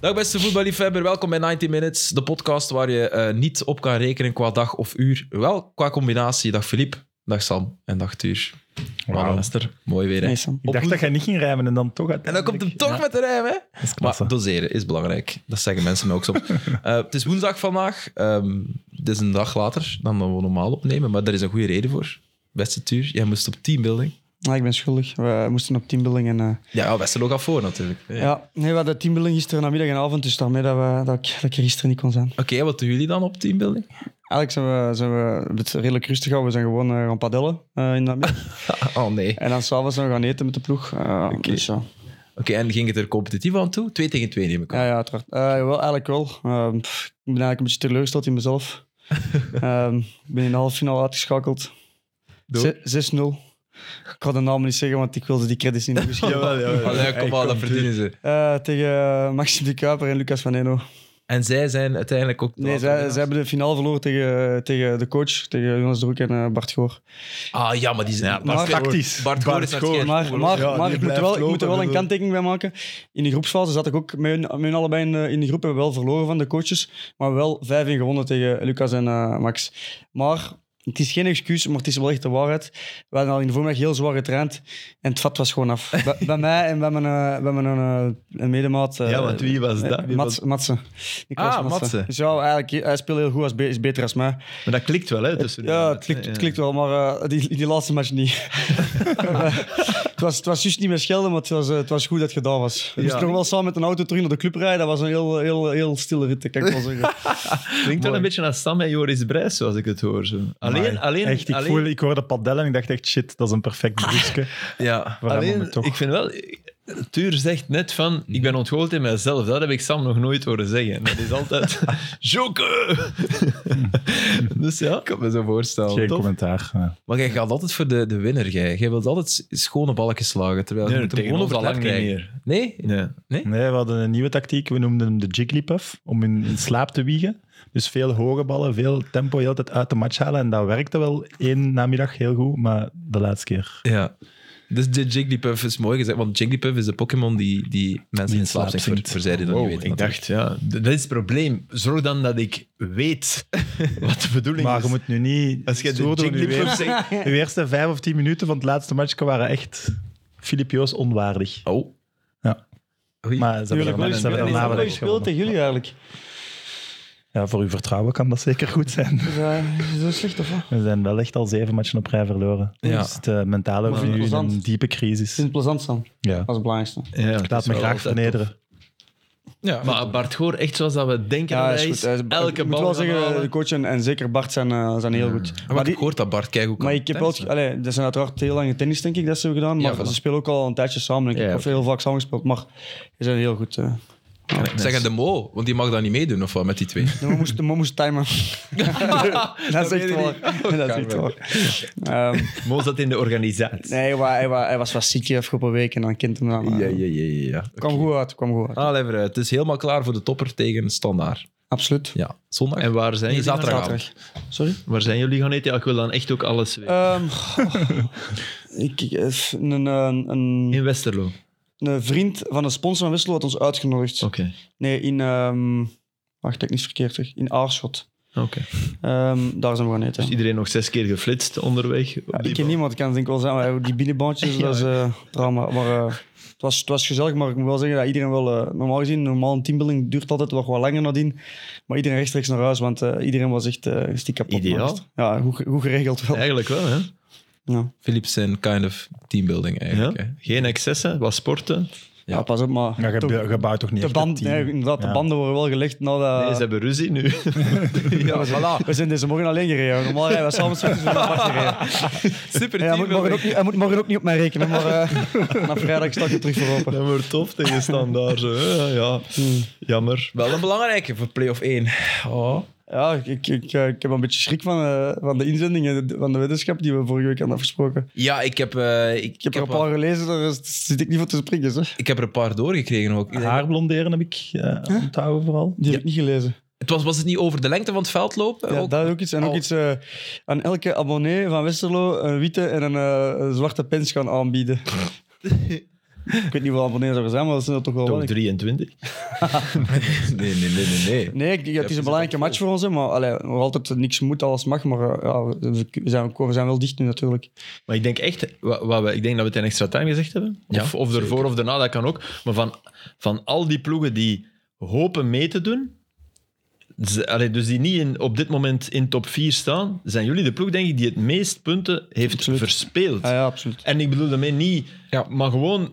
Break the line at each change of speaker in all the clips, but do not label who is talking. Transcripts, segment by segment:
Dag beste voetballiefhebber, welkom bij 90 Minutes, de podcast waar je eh, niet op kan rekenen qua dag of uur. Wel qua combinatie. Dag Filip, dag Sam en dag Tuur. Hallo Esther, mooi weer hè.
Nee, Sam.
Ik dacht dat jij niet ging rijmen en dan toch
En dan
uiteindelijk-
komt hem toch
Ja,
met de rijm hè.
dat is klasse.
Maar doseren is belangrijk. Dat zeggen mensen mij ook soms. Eh, het is woensdag vandaag. Ehm het is een dag later dan we normaal opnemen, maar daar is een goede reden voor. Beste Tuur, jij moest op teambuilding.
Ah, ik ben schuldig. We moesten op teambuilding. En, eh,
Ja, ja Westerlo gaat voor natuurlijk. Ja.
ja. nee, we hadden teambuilding gisteren namiddag en avond, dus daarmee dat, we, dat, ik, dat ik er gisteren niet kon zijn.
Oké, wat doen jullie dan op teambuilding?
Eigenlijk zijn we, zijn we het is redelijk rustig gehouden. We zijn gewoon eh, gaan padellen eh, in de namiddag.
Oh nee. Oké,
en dan s'avonds zijn we gaan eten met de ploeg. Eh, dus ja.
en ging het er competitief aan toe? Twee tegen twee neem ik aan.
Ja, ja, uiteraard. Eh, wel, eigenlijk wel. Ehm, pff, ik ben eigenlijk een beetje teleurgesteld in mezelf. Ehm, ik ben in de halve finale uitgeschakeld.
Door?
Ze- 6-0. Ik ga de naam niet zeggen, want ik wilde die credits niet beschikken.
Jawel, jawel, jawel.
Eh,
Allee, kom
Hey,
maar, dat
doe.
verdienen ze.
Eh, tegen eh, Maxime de Kuiper en Lucas van Eno.
En zij zijn uiteindelijk ook... de
Nee,
laatste
zij,
winnaars.
zij hebben de finale verloren tegen, tegen de coach, tegen Jonas Droek en eh, Bart Goor.
Ah ja, maar die zijn...
Bart
maar-
Goor.
Tactisch.
Bart Goor is naar het
Goor.
schijf.
Maar, maar,
Ja,
maar
die
ik, moet er
blijft
wel, ik moet
lopen, dus, eh.
er wel een
bedoel.
kanttekening bij maken. In de groepsfase zat ik ook met hun, met hun allebei in de, in de groep. Hebben we wel verloren van de coaches, maar wel 5-1 gewonnen tegen Lucas en eh, Max. Maar het is geen excuus, maar het is wel echt de waarheid. We hadden al in de voormiddag heel zwaar getraind en het vat was gewoon af. Bij, bij mij en bij mijn, eh, bij mijn eh, een medemaat. eh,
Ja, want wie was
eh,
dat? Wie
Mats, Matsen. Nicolas
Ah, Matsen.
Dus ja, eigenlijk, hij speelt heel goed, hij is be- is beter als mij.
was- Maar dat klikt wel, hè? Tussen
Ja, het klikt, het klikt wel, maar eh, die, die laatste match niet. het, was, het was juist niet meer schelden, maar het was, eh, het was goed dat het gedaan was. We moesten nog wel samen met een auto terug naar de club rijden. Dat was een heel, heel, heel stille rit, dat kan ik wel zeggen.
Klinkt wel een beetje naar Sam en Joris Brijs, zoals ik het hoor. Zo. Alleen, alleen,
Echt, ik,
alleen,
voel, ik hoorde padellen en ik dacht echt, shit, dat is een perfect
Ah,
broekje.
Ja.
Voor hem om
alleen
het toch.
ik vind wel... Tuur zegt net van, ik ben ontgoocheld in mijzelf. Dat heb ik Sam nog nooit horen zeggen. Dat is altijd... Joke! dus ja.
Ik kan me zo voorstellen.
Geen
tof.
commentaar. ja.
Maar jij gaat altijd voor de, de winnaar, jij. Jij wilt altijd s- schone balletjes slagen, terwijl je
Nee,
moet hem
tegen
gewoon
ons
over het
al
net
lang
krijgen.
niet
Nee?
Nee.
Nee, we hadden een nieuwe tactiek. We noemden hem de Jigglypuff, om hun in slaap te wiegen. Dus veel hoge ballen, veel tempo, heel tijd uit de match halen. En dat werkte wel één namiddag heel goed, maar de laatste keer.
Ja. Dus de Jigglypuff is mooi gezegd, want Jigglypuff is de Pokémon die, die mensen
Die
in slaap
slaap
zingt, voor,
zingt.
voor zij die dat
Wow,
niet weten.
Oh, ik dacht, ja, d- dat is het probleem. Zorg dan dat ik weet wat de bedoeling
Maar
is.
je moet nu niet...
Als je de
stoer doen, nu weer.
Jigglypuff zegt...
De eerste vijf of tien minuten van het laatste matchje waren echt Filip Joos onwaardig.
Oh.
Ja.
Oei.
Maar ze hebben
Tuurlijk,
daarna-
wel
ze hebben daarna wel
een
echt
speel
gewonnen.
tegen jullie eigenlijk.
Ja, voor uw vertrouwen kan dat zeker goed zijn.
Is dat, is dat slecht of wat? Ik
We zijn wel echt al zeven matchen op rij verloren.
Ja.
Dus het eh, mentale
Maar
voor nu in een
interessant.
diepe crisis.
vind het plezant staan.
Ja.
Dat is het belangrijkste.
Ja, het
Laat
is
me
wel
graag
altijd
vernederen.
Ja.
Maar Bart Goor, echt zoals dat we denken dat hij is.
Hij is-
elke
ik
bal
moet wel
gaan
zeggen,
halen.
de coach en, en zeker Bart zijn, eh, zijn heel goed.
maar,
Maar die-
ik hoor dat Bart kijk ook
Maar
aan
ik heb wel,
tennis, hè.
allee, dat zijn uiteraard heel lange tennis, denk ik, dat ze hebben gedaan. Maar
voilà.
ze spelen ook al een tijdje samen, denk ik.
Ja,
Of heel vaak samengespeeld. Maar ze zijn heel goed. eh.
Zeg aan de Mo, want die mag dat niet meedoen of wat met die twee.
De man moest, de man moest timen. dat is
weet
echt
ik
waar.
niet.
dat is echt waar. Ehm,
Mo zat in de organisatie.
nee, hij, wa- hij, wa- hij was wat ziek de afgelopen week en dan kind hem dan. eh,
ja, ja. ja.
Kwam goed uit, kwam goed uit.
Allee, vooruit. het is helemaal klaar voor de topper tegen Standaard.
Absoluut.
Ja, zondag.
En waar zijn,
Nee,
jullie
zaterdag.
Sorry?
Waar zijn jullie gaan eten? Ja, ik wil dan echt ook alles weten.
Ehm, ik, ik- een, een, een,
in Westerlo. Oké.
een vriend van een sponsor van Wissel had ons uitgenodigd.
Oh.
Nee, in... ehm wacht, dat ik niet verkeerd zeg. In Aarschot.
Oké.
Ehm, daar zijn we gaan eten.
Is iedereen nog zes keer geflitst onderweg? op
Ja,
die
ik ken
bal?
niemand, ik kan het denk ik wel zijn. Maar die binnenbandjes, dat is eh drama. Maar eh, het, was, het was gezellig, maar ik moet wel zeggen dat iedereen wel... eh, normaal gezien, normaal een teambuilding duurt altijd nog wat langer nadien. Maar iedereen rechtstreeks naar huis, want eh, iedereen was echt eh stiek kapot.
Ideaal.
maar echt, Ja, goed, ge- goed geregeld wel.
Eigenlijk wel, hè?
Ja.
Philips zijn kind of teambuilding
Ja.
eigenlijk. hè.
Geen excessen, wat sporten.
Ja.
Ja. pas op, maar...
Maar je
toch,
bou- je bouwt toch niet
de,
echt een
band,
team?
nee, inderdaad, de
Ja.
banden worden wel gelegd na dat...
Nee, ze hebben ruzie nu.
Ja, voilà.
we zijn deze morgen alleen gereden. Normaal rijden we samen s'ochtends met apart gereden.
Super
Ja, hij, moet morgen ook niet, hij moet morgen ook niet op mij rekenen, maar eh, na vrijdag sta ik er terug voor open.
Dat wordt tof tegen standaard. zo, hè, Ja, jammer.
Wel een belangrijke voor play-off 1. Oh.
Ja, ik, ik, ik, eh, ik heb een beetje schrik van, eh, van de inzendingen van de wetenschap die we vorige week hadden afgesproken.
Ja, ik heb, eh, ik,
Ik heb er een paar gelezen, daar is- zit ik niet voor te springen. Zeg.
ik heb er een paar doorgekregen ook. Ik denk-
Haar blonderen heb ik eh, onthouden vooral.
Die heb ik niet gelezen.
Het was, was het niet over de lengte van het veld lopen?
Ja,
ook?
dat is Eh, ook iets. En ook
al-
iets eh, aan elke abonnee van Westerlo een witte en een eh, een zwarte pens gaan aanbieden. Ik weet niet hoeveel abonnees er zijn, maar dat zijn er toch wel
Toch
wel.
23.
Nee, nee, nee, nee. nee.
Nee, ik- ja, het is een belangrijke match voor ons, hè, maar allee, nog altijd niks moet, alles mag. Maar eh, ja, we, we zijn, we zijn wel dicht nu natuurlijk.
Maar ik denk echt, wat, wat we, ik denk dat we het in extra time gezegd hebben.
Ja,
Of, of ervoor of daarna, dat kan ook. Maar van, van al die ploegen die hopen mee te doen, ze- allee, dus die niet in, op dit moment in top 4 staan, zijn jullie de ploeg, denk ik, die het meest punten heeft
Absoluut.
verspeeld.
Ja, Ah, ja absoluut.
En ik bedoel daarmee niet,
Ja.
maar gewoon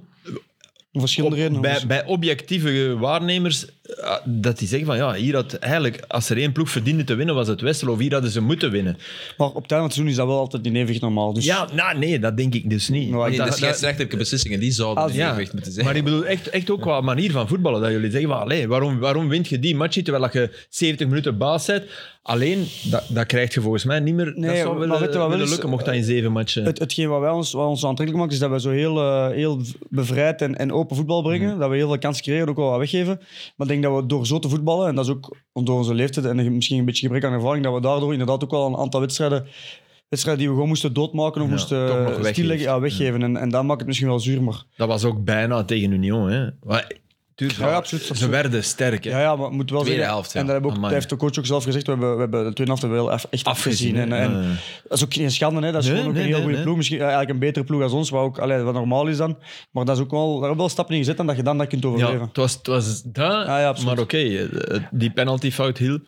Om verschillende
op-
redenen. dus.
bij, bij objectieve waarnemers, eh, dat die zeggen van ja, hier had eigenlijk, als er één ploeg verdiende te winnen, was het Westerlo, of hier hadden ze moeten winnen.
Maar op het einde van het seizoen is dat wel altijd in eeuwig normaal. Dus
Ja, nou, nee, dat denk ik dus niet.
Nou,
Want
Nee, de
ik-
dat- dat-
scheidsrechterlijke beslissingen, die zouden
Als-
in
Ah, ja,
evenwicht moeten zijn.
maar ik bedoel echt, echt ook qua manier van voetballen. Dat jullie zeggen, van, allee, waarom, waarom wint je die match niet, terwijl dat je 70 minuten baas bent? Alleen, dat, dat krijg je volgens mij niet meer.
Nee,
dat zou
maar
willen,
weet je wat wel
willen
is?
lukken, mocht dat in zeven matchen.
Het, hetgeen wat, wij ons, wat ons aantrekkelijk maakt, is dat we zo heel, eh, heel v- bevrijd en, en open voetbal brengen.
Mm-hmm.
Dat we heel veel kansen creëren, ook wel wat weggeven. Maar ik denk dat we door zo te voetballen, en dat is ook door onze leeftijd en een- misschien een beetje gebrek aan ervaring, dat we daardoor inderdaad ook wel een aantal wedstrijden, wedstrijden die we gewoon moesten doodmaken of
Ja,
moesten
toch nog Mm.
eh,
weggeeft.
stilleggen, ja, weggeven. En, en dat maakt het misschien wel zuur, maar...
dat was ook bijna tegen Union. Hè. Maar, tuurlijk,
Ja, ja, absoluut,
Ze
absoluut.
werden sterk. Hè.
Ja, ja, maar moet wel
Tweede
zeggen-
helft, ja.
En dat, hebben ook,
Amai.
dat heeft de coach ook zelf gezegd. We hebben, we hebben de tweede helft hebben we wel echt afgezien. En, en,
hè.
Dat is ook geen schande, hè. dat is
Nee,
gewoon ook
nee,
een heel goede
nee, nee.
ploeg. Misschien ja, eigenlijk een betere ploeg als ons, wat, ook, allee, wat normaal is dan. Maar dat is ook wel, daar hebben we wel stappen in gezet en dat je dan dat kunt
Ja,
overleven.
het was, het was dat,
ja, absoluut.
maar oké, eh, die penaltyfout hielp.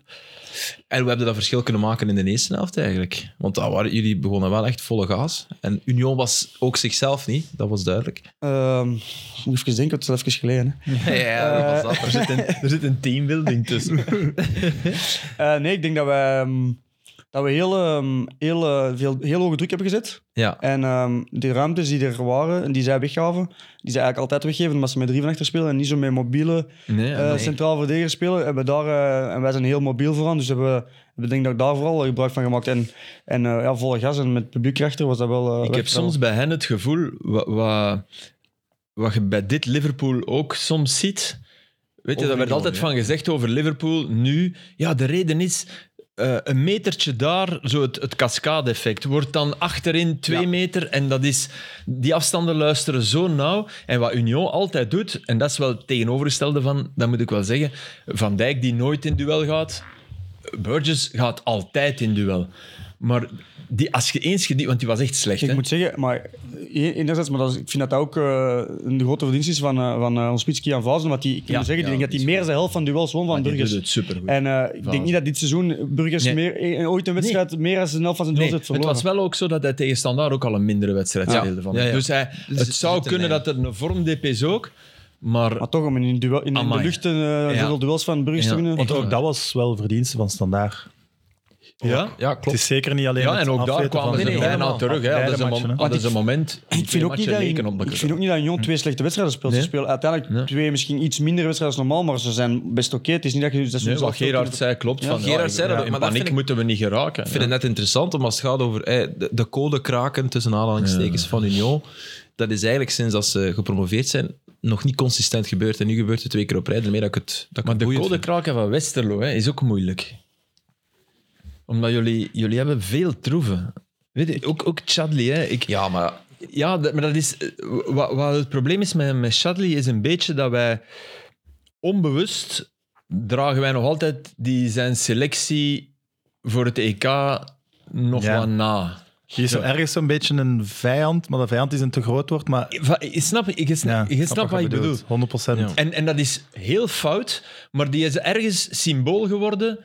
En we hebben dat verschil kunnen maken in de eerste helft eigenlijk. Want daar waren, jullie begonnen wel echt volle gas. En Union was ook zichzelf niet, dat was duidelijk.
Ehm, ik moet even denken, het is even geleden. Hè.
Ja,
dat
was
Er zit een, er zit een teambuilding tussen.
Eh, nee, ik denk dat we, ehm, dat we heel, ehm, heel, eh, veel, heel hoge druk hebben gezet.
Ja,
En ehm die ruimtes die er waren en die zij weggaven, die zij eigenlijk altijd weggeven omdat ze met drie van achter spelen en niet zo met mobiele
Nee,
eh, centraal verdediger spelen. Hebben we daar, eh, en wij zijn heel mobiel voor aan, dus hebben we hebben denk ik daar vooral gebruik van gemaakt. En, en eh, ja, volle gas en met het publiek erachter was dat wel... eh,
Ik heb
weggehaald.
soms bij hen het gevoel, wat, wat, wat je bij dit Liverpool ook soms ziet. Weet je,
Over
daar werd
Union,
altijd
ja.
van gezegd over Liverpool nu. Ja, de reden is. eh, een metertje daar, zo het, het cascade-effect, wordt dan achterin twee
Ja.
meter. En dat is, die afstanden luisteren zo nauw. En wat Union altijd doet, en dat is wel het tegenovergestelde van, dat moet ik wel zeggen. Van Dijk die nooit in duel gaat, Burgess gaat altijd in duel. Maar die, als je eens gedie, want die was echt slecht.
Ik
hè?
moet zeggen, maar e- enerzijds, maar dat is- ik vind dat dat ook eh, een grote verdienst is van, eh, van eh, ons Spitski aan Vazen. Want die, ik moet
Ja,
zeggen, die
ja,
denk dat
die
hij
is
meer dan de helft van duels won van
Die
Burgers.
doet het supergoed.
En eh, ik denk
Vazen.
niet dat dit seizoen Burgers
Nee.
meer, eh, ooit een wedstrijd meer dan de helft van zijn
Nee,
duels heeft
het
verloren.
was wel ook zo dat hij tegen Standaard ook al een mindere wedstrijd
Ja.
speelde. Van.
Ja, ja.
Dus hij,
Dus
het
er
zou
zit een
kunnen
lijn.
dat er een vormdep is ook, maar
Maar toch, om in, een duel, in, in de
Amai.
lucht eh zoveel duels van Burgers te
Ja.
winnen.
Want
Want ook dat was wel verdienste van standaard.
ja.
ja
Het
klopt.
is zeker niet alleen
Ja,
het
en ook daar
afweten
kwamen
van
ze
Nee, nee,
bijna
helemaal.
terug. Hè.
Beide
Hadden ze een
matchen,
mom-
hè.
hadden ze een moment.
Ik vind, ook niet dat,
leken op
ik vind ook niet dat Union twee slechte wedstrijden speelt.
Nee.
Ze spelen uiteindelijk
Nee.
twee misschien iets minder wedstrijden als normaal, maar ze zijn best oké. Het is niet dat je... Dat ze
Nee,
zelf
wat
veel
Gerard
kunnen-
zei klopt.
Ja,
van, ja,
Gerard zei dat ook,
in
maar dat
paniek
vind ik-
moeten we niet geraken.
Ik vind het net interessant, omdat het gaat over eh, de, de code kraken tussen aanhalingstekens van Union. Dat is eigenlijk sinds dat ze gepromoveerd zijn nog niet consistent gebeurd. En nu gebeurt het twee keer op rij, daarmee dat ik het dat ik
Maar
het
de
boeiend
code
vind.
kraken van Westerlo hè, is ook moeilijk. Omdat jullie, jullie hebben veel troeven. Weet je, ook, ook Chadli, hè. Ik,
Ja, maar
Ja, dat- maar dat is. eh, Wat, wat het probleem is met, met Shadley is een beetje dat wij onbewust dragen wij nog altijd die zijn selectie voor het EK nog
Ja.
wat na.
Die is zo ergens zo'n beetje een vijand, maar de vijand is een te groot wordt. Maar
Va- Je snapt je
ja,
snap, je snapt wat ik bedoel.
bedoelt. 100
Ja.
En, en dat is heel fout, maar die is ergens symbool geworden.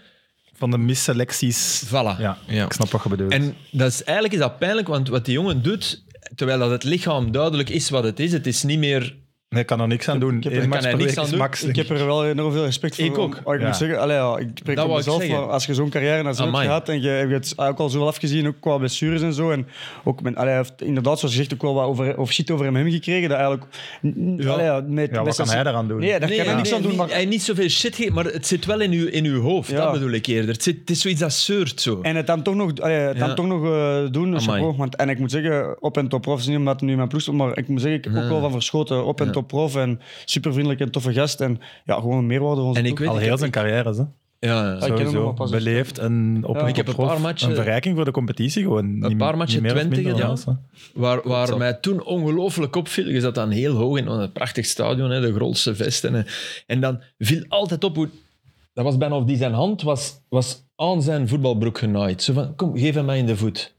Van de misselecties.
Voilà.
Ja,
Ja.
ik snap wat je bedoelt.
En dat is, eigenlijk is dat pijnlijk, want wat die jongen doet, terwijl dat het lichaam duidelijk is wat het is, het is niet meer
hij kan er niks aan doen.
heb-
Eén
ik
match
kan
per
er niks
week
aan
is
doen.
max,
Ik
denk
heb er wel enorm veel respect voor.
Ik ook.
Maar ik
Ja.
moet zeggen, allee, ja, ik spreek
Dat
voor
wou ik
mezelf,
zeggen.
maar als je zo'n carrière naar zo'n
Amai.
gaat en je hebt het ook al zoveel afgezien, ook qua blessures en zo. En ook men, allee, hij heeft inderdaad, zoals je zegt, ook wel wat over, of shit over hem heen gekregen. Dat eigenlijk, ja. ja, met,
Ja,
met
wat kan
zijn-
hij daaraan doen?
Nee, daar kan hij
ja.
niks aan doen.
niet-
Maar,
Hij niet zoveel shit geeft, maar het zit wel in uw, in uw hoofd.
Ja.
Dat bedoel ik eerder. Het, zit, het is zoiets dat zeurt zo.
En het dan toch nog, allee, het dan
Ja.
toch nog eh, doen.
Amai.
chapeau. Want, en ik moet zeggen, op en top prof is niet omdat hij nu in mijn ploeg stond, maar ik moet zeggen, ik heb ook wel van verschoten. Op en top prof en super vriendelijk en toffe gast. En ja, gewoon een meerwaarde voor onze
En ik
ploeg.
weet-
Al heel zijn carrière, hè.
Ja, ja.
ik ken hem nog
Sowieso.
maar pas eens.
Beleefd en op
Ja.
een
Ik
heb een
prof,
paar matchen-
Een verrijking voor de competitie gewoon. Niet-
paar matchen
niet meer of
Twente
minder dan
gedaan.
ons, hè.
Waar, waar
zo.
mij toen ongelooflijk op viel, je zat dan heel hoog in een prachtig stadion, hè, de grootste vesten. hè. En dan viel altijd op hoe... Dat was bijna of die zijn hand was, was aan zijn voetbalbroek genaaid. Zo van, kom, geef hem mij in de voet.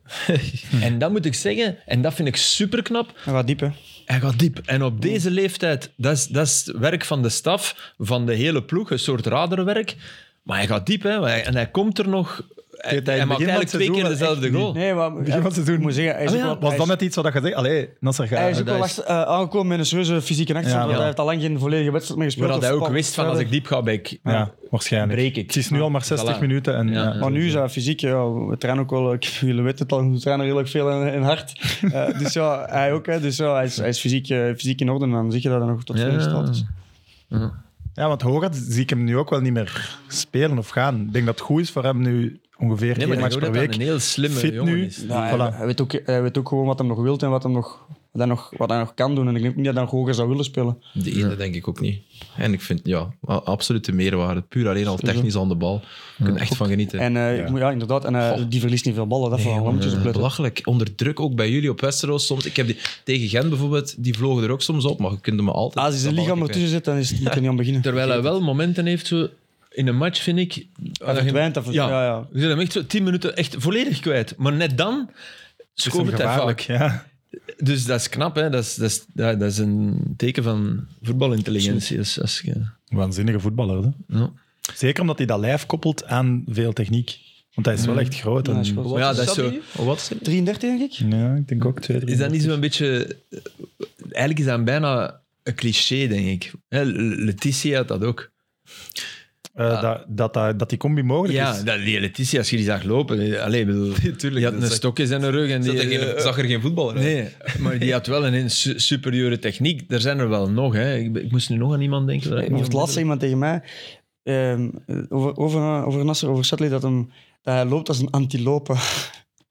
en dat moet ik zeggen, en dat vind ik superknap,
En wat diep, hè.
hij gaat diep. En op deze leeftijd, dat is, dat is het werk van de staf, van de hele ploeg, een soort radarwerk. Maar hij gaat diep, hè. Hij- En hij komt er nog... Hij,
Deed hij in
hij
het
maakt
begin van
eigenlijk
het
twee
seizoen
keer
wel echt
dezelfde
niet.
goal.
Nee, maar eh,
Begin van het seizoen.
ik moet zeggen, hij is
Ah,
ook
ja.
wel-
Was
hij
dat
is-
net iets wat je zegt? Allee, Nasser
Hij is
gaat.
ook wel
dat is-
echt, eh, aangekomen met een serieuze fysieke
Ja.
achterstand, want
Ja.
hij heeft al lang geen volledige wedstrijd meer gespeeld.
Maar dat hij
of
ook
pa-
wist van, als ik diep ga, ben ik...
Ja, waarschijnlijk.
Breek ik.
Het is nu al maar 60
Voilà.
minuten. En,
Ja.
ja.
Maar nu is dat fysiek, ja, we trainen ook wel, ik, jullie weten het al, we trainen redelijk veel en, en hard. Eh, dus ja, hij ook, hè, dus ja, hij is, hij is fysiek, eh, fysiek in orde en dan zie je dat hij nog tot
Ja.
veel staat. is.
Ja, want Horat zie ik hem nu ook wel niet meer spelen of gaan. Ik denk dat het goed is voor hem nu ongeveer
Nee,
één
maar ik
match
hoor
per
dat dat een
week.
heel slimme
Fit
jongen
nu.
is.
Ja, hij-
Voilà.
hij, weet ook, hij weet ook gewoon wat hem nog wilt en wat, hem nog, wat, hij nog, wat hij nog kan doen. En ik denk ook niet dat hij nog hoger zou willen spelen.
De ene denk ik ook niet. En ik vind, ja, a- absolute meerwaarde. Puur alleen al technisch aan de bal. Je kunt er echt van genieten.
En eh, ik moet- ja, inderdaad, en eh, die verliest niet veel ballen, dat
Nee,
vooral. Daar moet je
jongen,
eens op letten.
belachelijk. Onder druk, ook bij jullie op Westeros soms. Ik heb die, tegen Gent bijvoorbeeld, die vlogen er ook soms op, maar je kunt hem altijd...
Als hij zijn
dat
lichaam
balletje
ertussen zit, dan is het, moet hij niet aan beginnen.
Terwijl hij wel momenten heeft zo in een match, vind ik.
Hij verdwijnt, hij verdwijnt, ja, ja.
Je zit hem echt zo tien minuten echt volledig kwijt. Maar net dan
Het is hem
scoort hij
gevaarlijk,
vaak.
ja.
Dus dat is knap, hè. Dat is, dat is, ja, dat is een teken van voetbalintelligentie. Als, als je,
Waanzinnige voetballer. Hè?
ja.
Zeker omdat hij dat lijf koppelt aan veel techniek. Want hij is
Mm.
wel echt groot.
Ja, hij
En...
is groot.
kwijt.
Ja,
Wat is
dat is zo.
hier? Wat is het?
33, denk ik.
Ja, ik denk ook twee, drie.
Is dat niet zo'n beetje... eh, Eigenlijk is dat bijna een cliché, denk ik. Hè, Letitia had dat ook.
Eh, dat, dat, dat, dat die combi mogelijk
Ja,
is.
dat, die Letitia, als je die zag lopen... eh, Allee, ik bedoel, die
dat
had een
is- eh,
stokje in zijn rug en die... eh,
Zat er geen- Zag er geen voetballer uit?
Nee, maar die had wel een su- superieure techniek. Er zijn er wel nog. Hè. Ik, be- ik moest nu nog aan iemand denken.
Er was laatst zei iemand tegen mij ehm, over, over, over Nasser, over Sadley, dat, hem, dat hij loopt als een antilope.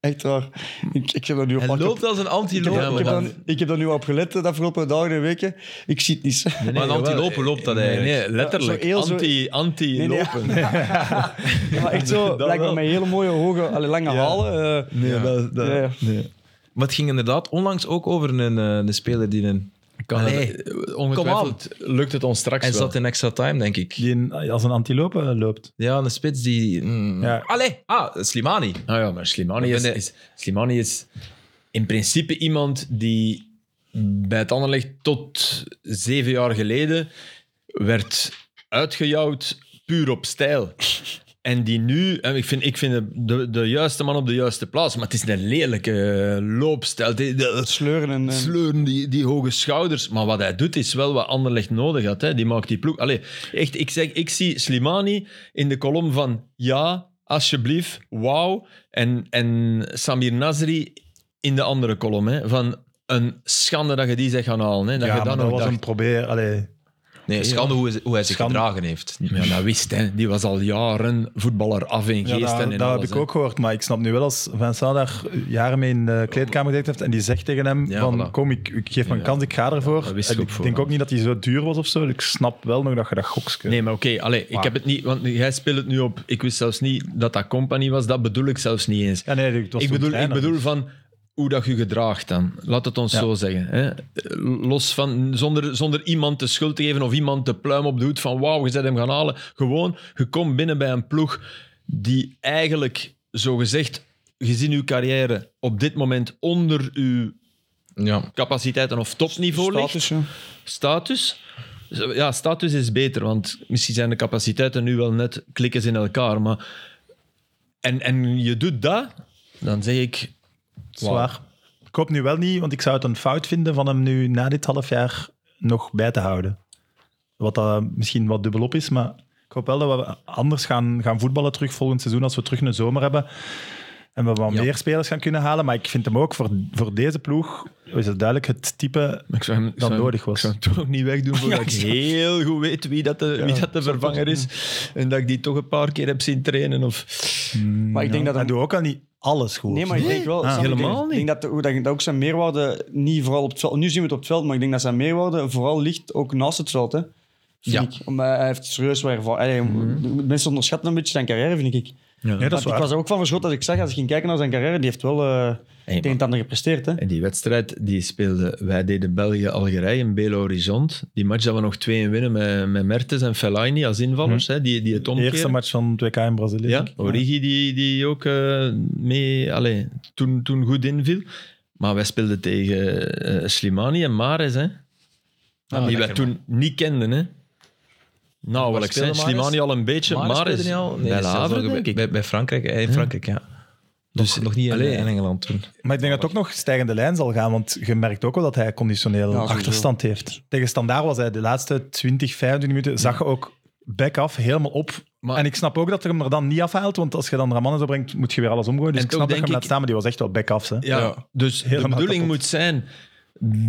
Echt waar. Ik, ik heb dat nu op
Hij
ik heb-
loopt als een
ik heb,
antiloop.
Ja,
dat- ik,
maar
heb
dan-
dat- ik heb dat nu op gelet de afgelopen dagen en weken. Ik zie het niet.
Maar een antilopen loopt dat eigenlijk.
Nee, letterlijk.
Ja, zo heel zo-
Anti, anti
Nee, nee.
lopen.
Maar echt zo,
Dat
blijkbaar
wel.
met hele mooie hoge, allee, lange halen. eh.
Nee, dat,
Ja, ja.
Maar het ging inderdaad onlangs ook over een, eh, een speler die een...
Kan
Allee,
het- ongetwijfeld lukt het ons straks
Hij
wel.
zat in extra time, denk ik.
Die een- als een antilope loopt.
Ja, een spits die... mm.
Ja.
Allee, ah, Slimani.
Nou ja, maar Slimani
Maar
is,
ben je-
is, Slimani is in principe iemand die bij het Anderlecht tot zeven jaar geleden werd uitgejouwd puur op stijl. En die nu, en ik vind, ik vind de, de juiste man op de juiste plaats, maar het is een lelijke eh, loopstijl. Die-
Het
de-
sleuren en... eh, en-
sleuren, die, die hoge schouders. Maar wat hij doet, is wel wat Anderlecht nodig had. Hè. Die maakt die ploeg. Allee, echt, ik, zeg, ik zie Slimani in de kolom van ja, alsjeblieft, wauw. En, en Samir Nasri in de andere kolom. Hè, van een schande dat je die zegt gaan halen. Hè, dat
ja,
je
maar
dan
dat
nog
was
dacht.
een probeer. Allee,
Nee, schande hoe, hij- hoe hij zich
Schande.
gedragen heeft.
Ja, dat wist, hè. Die was al jaren voetballer af in
ja,
geest
dat
en in
dat
alles,
heb ik
hè.
ook gehoord. Maar ik snap nu wel als Vincent daar jaren mee in de kleedkamer gedekt heeft en die zegt tegen hem
Ja,
van
voilà.
kom, ik, ik geef me een
Ja.
kans, ik ga ervoor.
dat wist
En
ik
ik
ook voor.
denk ook niet dat hij zo duur was of zo. Ik snap wel nog dat je dat goks kunt.
Nee, maar oké, allee, ik
Maar-
heb het niet, want jij speelt het nu op. Ik wist zelfs niet dat dat compagnie was, dat bedoel ik zelfs niet eens.
Ja, nee, het was
Ik
toen
bedoel, ik
kleiner,
bedoel
dus.
van hoe dat je gedraagt dan. Laat het ons
Ja.
zo zeggen. Hè? Los van, zonder, zonder iemand de schuld te geven of iemand de pluim op de hoed van wauw, je zet hem gaan halen. Gewoon, je komt binnen bij een ploeg die eigenlijk, zogezegd, gezien uw carrière op dit moment onder uw
Ja.
capaciteiten of topniveau ligt.
status, ja.
Status? Ja, status is beter, want misschien zijn de capaciteiten nu wel net klikken ze in elkaar. Maar... En, en je doet dat, dan zeg ik... wauw.
Zwaar. Ik hoop nu wel niet, want ik zou het een fout vinden van hem nu na dit half jaar nog bij te houden. Wat dat misschien wat dubbelop is, maar ik hoop wel dat we anders gaan, gaan voetballen terug volgend seizoen als we terug een zomer hebben. En we wat
Ja.
meer spelers gaan kunnen halen. Maar ik vind hem ook voor, voor deze ploeg is het duidelijk het type.
Maar Ik zou hem, ik
Dat
zou hem-
nodig was.
Ik zou hem toch niet wegdoen voordat
Ja,
ik
ik snap.
heel goed weet wie dat de, wie dat de vervanger is. En dat ik die toch een paar keer heb zien trainen. Of...
Maar ik denk dat
Hij
hem-
doet ook al niet alles goed.
Nee, maar ik denk wel...
Ah,
Sam, ik denk-
helemaal niet.
Ik denk dat, de- hoe dat, dat ook zijn meerwaarde niet vooral op het veld... Nu zien we het op het veld, maar ik denk dat zijn meerwaarde vooral ligt ook naast het veld. Hè. vind
Ja.
ik. Omdat hij heeft serieus waar ervan. Allee, Mensen onderschatten een beetje zijn carrière, vind ik.
Nee, dat
Want
is
ik
waar.
was er ook van verschoten als ik zag, als ik ging kijken naar zijn carrière, die heeft wel eh het een en ander gepresteerd. Hè?
En die wedstrijd die speelde, wij deden België-Algerije in Belo Horizont. Die match dat we nog twee in winnen met, met Mertens en Fellaini als invallers, hè, die, die het
De
omkeren.
eerste match van het WK in Brazilië.
Ja,
denk ik.
Origi die, die ook eh, mee, allee, toen, toen goed inviel. Maar wij speelden tegen eh, Slimani en Mares,
Ah,
hè, die wij toen niet kenden. Hè. Nou,
Waar
Nauwelijks,
speelde
hè.
Mahrez?
Slimani al een beetje,
Maar
Mahrez.
speelde niet al? Nee,
bij
dat
de
is zelfs
Havre,
nog
denk
bij,
ik.
bij, bij Frankrijk. eh, In Frankrijk, ja. Dus nog niet in,
Allee.
in Engeland toen.
Maar ik denk dat het ook nog stijgende lijn zal gaan, want je merkt ook wel dat hij conditioneel
Ja, sowieso.
achterstand heeft. Tegen Standaard was hij de laatste 20, 25 minuten, zag je ook back af, helemaal op.
Maar-
en ik snap ook dat er hem er dan niet afhaalt, want als je dan Ramannen zo brengt, moet je weer alles omgooien. Dus
En
ik
toch
snap dat je
denk
hem laat
ik-
staan, maar die was echt wel back af. hè.
Ja, dus de
Helemaal
bedoeling
kapot.
moet zijn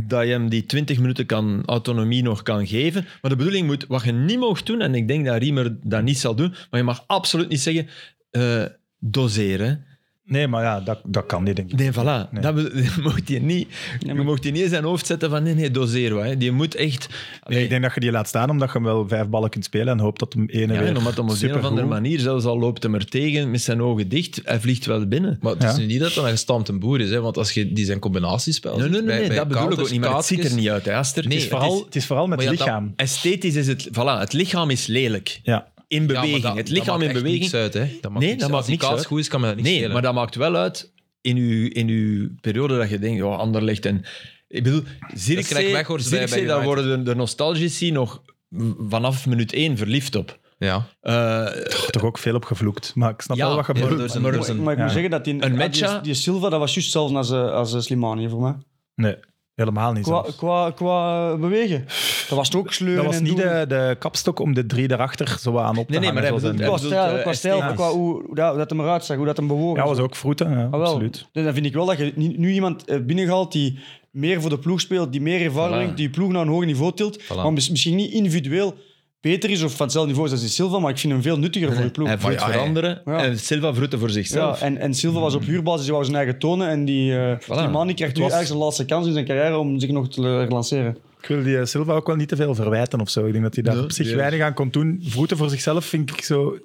dat je hem die 20 minuten kan, autonomie nog kan geven. Maar de bedoeling moet, wat je niet mag doen, en ik denk dat Riemer dat niet zal doen, maar je mag absoluut niet zeggen, eh, doseren.
Nee, maar ja, dat, dat kan niet, denk ik.
Nee, voilà.
Nee.
Dat, be- dat mocht je niet. Je
maar-
mocht die niet in zijn hoofd zetten van nee, nee, doseer wat. hè. Die moet echt...
Nee, ik denk dat je die laat staan, omdat je hem wel vijf ballen kunt spelen en hoopt dat hem ene
ja,
weer
en omdat om op een of
supergoed-
andere manier, zelfs al loopt hem er tegen met zijn ogen dicht, hij vliegt wel binnen.
Maar het is
Ja.
nu niet dat dat een gestampte boer is, hè, want als je die zijn combinatiespel
Nee,
ziet,
nee, nee,
bij-
nee,
bij
dat bedoel ik ook
counters,
niet, maar het ziet er
kaatjes,
niet uit, hè, Aster.
Nee,
Het
Het
is
is vooral, het is vooral met
maar
het
ja, dat-
lichaam.
Esthetisch is het... Voilà, het lichaam is lelijk.
Ja.
In
ja, maar
beweging.
dat-
het
dat
lichaam
maakt
in
echt
beweging.
niks uit, hè. Dat maakt
Nee,
niks
dat
uit.
maakt
Als die
niks
kaats
uit.
goed is, kan me dat niet
Nee,
schelen.
maar dat maakt wel uit in uw, in uw periode dat je denkt, ja, ander legt en... Ik bedoel,
krijg
Zirkzee,
ik weg, hoor, ze bij-
Zirkzee,
bij
daar
United.
worden de, de nostalgici nog m- vanaf minuut één verliefd op.
Ja.
Eh,
Er toch ook veel op gevloekt. Maar ik snap
Ja, dus
wel wat je
ja,
bedoelt.
er is een-
maar-
er is een-
Maar ik
Ja.
moet zeggen dat die,
Een
ja,
matcha?
die, die Silva, dat was juist hetzelfde als, eh, als eh, Slimani voor mij.
Nee, helemaal niet
Qua,
zelfs.
qua, qua eh, bewegen. Dat was toch ook sleuren
Dat was
en
niet
doen.
de, de kapstok om de drie daarachter zo aan op te
Nee, nee, maar
hangen,
hij
zoals
bedoelt-
Qua
hij-
bedoelt,
stijl,
eh,
qua stijl
esthetisch.
qua hoe, hoe dat, hoe dat hem eruit zag, hoe dat hem bewogen.
Ja, was ook vroeten, ja,
Ah, wel.
absoluut.
Dus dan vind ik wel dat je ni- nu iemand eh, binnenhaalt die meer voor de ploeg speelt, die meer ervaring
Voilà.
brengt, die je ploeg naar een hoger niveau tilt. Maar mis- misschien niet individueel beter is of van hetzelfde niveau is als die Silva, maar ik vind hem veel nuttiger voor je ploeg.
hij vroet
ja,
voor
hij-
anderen
Ja.
en Silva vroette voor
Ja,
zichzelf.
en, en Silva was op huurbasis, die wou zijn eigen tonen. En die, eh die man die krijgt nu
Mm. was-
eigenlijk zijn laatste kans in zijn carrière om zich nog te eh, lanceren.
Ik wil die eh, Silva ook wel niet te veel verwijten of zo. Ik denk dat hij daar
Nee,
op zich
die-
weinig aan kon doen. Vroeten voor zichzelf vind ik zo...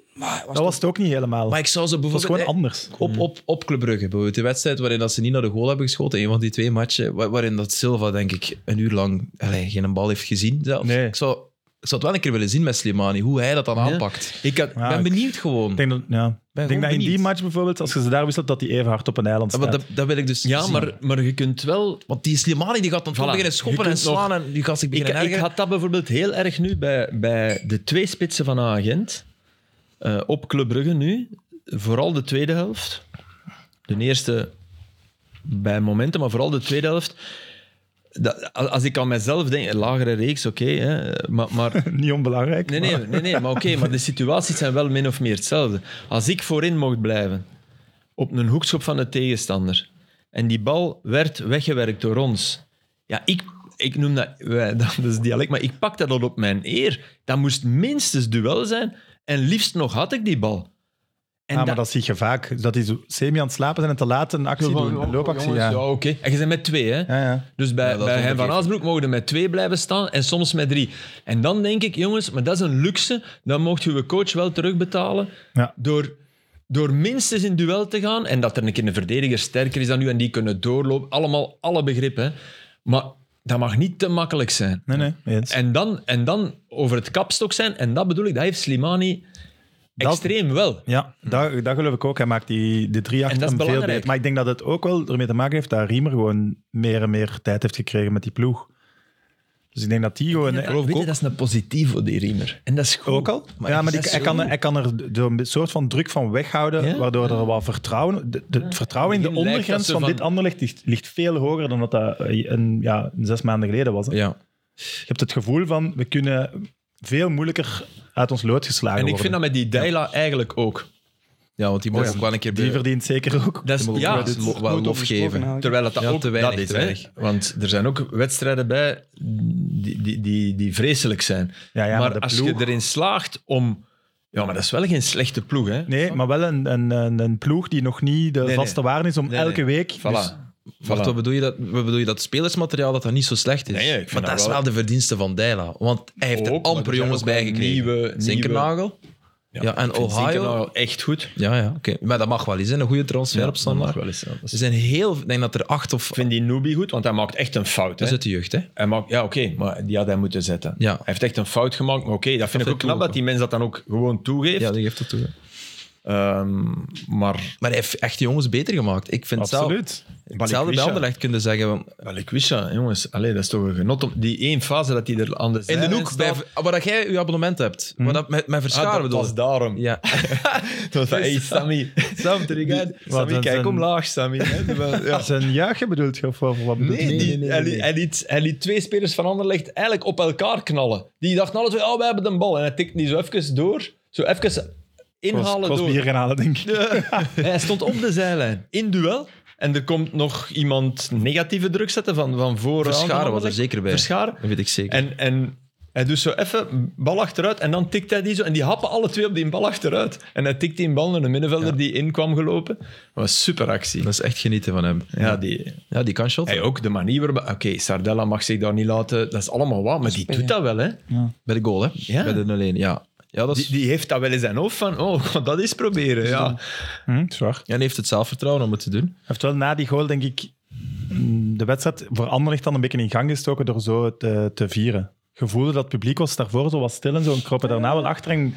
dat was het ook niet helemaal.
Maar
Het
ik zou ze
was
bijvoorbeeld...
gewoon
eh,
anders.
Mhm.
op, op, op Club Brugge, bijvoorbeeld. De wedstrijd waarin dat ze niet naar de goal hebben geschoten. Een van die twee matchen wa- waarin dat Silva, denk ik, een uur lang allee, geen bal heeft gezien. Zelf.
Nee.
Ik, zou, ik zou het wel een keer willen zien met Slimani, hoe hij dat dan
Ja.
aanpakt.
Ik had,
Ik
Ja,
ben
ik
benieuwd gewoon.
denk dat, ja. ik denk dat in die
benieuwd.
match bijvoorbeeld, als je ze daar wisselt, dat hij even hard op een eiland
Ja,
staat.
maar dat, dat wil ik dus
ja
zien.
maar, maar je kunt wel
Want die Slimani die gaat dan toch
Voilà.
beginnen schoppen
Je
en
kunt nog-
slaan en die gaat zich
Ik,
beginnen
ik
ergeren.
had dat bijvoorbeeld heel erg nu bij, bij de twee spitsen van Agent. eh op Club Brugge nu. Vooral de tweede helft. De eerste bij momenten, maar vooral de tweede helft. Dat, als als ik aan mezelf denk, een lagere reeks, oké. hè, maar, maar
Niet onbelangrijk.
nee, nee,
maar-
nee, nee, maar oké, maar de situaties zijn wel min of meer hetzelfde. Als ik voorin mocht blijven, op een hoekschop van de tegenstander, en die bal werd weggewerkt door ons, ja, ik, ik noem dat, wij, dat is dialect, maar ik pak dat al op mijn eer. Dat moest minstens duel zijn, en liefst nog had ik die bal. En
Ah, maar dat zie je vaak. Dat die zo semi aan het slapen zijn en te laat een actie doen. Een loopactie,
Jongens,
ja.
ja,
Ja,
oké. En je bent met twee, hè?
ja.
Dus bij,
Ja, dat
bij
vond
Hein
ik
van
ook.
Aasbroek mogen we met twee blijven staan en soms met drie. En dan denk ik, jongens, maar dat is een luxe. Dan mocht je coach wel terugbetalen
Ja.
door, door minstens in duel te gaan. En dat er een keer een verdediger sterker is dan u en die kunnen doorlopen. Allemaal alle begrippen. hè. Maar dat mag niet te makkelijk zijn.
Nee, nee, eens.
En dan, en dan over het kapstok zijn. En dat bedoel ik, dat heeft Slimani
Dat-
extreem wel.
Ja, dat, dat geloof ik ook. Hij maakt die, de drie achter
Hm. En dat
hem veel
is belangrijk.
beter. Maar ik denk dat het ook wel ermee te maken heeft dat Riemer gewoon meer en meer tijd heeft gekregen met die ploeg. Dus ik denk dat die gewoon...
Weet je, dat is een positief voor die Riemer. En dat is goed.
Ook al? ja, maar die,
dat is
hij,
zo
kan,
goed.
hij kan er zo'n soort van druk van weghouden,
Ja?
waardoor er wat vertrouwen... de- de- het vertrouwen in de
Het lijkt dat
ondergrens
ze
van,
van-
dit anderlicht ligt, ligt veel hoger dan dat dat eh, een, ja, zes maanden geleden was. hè.
Ja.
Je hebt het gevoel van, we kunnen veel moeilijker uit ons lood geslagen
En ik
worden.
vind dat met die Deila eigenlijk ook.
ja, want die
Oh
mogen
ja.
ook wel een keer
Die
de-
verdient zeker ook.
Dat is-
de-
ja,
wel eens lo-
Goed
wel lof
overgesproken
geven.
eigenlijk.
Terwijl dat, dat
Ja,
ook
te weinig,
dat is.
te
hè.
weinig.
Want er zijn ook wedstrijden bij die, die, die, die vreselijk zijn.
Ja, ja, maar
maar
de
als
ploeg-
je erin slaagt om... Ja, maar dat is wel geen slechte ploeg, hè?
Nee, maar wel een, een, een, een ploeg die nog niet de
nee.
vaste waarde is om
Nee,
elke
nee.
week.
Voilà.
Dus
Wacht, wat bedoel je dat? Wat bedoel je dat spelersmateriaal dat dat niet zo slecht is?
Nee, ik vind
maar dat,
dat
is
wel-
wel de verdienste van Deila. Want hij heeft
Ook,
er
maar er
amper
zijn
jongens
ook
bij
wel
gekregen.
nieuwe-
Zinkernagel. Ja, en
Ik vind
Ohio.
Zinkernagel echt goed.
Ja, ja, oké. Maar dat mag wel eens, hè. een goede transfer op standaard.
wel eens. ja. Dat is-
Ze zijn heel... Ik denk dat er acht of...
Ik vind die Noobie goed, want hij maakt echt een fout.
Dat
Hè?
is uit de jeugd, hè.
Hij maakt, ja, oké, maar die had hij moeten zetten.
Ja.
Hij heeft echt een fout gemaakt, maar oké, dat vind ik ook
vind ik
knap
ook.
dat die mens dat dan ook gewoon toegeeft.
Ja, die geeft dat toe. hè.
Ehm, maar
Maar hij heeft echt die jongens beter gemaakt. Ik vind het zelf-
Absoluut.
hetzelfde bij
Balikwisha.
Anderlecht kunnen zeggen. want-
Wel, ik wist ja, jongens. Allee, dat is toch een genot. Om, die één fase dat hij er aan de
In
zijlijn
de hoek, bij,
staat.
Eh, Ah, waar dat jij je abonnement hebt. Maar dat, met, met
Ah,
verscharen
dat
bedoel
was
ik.
daarom.
Ja.
Dat was dat, hey, Sammy.
Sam,
Wat,
Sammy,
dat
kijk
zijn-
omlaag, Sammy. hè. Dat was- Ja.
Dat is een juichen bedoeld, je, of wat wat bedoelt
Nee,
je?
die,
nee, nee,
hij,
nee.
liet, hij, liet, hij liet twee spelers van Anderlecht eigenlijk op elkaar knallen. Die dachten alle twee, oh, wij hebben de bal. En hij tikt die zo even door. Zo even
Kost,
inhalen
kost
door.
bier gaan halen, denk ik.
En hij stond op de zijlijn, in duel. En er komt nog iemand negatieve druk zetten van, van vooraan.
Verscharen was er
Anderlecht.
zeker bij.
Verscharen.
Dat weet ik zeker.
En, en hij doet zo even bal achteruit en dan tikt hij die zo. En die happen alle twee op die bal achteruit. En hij tikt die bal naar de middenvelder die in kwam gelopen. Dat was super actie.
Dat is echt genieten van hem.
Ja, die,
Ja, die kan shot.
hij ook de manier waarop... Oké, Sardella mag zich daar niet laten. Dat is allemaal wat, maar die doet dat wel, hè.
Bij de goal, hè?
Ja.
Bij de 0-1, ja. Ja, dat is...
Die, die heeft dat wel in zijn hoofd van, oh, ik ga dat eens proberen. Ja.
Hm, is waar.
En heeft het zelfvertrouwen om het te doen.
Hij heeft wel na die goal, denk ik, mm, de wedstrijd voor Anderlecht dan een beetje in gang gestoken door zo te, te vieren. Gevoelde dat het publiek was daarvoor zo wat stil en zo en kropen daarna wel achter. En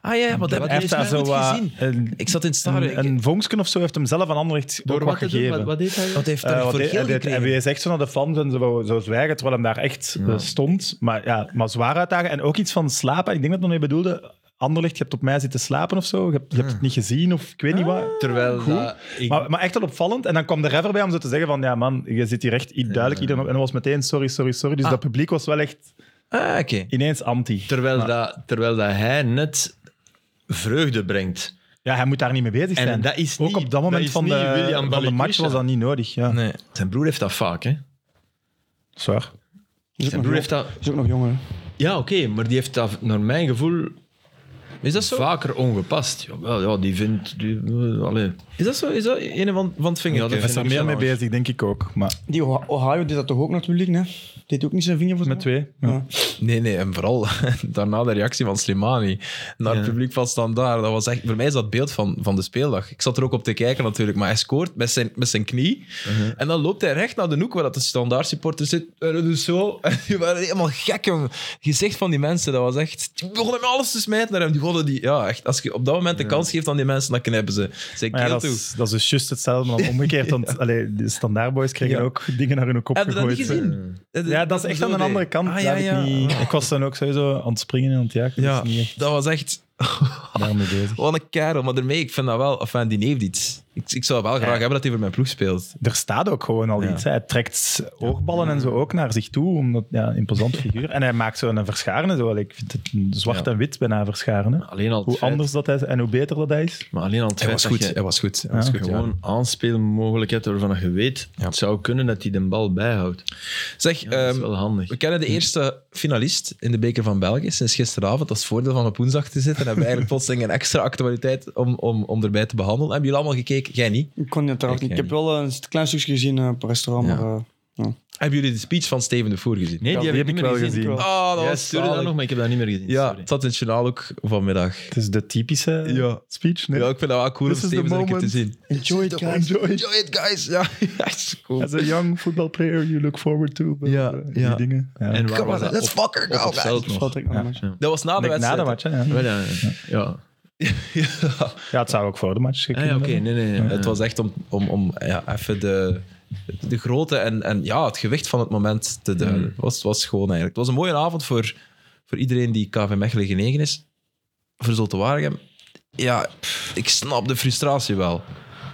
Ah ja, maar dat
hij
dus
heeft daar zo wat- een,
Ik zat in het stadion.
een,
En,
een vonksken of zo heeft hem zelf aan Anderlecht door wat
te doen?
gegeven.
deed hij?
wat heeft
Eh,
daar
wat
voor
hij-
geel
hij deed- en
gekregen?
wie is echt zo naar de fans en zo, zo zwijgen, terwijl hem daar echt eh, stond. Maar, ja, maar zwaar uitdagen. En ook iets van slapen. Ik denk dat hij mee bedoelde, Anderlecht, je hebt op mij zitten slapen of zo. Je hebt, je hebt het niet gezien of ik weet niet wat.
Terwijl dat- ik-
Maar, maar echt wel opvallend. En dan kwam de rever bij om zo te zeggen van, ja man, je zit hier echt i- duidelijk iedereen op. En dat was meteen sorry, sorry, sorry. Dus dat publiek was wel echt
Ah, oké.
ineens anti.
terwijl, dat, terwijl dat hij net vreugde brengt.
Ja, hij moet daar niet mee bezig
En
zijn.
dat is
Ook
niet-
op dat moment
dat is
van,
niet
de, van
William
de match
Balikwisha.
was dat niet nodig. Ja,
Nee.
Zijn broer heeft dat vaak, hè.
zwaar.
Is ook, nog
Zijn broer
jong-
heeft dat...
is ook nog jonger. hè.
Ja, oké, maar die heeft dat naar mijn gevoel
Is dat zo?
vaker ongepast. Jawel, ja, die vindt... Die, allee.
Is dat zo? Is dat een van, van het vingertje?
Ja,
Hij
dat
is er meer mee bezig, denk ik ook. Maar
Die Oha- Ohio deed dat toch ook natuurlijk, hè? Deed ook niet zijn vinger voor
met twee.
Ja.
Nee, nee, en vooral daarna de reactie van Slimani naar het publiek van Standaard. Dat was echt, voor mij is dat het beeld van, van de speeldag. Ik zat er ook op te kijken natuurlijk, maar hij scoort met zijn, met zijn knie.
Uh-huh.
En dan loopt hij recht naar de hoek waar dat de Standaard supporter zit. En hij doet zo. En die waren helemaal gek. jong. Het gezicht van die mensen, dat was echt... Die begonnen met alles te smijten naar hem. Die wilden die... Ja, echt. Als je op dat moment de kans geeft aan die mensen, dan knijpen ze. Zijn
Maar ja,
keel
dat,
toe.
is, dat is dus juist hetzelfde, maar dan omgekeerd. Want allee, de standaardboys kregen
Ja. Eh,
ook dingen naar hun kop
Heb je dat
gegooid. eh.
niet gezien?
Ja, dat is echt aan de andere kant.
Ah,
laat
ja,
ik
ja.
niet- Ik was dan ook sowieso aan het springen en aan het jagen.
Ja,
Dus niet echt
dat was echt...
daarmee bezig.
Wat een kerel, maar daarmee, ik vind dat wel... Enfin, die heeft iets. Ik, ik zou wel graag hebben dat hij voor mijn ploeg speelt.
Er staat ook gewoon al iets. hè. Hij trekt oorballen en zo ook naar zich toe. Omdat, ja, een imposant figuur. En hij maakt zo een verscharen. en Zo. Ik vind het een zwart en wit bijna verscharen. hè.
Alleen al het
Hoe
feit-
anders dat hij is en hoe beter dat hij is.
Maar alleen al het
Hij was
feit dat
goed,
je-
hij was goed. Hij was
Ja,
goed ja.
Gewoon aanspeelmogelijkheid waarvan je weet,
Ja.
het zou kunnen dat hij de bal bijhoudt.
Zeg,
dat is
ehm,
wel handig.
we kennen de eerste finalist in de Beker van België sinds gisteravond. Dat is het voordeel van op woensdag te zitten. Hebben we eigenlijk plotseling een extra actualiteit om, om, om erbij te behandelen. Hebben jullie allemaal gekeken? Jij niet.
Ik kon het trouwens
Ik
niet. Ik heb
ken
wel een klein stukje gezien eh, op een restaurant,
Ja.
maar... eh,
Hebben jullie de speech van Steven de Voer gezien?
Nee,
Ja,
die heb, ik niet meer
wel
gezien.
gezien.
wel.
Oh,
Jij stuurde dat
zalig.
nog, maar ik heb dat niet meer gezien.
Ja,
sorry.
het zat in het journaal ook vanmiddag.
Het is de typische
Ja.
speech. nee?
Ja, ik vind dat wel cool om
This is the
Steven er een keer te
moment.
zien.
Enjoy it, guys.
Enjoy it, guys. Ja, ja, is cool.
As a young football player, you look forward to.
Ja,
eh,
ja.
Die dingen. Ja.
En waar
Come
was
on,
dat?
let's
Op-
fucking
op
go,
het
guys.
veld nog.
Valt ik nog een match.
Dat was na de
Ik denk na
wedstrijd.
de match, hè, ja.
Wel, Ja, ja. ja.
Ja, het zou ook voor de match
Ah,
gekund
ja, oké,
hebben.
nee, nee. nee.
Het was echt om, om, om ja, even de, de grootte en, en ja, het gewicht van het moment te duiden. Het was, was gewoon eigenlijk. Het was een mooie avond voor, voor iedereen die KV Mechelen genegen is. Voor Zulte Waregem. Ja, pff, ik snap de frustratie wel.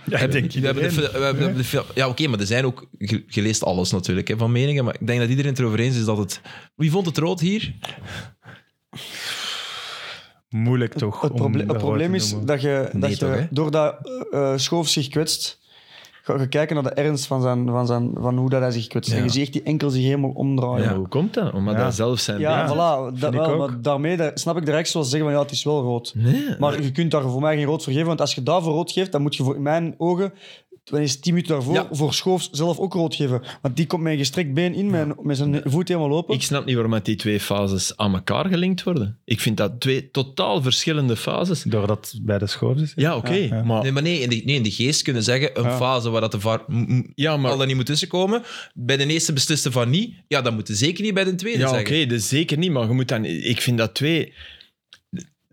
Ja, ik denk
we hebben de,
iedereen.
fi- we hebben de fi- ja, oké, maar er zijn ook... Je je leest alles natuurlijk, hè, van meningen. Maar ik denk dat iedereen het erover eens is dat het... Wie vond het rood hier?
Moeilijk toch.
Het,
om
proble- het
daarover
probleem
te
is
noemen.
dat je,
Nee,
dat
toch, hè?
je doordat eh Schoof zich kwetst, ga je kijken naar de ernst van, zijn, van, zijn, van hoe dat hij zich kwetst.
Ja.
En je ziet echt die enkel zich helemaal omdraaien.
Ah, Ja, maar
Ja.
hoe komt dat? Omdat
Ja.
dat zelf zijn
Ja,
voilà, dat
ik
wel,
ook.
maar daarmee daar- snap ik de rechts wel zeggen van ja, het is wel rood.
Nee.
Maar je kunt daar voor mij geen rood voor geven, want als je daarvoor rood geeft, dan moet je voor in mijn ogen wanneer is 10 minuten daarvoor
Ja.
voor Schoofs zelf ook rood geven. Want die komt met een gestrekt been in, met, met zijn voet helemaal open.
Ik snap niet waarom dat die twee fases aan elkaar gelinkt worden. Ik vind dat twee totaal verschillende fases.
Doordat het bij de schoof is.
Ja, oké.
Ja, ja.
Maar,
Nee, maar nee in, de, nee, in de geest kunnen zeggen, een
Ja.
fase waar dat de VAR m- m-
ja, maar
al dan niet moet tussenkomen, bij de eerste besliste van niet, ja, dan moeten zeker niet bij de tweede
Ja, oké,
zeggen.
dus zeker niet. Maar je moet dan... Ik vind dat twee...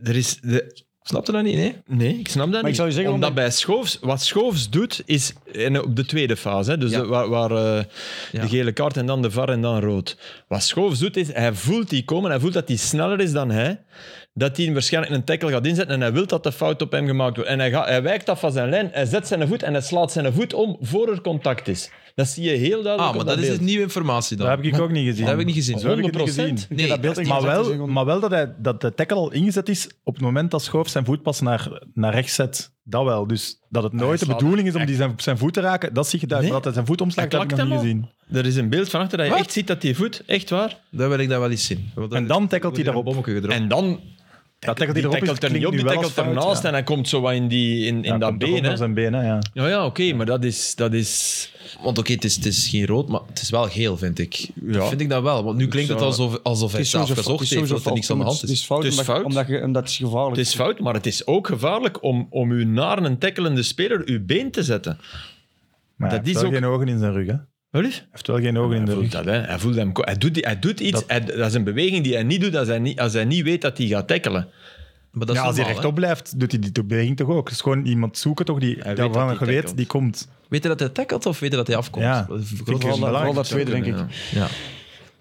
Er is... De,
Snap je dat niet, nee?
nee, ik snap dat
Maar
niet.
ik zou je zeggen,
Omdat
omdat-
bij Schoofs... Wat Schoofs doet, is en op de tweede fase. Hè, dus
Ja.
de- waar, waar eh,
Ja.
de gele kaart en dan de VAR en dan rood. Wat Schoofs doet, is hij voelt die komen. Hij voelt dat die sneller is dan hij. Dat hij waarschijnlijk een tackle gaat inzetten en hij wil dat de fout op hem gemaakt wordt. En hij, gaat, hij wijkt af van zijn lijn, hij zet zijn voet en hij slaat zijn voet om voor er contact is. Dat zie je heel duidelijk
Ah,
op
maar dat is
beeld.
dus nieuwe informatie dan.
Dat heb ik ook niet gezien.
Dat heb ik niet gezien.
Dat heb ik niet
100%.
gezien.
Nee,
dat beeld
dat is
in-
niet-
Maar
Exact, dat is
wel,
gewoon-
maar wel dat, hij, dat de tackle al ingezet is op het moment dat Schoof zijn voet pas naar, naar rechts zet. Dat wel. Dus dat het nooit de
slaat-
bedoeling is om die zijn, zijn voet te raken, dat zie je duidelijk.
Nee.
Dat hij zijn voet omslaat,
Hij
dat heb ik nog
klakt
niet
hem al.
gezien.
Er is een beeld van achter dat je
Wat?
echt ziet dat die voet, echt waar.
dat wil ik dat wel eens zien. Want dat
En
is-
dan tackelt hij
wordt er
daarop.
een bommetje gedropt.
En dan
Dat tackelt
die
hij erop is,
tackelt er niet
klinkt
op, die
nu wel
tackelt
als fout,
ernaast
ja.
en hij komt zo wat in, die, in, in
Ja,
dat
komt toch ook
been.
naar
hè.
zijn benen, ja.
Ja, ja, oké, maar dat is... Dat is
Want oké, het, is, het is geen rood, maar het is wel geel, vind ik.
Ja.
Vind ik dat wel, want nu klinkt het
zou-
alsof, alsof hij
Het is
zelf
sowieso
gezocht
fout. Het is
heeft
sowieso
dat er
fout.
niks aan de hand
Het is
is.
fout,
Het is
omdat,
fout.
Omdat, je, omdat het is gevaarlijk
het is fout, maar het is ook gevaarlijk om, om u naar een tackelende speler uw been te zetten.
Maar
Dat
hij heeft
is
wel
ook-
geen ogen in zijn rug, hè. Hij
Wel eens?
heeft wel geen ogen in
Hij
de
voelt
rug.
dat, hè. Hij voelt hem... ko- Hij doet, die- hij doet iets.
Dat-
Dat... dat is een beweging die hij niet doet als hij niet, als hij niet weet dat hij gaat tackelen.
Maar dat is
Ja, als hij
normaal, hè.
rechtop blijft, doet hij die die beweging toch ook. Het is gewoon iemand zoeken toch, die,
Hij weet
waarvan
dat
je
hij
weet,
tackelt.
die komt.
Weet je dat hij tackelt of weet je dat hij afkomt?
Ja.
Dat is een groot
Vind ik
Vooral
verschil.
dat, vooral
belangrijk,
dat tweede, denk ik.
kunnen,
Ja.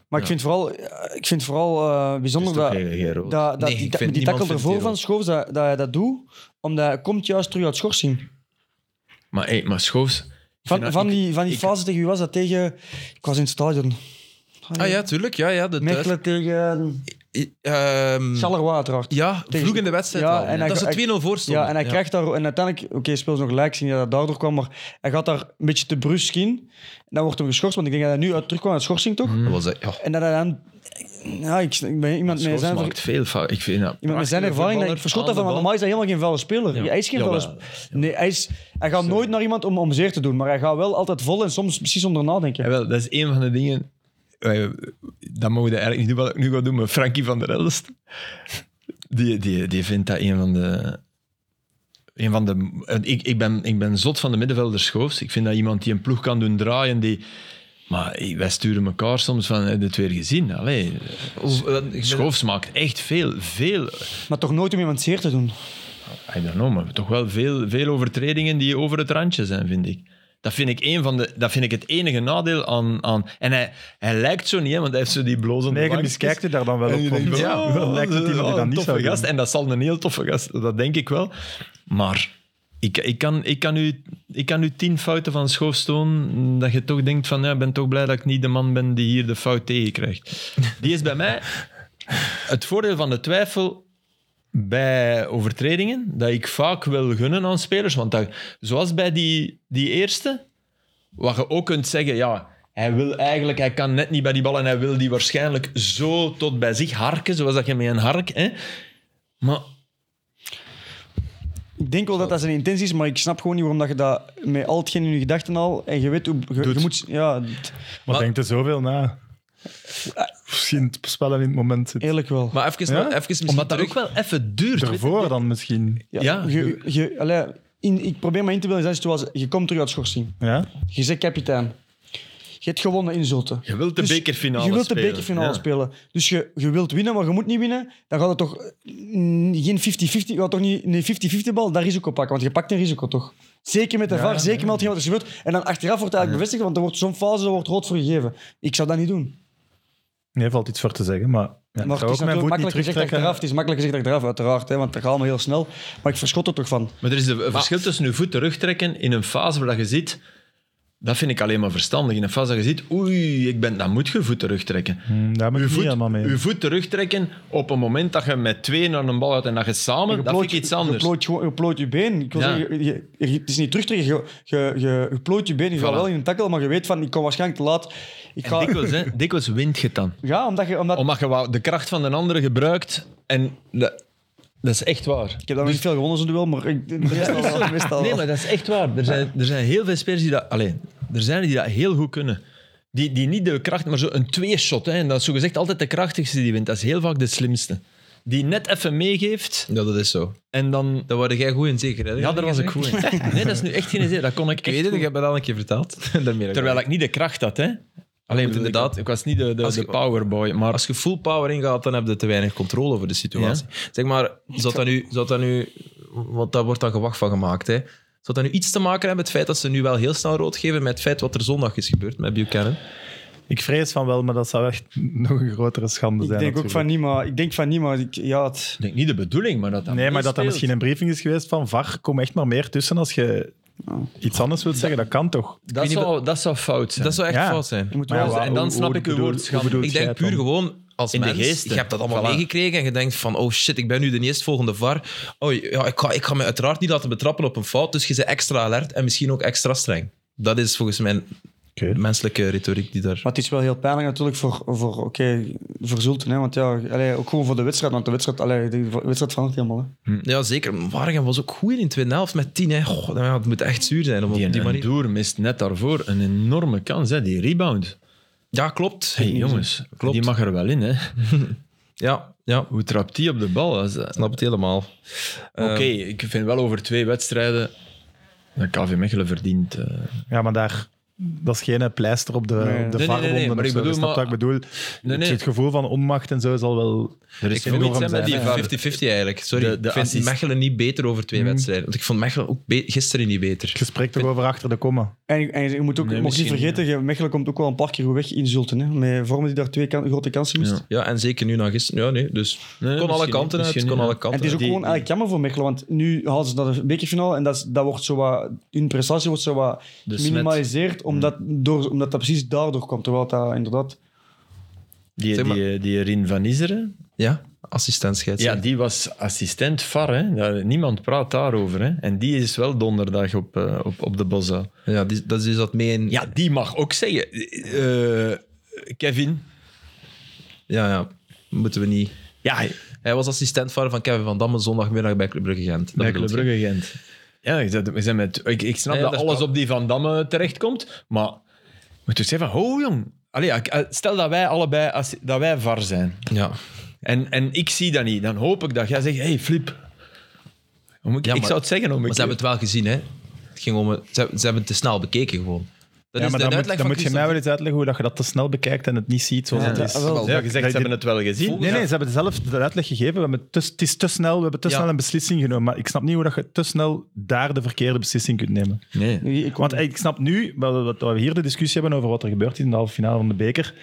Maar ik vind vooral, ik vind vooral eh,
Het
bijzonder
is toch
dat,
geen- geen rood.
dat, dat
Nee,
die,
ik
dat-
vind-
die
niemand
tackle
vindt
ervoor
die
van
rood.
Schoofs dat, dat hij dat doet, omdat hij komt juist terug uit schorsing.
Maar, hey, maar Schoofs... ik vind
Van,
dat-
van
ik-
die, van die
ik-
fase tegen wie was dat tegen... Ik was in het stadion.
Ah ja, tuurlijk. Ja, ja, de
Mechelen tegen
thuis- eh, ehm,
Charleroi, uiteraard.
ja,
Tegen-
vroeg in de wedstrijd
Ja,
al.
en hij-
dat
hij-
ze 2-0 voor stonden.
Ja, en hij krijgt daar... En uiteindelijk, oké, speelt nog gelijk, zien dat dat daardoor kwam, maar hij gaat daar een beetje te brusk in. En dan wordt hem geschorst, want ik denk dat hij nu uit terugkwam uit schorsing, toch?
Dat was, ja.
En dat hij dan... Ja, ik, ik ben iemand met
Schoofs
zijn...
maakt veel fouten. Ik vind dat
Iemand met zijn
prachtige
ervaring, dat ik
voetballer
verschot
aan
daarvan,
de
want
bal.
normaal is hij helemaal geen vuile speler.
Ja.
Hij is geen
Jawel.
vuile speler. Nee, hij, is, hij gaat nooit naar iemand om, om zeer te doen, maar hij gaat wel altijd vol en soms precies onder nadenken.
Ja, wel, dat is een van de dingen. eh, Dat mogen we eigenlijk niet doen, wat ik nu ga doen met Frankie van der Elst. Die, die, die vindt dat een van de. Een van de eh, ik, ik, ben, ik ben zot van de middenvelder Schoofs. Ik vind dat iemand die een ploeg kan doen draaien. Die, maar eh, wij sturen elkaar soms van eh, dit weer gezien. Allee,
Of, eh, ik ben-
Schoofs maakt echt veel, veel.
Maar toch nooit om iemand zeer te doen.
I don't know, maar toch wel veel, veel overtredingen die over het randje zijn, vind ik. Dat vind ik, een van de, dat vind ik het enige nadeel aan... aan en hij, hij lijkt zo niet, hè, want hij heeft zo die blozende
Nee, je
bankjes.
miskijkt je daar dan wel op.
En je
want
denkt,
ja,
ja,
wel lijkt het die
dat is
dat hij
wel
dat
een
niet
toffe
zou doen.
gast. En dat zal een heel toffe gast, dat denk ik wel. Maar ik, ik, kan, ik, kan, u, ik kan u tien fouten van Schoofs tonen dat je toch denkt van, ja, ik ben toch blij dat ik niet de man ben die hier de fout tegenkrijgt. Die is bij mij het voordeel van de twijfel bij overtredingen, dat ik vaak wil gunnen aan spelers. Want dat, zoals bij die, die eerste, wat je ook kunt zeggen, ja, hij wil eigenlijk, hij kan net niet bij die bal en hij wil die waarschijnlijk zo tot bij zich harken, zoals dat je met een hark, hè. Maar
Ik denk wel dat dat zijn intentie is, maar ik snap gewoon niet waarom dat je dat met al hetgeen in je gedachten al... En je weet hoe... Je, je moet... Ja, d-
Maar
Maar-
denkt er zoveel na. Misschien het spellen in het moment zit.
eerlijk wel.
Maar even,
Ja?
even misschien
omdat dat
terug.
ook wel even duurt. weet je.
Ervoor dan misschien.
ja,
ja.
Je, je, allee, in, ik probeer me in te beelden in zijn situatie. Je komt terug uit schorsing.
Ja?
Je bent kapitein. Je hebt gewonnen in Zulte.
Je wilt de
Dus
bekerfinale
Je wilt de
spelen.
bekerfinale
Ja.
spelen. Dus je, je wilt winnen, maar je moet niet winnen. Dan gaat het toch eh, geen 50-50... Je gaat toch niet een 50-50 bal dat risico pakken? Want je pakt een risico, toch? Zeker met de VAR, zeker met hetgeen wat er gebeurt. En dan achteraf wordt het eigenlijk bevestigd, want er wordt zo'n fase er wordt rood voor gegeven. Ik zou dat niet doen.
Nee, valt iets voor te zeggen, maar... Ja,
Maar
ik
het
zou
is
ook mijn
natuurlijk
voet niet
makkelijk gezegd
terugtrekken.
achteraf. Het is makkelijk gezegd achteraf, uiteraard. Hè, want dat gaat allemaal heel snel. Maar ik verschot er toch van.
Maar er is een verschil tussen je voet terugtrekken in een fase waar dat je ziet... Dat vind ik alleen maar verstandig. In een fase dat je ziet, oei, ik ben, dan moet je voet terugtrekken.
Hmm, Daar ben ik niet
Je voet,
helemaal mee.
je voet terugtrekken op een moment dat je met twee naar een bal gaat en dat je samen...
Je
dat
plooit-
vind ik iets anders.
Je plooit, gewoon- je plooit je been. Ik wil
Ja.
zeggen, je- je- je- het is niet terugtrekken. Je, je, je, je plooit je been. Je gaat
Voilà.
wel in een tackle, maar je weet van, ik kom waarschijnlijk te laat. Ik
En
ga,
dikwijls, hè, dikwijls wint je het dan.
ja, omdat je... Omdat,
Omdat je wou- de kracht van de andere gebruikt en... de- Dat is echt waar.
Ik heb daar nog niet veel gewonnen, zo'n duel, maar ik, meestal wel. Meestal
Dus- Nee,
wel.
maar dat is echt waar. Er zijn, er zijn heel veel spelers die dat... Alleen, er zijn die dat heel goed kunnen. Die, die niet de kracht, maar zo een twee-shot. hè. En dat is zogezegd altijd de krachtigste die wint. Dat is heel vaak de slimste. Die net even meegeeft
Ja, dat is zo.
en dan...
Daar word jij goed in, zeker? Hè?
Ja, daar was ik goed in. Nee, dat is nu echt geen idee. Dat kon ik
Ik
echt
weet het,
goed.
ik heb het al een keer verteld. Daarmee dat
Terwijl ik niet de kracht had, hè. Alleen,
want inderdaad,
inderdaad, ik was niet de, de,
als
de
je-
powerboy, maar...
Als je full power ingaat, dan heb je te weinig controle over de situatie. Zeg maar, zou dat nu, zou dat nu want daar wordt dan gewacht van gemaakt, hè? Zou dat nu iets te maken hebben met het feit dat ze nu wel heel snel rood geven met het feit wat er zondag is gebeurd met Buchanan?
Ik vrees van wel, maar dat zou echt nog een grotere schande
Ik
zijn.
denk ook
natuurlijk.
van niet, maar ik denk van niet, maar ik, ja, het,
Ik denk niet de bedoeling, maar dat dat
Nee, maar dat er
meespeelt.
misschien een briefing is geweest van VAR, kom echt maar meer tussen als je
Oh.
iets anders wilt zeggen. Dat kan toch?
Dat
Ik weet
zou, dat zou fout zijn.
Dat zou echt
Ja.
fout zijn.
je moet
Maar ja,
wel
wa-
en dan
hoe-
snap
hoe
ik uw
bedoel-
woord,
hoe
Schan.
bedoelt
Ik
jij
denk
het
puur
dan?
gewoon als
In de
mens.
geesten.
Je hebt dat allemaal
Voilà.
meegekregen en je denkt van, oh shit, ik ben nu de eerstvolgende VAR. Oh ja, ik ga, ik ga me uiteraard niet laten betrappen op een fout, dus je bent extra alert en misschien ook extra streng. Dat is volgens mij
Oké.
de menselijke retoriek die daar...
Maar het is wel heel pijnlijk natuurlijk voor, voor, oké voor Zulten. Hè? Want ja, allee, ook gewoon voor de wedstrijd. Want de wedstrijd, allee, de wedstrijd verandert helemaal. Hè?
Ja, zeker. Waregem was ook goed in de tweede helft met 10. Hè. Goh, nou ja, het moet echt zuur zijn om op
Die,
die,
die
manier.
Door mist net daarvoor een enorme kans, hè, die rebound.
Ja, klopt.
Hey, jongens,
Klopt.
die mag er wel in. Hè.
Ja, ja,
Hoe trapt die op de bal? Als- eh, ehm,
ik snap het helemaal.
Oké, ik vind wel over twee wedstrijden dat KV Mechelen verdient. eh.
Ja, maar daar, dat is geen eh, pleister op de,
Nee.
de
Nee, nee, nee, nee,
VAR-wonden.
maar
of
ik
zo. Je
bedoel,
snapt
maar-
wat ik bedoel? Dus
nee.
Het, het gevoel van onmacht en zo zal wel...
er is
vind het
zoiets
ook
hè, met
een
die
zijn,
VAR.
50-50 eigenlijk. Sorry,
De- de
ik vind
assist-
Mechelen niet beter over twee wedstrijden. Want ik vond Mechelen ook be- gisteren niet beter.
Het gesprek toch over achter de komma.
En, je- en je moet ook
Nee,
mocht niet
misschien,
vergeten, je- Mechelen komt ook wel een paar keer goed weg in Zulten. Hè? Met vormen die daar twee kan- grote kansen mist.
Ja.
Ja, en zeker nu na gisteren. Ja, nee, dus
Nee,
kon alle
misschien
kanten
niet,
uit.
misschien
Kon
niet,
alle
ja.
En
kanten
het is ook
uit.
gewoon
Die-
eigenlijk jammer voor Mechelen, want nu halen ze naar de bekerfinale en dat, is- dat wordt zo wat, hun prestatie wordt zo wat
De
minimaliseerd, omdat, door, omdat dat precies daardoor komt. Terwijl dat inderdaad...
Die,
Zeg
die,
maar-
die, Rien van Iseren,
Ja, assistentscheidsrechter.
ja, die was assistent VAR. Hè. Daar- Niemand praat daarover. Hè. En die is wel donderdag op, eh, op, op de Bosal.
Ja, die, dat is dus dat mee in...
Ja, die mag ook zeggen. eh, eh, Kevin.
ja, ja. Moeten we niet...
Ja,
Hij was assistent van Kevin van Damme zondagmiddag bij Club Brugge Gent. Dat
Bij
bedoel
Club
je.
Brugge Gent. Ja, ik, zei- we zijn met, ik, ik snap
Ja, ja,
dat
dat is
alles
waar.
op die Van Damme terechtkomt, maar moet je zeggen van, ho jong. Allee, ja, ik- eh, stel dat wij allebei als- dat wij var zijn
Ja.
en, en ik zie dat niet, dan hoop ik dat jij zegt, hey Flip. Om ik,
Ja,
ik
maar-
zou het zeggen om
Maar
ik...
ze hebben het wel gezien, hè? Het ging om, het- ze, hebben- ze hebben het te snel bekeken gewoon. Dat
Ja,
is
maar
de
dan, moet,
uitleg
dan
van
moet je mij wel eens uitleggen hoe dat je dat te snel bekijkt en het niet ziet zoals
Ja,
het
ja,
is.
wel.
ja, gezegd, ze
dat-
hebben het wel gezien.
Nee, nee, ze hebben zelf de uitleg gegeven. We hebben het, te, het is te snel, we hebben te
Ja.
snel een beslissing genomen. Maar ik snap niet hoe dat je te snel daar de verkeerde beslissing kunt nemen.
Nee.
Ik,
Want ik snap nu, wat we, wat we hier de discussie hebben over wat er gebeurt in de halve finale van de beker.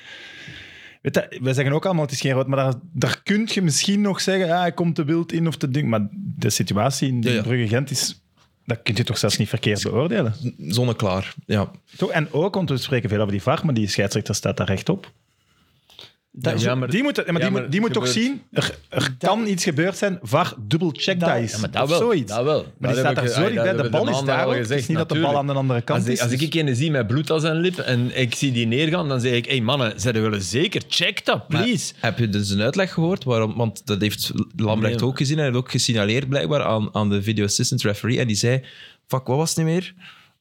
Weet je, wij zeggen ook allemaal, het is geen rood, maar daar, daar kun je misschien nog zeggen, ah, hij komt te wild in of te ding. Maar de situatie in
Ja, ja.
Brugge-Gent is... Dat kun je toch zelfs niet verkeerd beoordelen.
Zonneklaar, ja.
Toch? En ook, want we spreken veel over die VAR, maar die scheidsrechter staat daar recht op.
dat,
Ja, maar-
die moet, maar die,
ja,
moet-
maar
die moet toch
gebeurt-
zien, er, er kan iets gebeurd zijn, VAR dubbelcheck dat is.
Ja, maar
of
dat wel.
zoiets.
Dat wel.
Maar die staat daar zo dichtbij, de bal is daar ook. Het is niet dat de bal aan de andere kant
als ik,
is.
Als
dus-
ik ene zie met bloed aan zijn lip en ik zie die neergaan, dan zeg ik, hey mannen, zijn jullie zeker? Check dat,
Maar
please.
heb je dus een uitleg gehoord? Waarom? Want dat heeft Lambrecht
Nee.
ook gezien. en heeft ook gesignaleerd blijkbaar aan, aan de video assistant referee. En die zei, fuck, wat was het niet meer?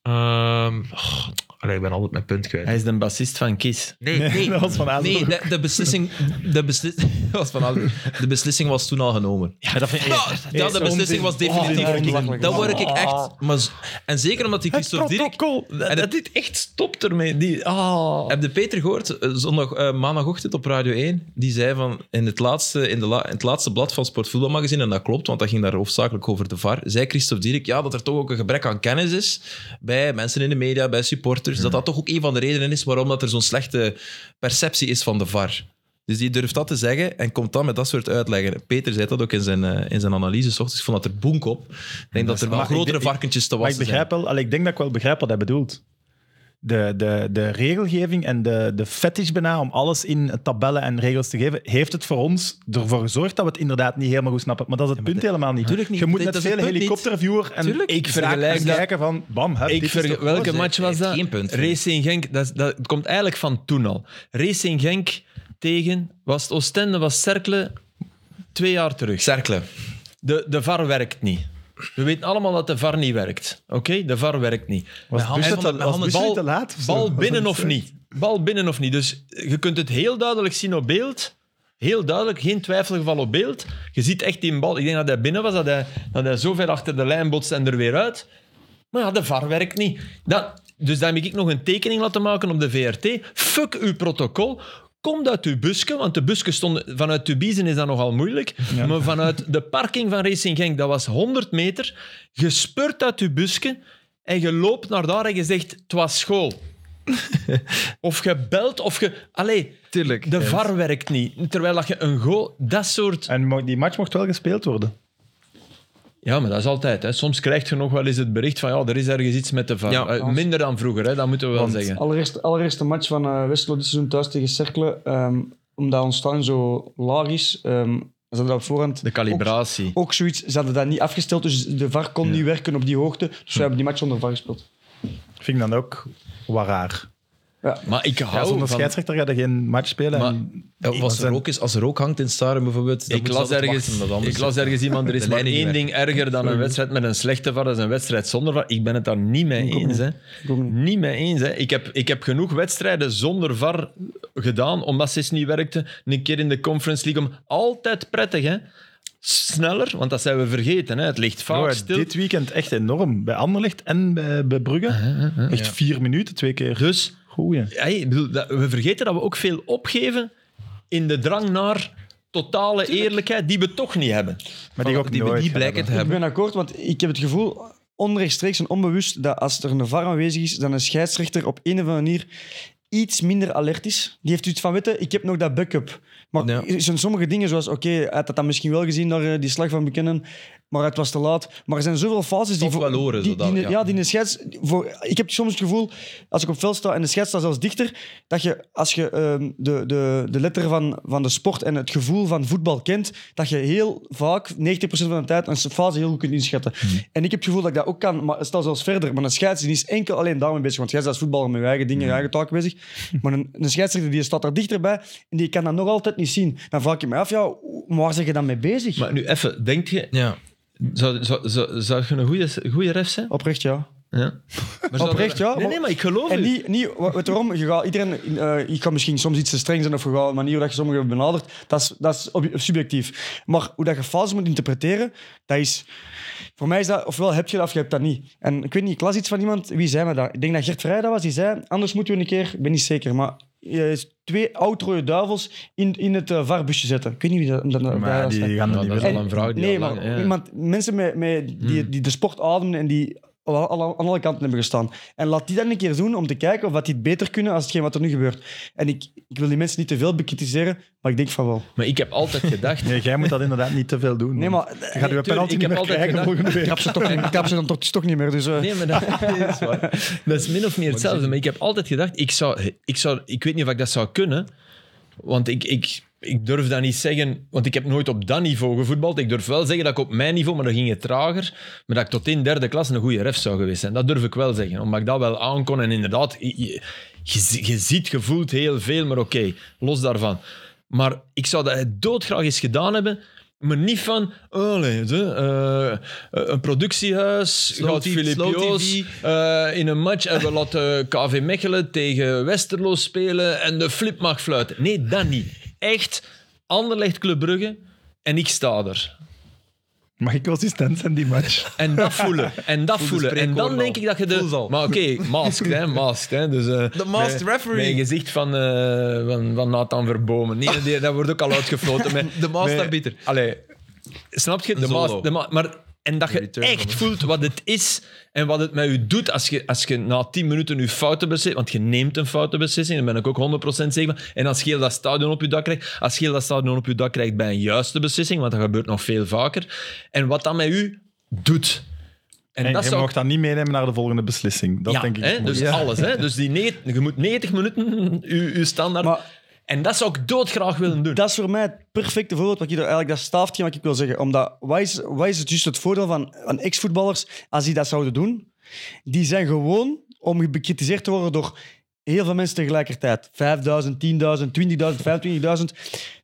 Ehm, oh, allee, ik ben altijd mijn punt kwijt.
Hij is de bassist van Kiss.
Nee, nee,
dat was van Azenbroek.
nee de, de beslissing... De, besli was van Azenbroek. de beslissing was toen al genomen.
Maar dat vind ik-
Ah, ja, de
zo'n
beslissing
ding.
was
Oh, dat is
definitief.
belachelijk.
dat word ik echt... Maar, z- en zeker omdat die
Het
Christophe Dirk...
protocol. Dat,
En
dat dit echt stopt ermee. Die, ah.
Oh. Heb je Peter gehoord, eh, zondag, eh, maandagochtend op Radio 1? Die zei van, in het laatste, in de la- in het laatste blad van Sportvoetbalmagazine, en dat klopt, want dat ging daar hoofdzakelijk over de VAR, zei Christophe Dierik ja, dat er toch ook een gebrek aan kennis is bij mensen in de media, bij supporters, dat dat toch ook een van de redenen is waarom dat er zo'n slechte perceptie is van de VAR. Dus die durft dat te zeggen en komt dan met dat soort uitleggen. Peter zei dat ook in zijn, eh, in zijn analyse. 's ochtends. Ik vond dat er boenk op. Ik denk dat er wel
maar ik
grotere
be-
varkentjes te
Maar
wassen
ik
zijn.
begrijp wel, allee, ik denk dat ik wel begrijp wat hij bedoelt. De, de, de regelgeving en de, de fetish bijna om alles in tabellen en regels te geven, heeft het voor ons ervoor gezorgd dat we het inderdaad niet helemaal goed snappen. Maar dat is het punt helemaal niet.
tuurlijk niet.
Je moet
Dat-
net
dat is
veel
het punt niet.
helikopterviewer en
Tuurlijk.
ik
Ik vergelijk dat-
kijken van bam, hè,
Ik
dit is
verge-
toch-
welke
ze
match was
heeft
dat?
geen punt voor.
Racing Genk, dat, is- dat het komt eigenlijk van toen al. Racing Genk tegen, was het Oostende, was Cercle twee jaar terug.
Cerkelen.
de, de VAR werkt niet. We weten allemaal dat de VAR niet werkt. Oké, de VAR werkt niet.
Met Han-
Bussen
hij vond
te-
dat-
was
Han-
Bussen
bal-
te laat? of zo?
Bal binnen of niet. Bal binnen of niet. Dus je kunt het heel duidelijk zien op beeld. Heel duidelijk, geen twijfelgeval op beeld. Je ziet echt die bal. Ik denk dat hij binnen was, dat hij, dat hij zo ver achter de lijn botst en er weer uit. Maar ja, de VAR werkt niet. Dat, dus dan heb ik nog een tekening laten maken op de VRT. Fuck uw protocol. Komt uit uw busken, want de busken stonden... Vanuit Tubizen is dat nogal moeilijk. Maar vanuit de parking van Racing Genk, dat was 100 meter. Je spurt uit uw busken en je loopt naar daar en je zegt, het was school. of je belt, of je... Allee,
Tuurlijk.
de VAR werkt niet. Terwijl dat je een goal... Dat soort...
En mo- die match mocht wel gespeeld worden.
Ja, maar dat is altijd. Hè. Soms krijg je nog wel eens het bericht van ja, er is ergens iets met de VAR.
Ja.
Eh, minder dan vroeger, hè, dat moeten we wel
Want-
zeggen.
Allereerst, allereerst de match van eh Westerlo dit seizoen thuis tegen Cercle. ehm, omdat ons tuin zo laag is, ehm ze hadden dat op voorhand
De calibratie.
ook zoiets. Ze hadden dat niet afgesteld, dus de VAR kon niet werken op die hoogte. Dus we hebben die match onder VAR gespeeld.
Vind ik dan ook wat raar.
Maar ik
Ja,
hou
zonder
van...
scheidsrechter gaat er geen match spelen.
Maar-
en-
Ja, of als
Als
er,
een-
ook is, als er ook hangt in Staren bijvoorbeeld. dan
Ik
moet je
las,
altijd
ergens,
wachten tot anders
ik las ergens iemand, er is
De
maar
lijn niet
één
werkt.
ding erger dan een wedstrijd met een slechte VAR, dat is een wedstrijd zonder VAR. Ik ben het daar niet mee eens. Hè.
Ik ook niet.
Niet mee eens. Hè. Ik, heb, ik heb genoeg wedstrijden zonder VAR gedaan, omdat ze eens niet werkten. Een keer in de Conference League. Om, altijd prettig, hè. Sneller, want dat zijn we vergeten. Hè. Het ligt vaak
Noah,
stil.
dit weekend echt enorm. Bij Anderlecht en bij, bij Brugge. Echt vier minuten, twee keer.
Dus
Goeie.
Ja, ik bedoel, dat- we vergeten dat we ook veel opgeven in de drang naar totale eerlijkheid die we toch niet hebben.
Maar die ook
die, we
nooit
die
gaan
blijken te
hebben.
Ik
hebben.
ben akkoord, want ik heb het gevoel onrechtstreeks en onbewust dat als er een VAR aanwezig is, dan een scheidsrechter op een of andere manier iets minder alert is. Die heeft iets van, weten, ik heb nog dat backup. Maar
Ja.
er zijn sommige dingen zoals, oké, hij had dat dan misschien wel gezien, daar, eh, die slag van bekennen, maar het was te laat. Maar er zijn zoveel fases die...
Toch wel horen,
die,
zo dat,
die-
ja.
ja, die een scheids... Voor, ik heb soms het gevoel, als ik op veld sta en de scheids staat zelfs dichter, dat je, als je ehm, de, de, de letter van, van de sport en het gevoel van voetbal kent, dat je heel vaak, 90% van de tijd, een fase heel goed kunt inschatten. En ik heb het gevoel dat ik dat ook kan, maar stel zelfs verder. Maar een scheidsrechter die is enkel alleen daarmee bezig, want jij is als voetballer met je eigen dingen, je eigen taken bezig. Maar een, een scheidsrechter die staat daar dichterbij en die kan dat nog altijd niet zien. Dan vraag ik me af, ja, maar waar zeg je dan mee bezig?
Maar nu even, denk je,
Ja.
zou, zou, zou, zou je een goede, goede ref zijn?
Oprecht, ja.
Ja. Maar zou
Oprecht,
dat-
ja,
Nee,
maar-
nee, maar ik geloof
En
u.
niet, niet wa- weet waarom, je gaat iedereen, eh ik kan misschien soms iets te streng zijn of je gaat een manier hoe dat je sommigen benadert, dat is, dat is obje- subjectief. Maar hoe dat je fases moet interpreteren, dat is, voor mij is dat, ofwel heb je dat of je hebt dat niet. En ik weet niet, ik las iets van iemand, wie zei me dat? Ik denk dat Gert Vrij dat was, die zei, anders moeten we een keer, ik ben niet zeker, maar eh, twee oud-rode duivels in, in het eh, varbusje zetten. Ik weet niet wie dat, dat, dat
Maar
was.
die gaan er
Nou,
niet
dat is
willen.
al een vrouw die
Nee,
al
maar
lang- ja. Hmm.
iemand, mensen met, met die, die de sport ademen en die alle- alle- aan alle kanten hebben gestaan. En laat die dat een keer doen om te kijken of dat die het beter kunnen als hetgeen wat er nu gebeurt. En ik, ik wil die mensen niet te veel bekritiseren, maar ik denk van wel.
Maar ik heb altijd gedacht...
Nee, jij moet dat inderdaad niet te veel doen.
Hmm.
Nee, maar-
Je gaat je penalty niet
ik heb
meer
altijd
krijgen
gedacht-
volgende week.
Ik trap ze, toch, niet- ik trap ze dan toch, toch niet meer. Dus, eh,
Nee, maar dat is waar. Dat is min of meer hetzelfde. Maar ik heb altijd gedacht, ik, zou, ik, zou, ik weet niet of ik dat zou kunnen. Want ik, ik, ik durf dat niet zeggen, want ik heb nooit op dat niveau gevoetbald. Ik durf wel zeggen dat ik op mijn niveau, maar dat ging het trager, maar dat ik tot in derde klas een goede ref zou geweest zijn. Dat durf ik wel zeggen, omdat ik dat wel aankon. En inderdaad, je, je- je zi- je ziet, je voelt heel veel, maar oké, los daarvan. Maar ik zou dat doodgraag eens gedaan hebben, maar niet van, oh nee, de, eh, een productiehuis,
Slow
gaat
TV,
Filip
slow
Joos,
TV.
eh, in een match en we laten KV Mechelen tegen Westerlo spelen en de flip mag fluiten. Nee, dat niet. Echt, Anderlecht Club Brugge en ik sta er.
Mag ik consistent zijn die match?
En dat voelen. En dat voelen. En dan
spreekkoren
denk
al.
ik dat je de...
Voel ze al.
Maar oké, masked, hè. Masked, hè. Dus, eh,
De masked
met-
referee.
Met een gezicht van, eh van, van Nathan Verbomen. Nee, die- dat wordt ook al uitgefloten. Met,
De masked
met-
arbiter.
Allee, snap je? De
solo.
maas, de ma- maar, en dat
De
je
return van
echt
de-
voelt wat het is en wat het met je doet als je, als je na 10 minuten je fouten beslist. Want je neemt een foute beslissing, daar ben ik ook 100% zeker van. En als je heel dat stadion op je dak krijgt, als je heel dat stadion op je dak krijgt bij een juiste beslissing, want dat gebeurt nog veel vaker. En wat dat met u doet. En,
En
dat
je
zou
mag dat niet meenemen naar de volgende beslissing. Dat
ja,
denk ik.
hè, dus
moeilijk.
alles. Hè? Dus die nege- je moet 90 minuten je, je standaard.
Maar-
en dat zou ik doodgraag willen doen.
Dat is voor mij het perfecte voorbeeld wat je er eigenlijk dat staafje wat ik wil zeggen. Omdat wat is, wat is het juist het voordeel van, van ex-voetballers als die dat zouden doen? Die zijn gewoon om bekritiseerd te worden door heel veel mensen tegelijkertijd. 5000, 10.000, 20.000, 25.000.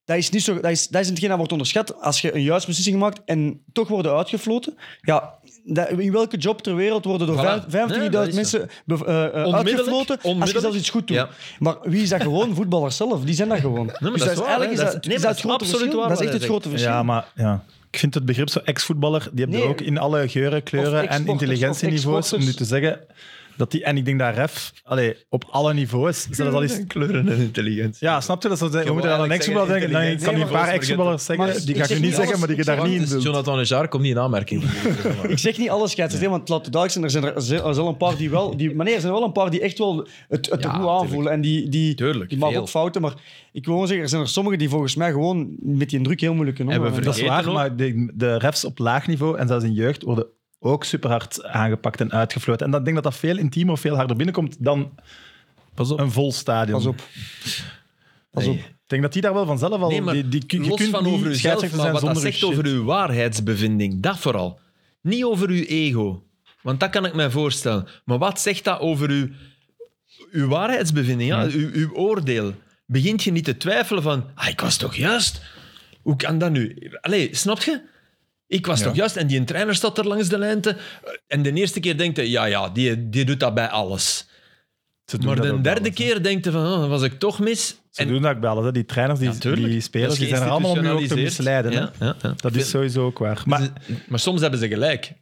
Dat is, niet zo, dat, is, dat is hetgeen dat wordt onderschat. Als je een juiste beslissing maakt en toch worden uitgefloten. Ja, dat- in welke job ter wereld worden door
Voilà.
vijf-
Nee,
25.000
dat is
mensen bev- eh, eh,
Onmiddellijk,
uitgefloten als je
onmiddellijk.
zelfs iets goed doet?
Ja.
Maar wie is dat gewoon? Voetballers zelf. Die zijn dat gewoon.
maar
Dus
dat is
is
waar,
eigenlijk
hè.
is
Dat
dat,
is- nee,
is
maar
dat het grote
absoluut
verschil.
waar
Dat is
wat
echt
hij
het grote verschil.
Ja, maar ja. ik vind het begrip zo ex-voetballer, die hebben
Nee.
er ook in alle geuren,
Of
kleuren en
ex-sporters, of
intelligentieniveaus om nu te
ex-sporters.
zeggen dat die... En ik denk dat ref, allee, op alle niveaus, zelfs al is...
kleuren en intelligentie.
Ja, snap je? Dat ze zeggen, we moeten aan een
eigenlijk
ex-voetballer
zeggen
denken. Nee, ik kan nu een
intelligentie.
paar ex-voetballers zeggen,
Maar
die
ik
ga ik
zeg
nu niet
niet
zeggen,
alles,
maar die je
ik
daar
zeg
niet in
Dus
doet.
Jonathan Ejaar komt niet in aanmerking.
Ik zeg niet alles scheidsrechter, want laat het duidelijk zijn, er zijn er- er zijn er wel een paar die wel... Die, maar nee, er zijn wel een paar die echt wel het, het
Ja,
goed aanvoelen. En die, die,
Tuurlijk,
die maken
veel.
ook fouten. Maar ik wil gewoon zeggen, er zijn er sommigen die volgens mij gewoon met die druk heel moeilijk kunnen
Hebben
omgaan.
Dat is
Vergeten
waar,
ook.
maar de, de refs op laag niveau en zelfs in jeugd worden ook super hard aangepakt en uitgefloten. En dan denk ik dat dat veel intiemer of veel harder binnenkomt dan
Pas op.
een vol stadion.
Pas op. Pas op.
Ik denk dat die daar wel vanzelf al...
Nee, maar
die, die, je
los
kunt
van
niet
over uzelf,
scheidsrechter
maar wat
zijn
dat
zonder
zegt
uw
over
shit.
uw waarheidsbevinding, dat vooral. Niet over uw ego, want dat kan ik mij voorstellen. Maar wat zegt dat over uw, uw waarheidsbevinding, ja? Uw, uw oordeel? Begint je niet te twijfelen van, ah, ik was toch juist? Hoe kan dat nu? Allee, snap je? Ik was toch juist, en die trainer staat er langs de lijn te... En de eerste keer denkt hij, ja, ja, die, die doet dat bij alles.
Ze doen
Maar
dat
de
ook wel
derde
eens, hè.
keer denkt hij van, oh, was ik toch mis?
Ze
En
doen dat ook bij alles, hè. Die trainers, die,
Ja, tuurlijk.
die spelers,
Dat is
die zijn er allemaal om je ook te
geïnstitutionaliseerd.
misleiden. hè.
Ja, Dus ja, ja.
Dat is sowieso ook waar. Maar,
Maar soms hebben ze gelijk.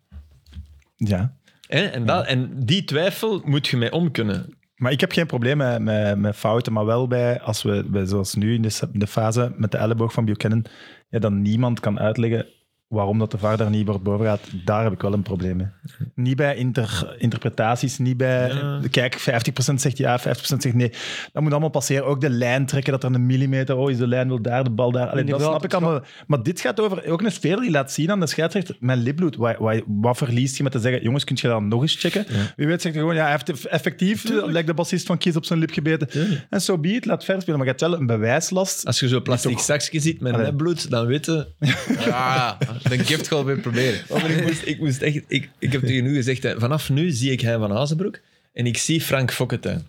ja.
Hè? En, dat, en die twijfel moet je mee om kunnen.
maar ik heb geen probleem met, met, met fouten, maar wel bij, als we, bij, zoals nu in de, se- de fase met de elleboog van Buchanan, ja, dan niemand kan uitleggen waarom dat de VAR daar niet wordt boven gaat. Daar heb ik wel een probleem mee. Niet bij inter, interpretaties, niet bij... Kijk, 50% zegt ja, 50% zegt nee. Dat moet allemaal passeren. Ook de lijn trekken, dat er een millimeter... Oh, is de lijn wel daar, de bal daar. Allee, dat
Inderdaad,
snap ik
het
allemaal. Maar dit gaat over... Ook een speler die laat zien aan de scheidsrechter... Mijn lipbloed, wat, wat, wat verliest je met te zeggen... Jongens, kun je dat nog eens checken? Wie weet zegt hij gewoon... Ja, hij heeft effectief... Lijkt de bassist van Kies op zijn lip gebeten. En zo so be it, laat verder spelen. Maar je hebt wel een bewijslast.
Als je zo'n plastic zakje ziet met
Allee.
nepbloed, dan weten...
Ja, de gift gewoon weer proberen.
Oh, ik, moest, ik moest echt... Ik, ik heb tegen u gezegd, hè, vanaf nu zie ik Hein van Azenbroek en ik zie Frank Fokketijn.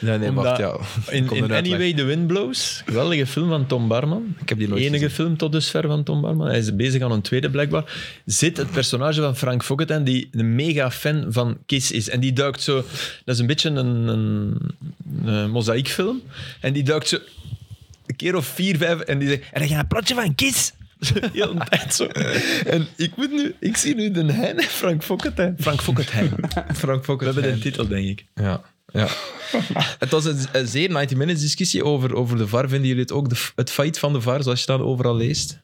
Nee, nee, wacht. Ja.
In,
Kom
in
een uitleg.
Anyway The Wind Blows, geweldige film van Tom Barman.
Ik heb die nooit
enige
gezien.
film tot dusver van Tom Barman. Hij is bezig aan een tweede blijkbaar. Zit het personage van Frank Fokketijn, die een mega fan van Kiss is. En die duikt zo... Dat is een beetje een, een, een mozaïekfilm. En die duikt zo een keer of vier, vijf. En die zegt: En dan ga je een platje van Kiss. Heel een tijd zo. En ik, moet nu, ik zie nu de Hein, Frank Fokketijn. Frank Fokketijn.
Frank
We
Fokker.
hebben de titel, denk ik.
Ja. ja. het was een, een zeer 90 minutes discussie over, over de VAR. Vinden jullie het ook de, f- het feit van de VAR, zoals je dat overal leest?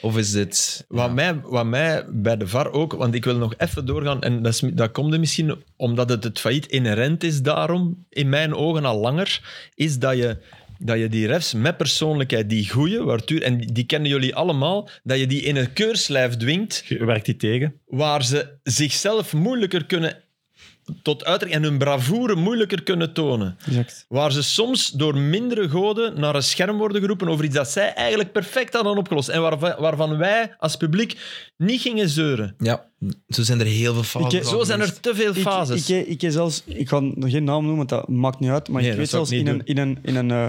Of is dit...
Wat, mij, wat mij bij de VAR ook, want ik wil nog even doorgaan, en dat, is, dat komt er misschien omdat het het failliet inherent is daarom, in mijn ogen al langer, is dat je, dat je die refs met persoonlijkheid, die goeie, waartuur, en die, die kennen jullie allemaal, dat je die in een keurslijf dwingt,
Je werkt die tegen.
waar ze zichzelf moeilijker kunnen tot uitdrukking en hun bravoure moeilijker kunnen tonen.
Exact.
Waar ze soms door mindere goden naar een scherm worden geroepen over iets dat zij eigenlijk perfect hadden opgelost. En waarvan, waarvan wij als publiek niet gingen zeuren.
Ja, zo zijn er heel veel fouten.
Ik-
van
Zo zijn er
geweest.
te veel fases.
Ik, ik, ik, ik zelfs, ik ga nog geen naam noemen, want dat maakt niet uit. Maar
Nee,
ik
dat
weet
zou ik
zelfs in
niet
een, in, een, in, een, eh,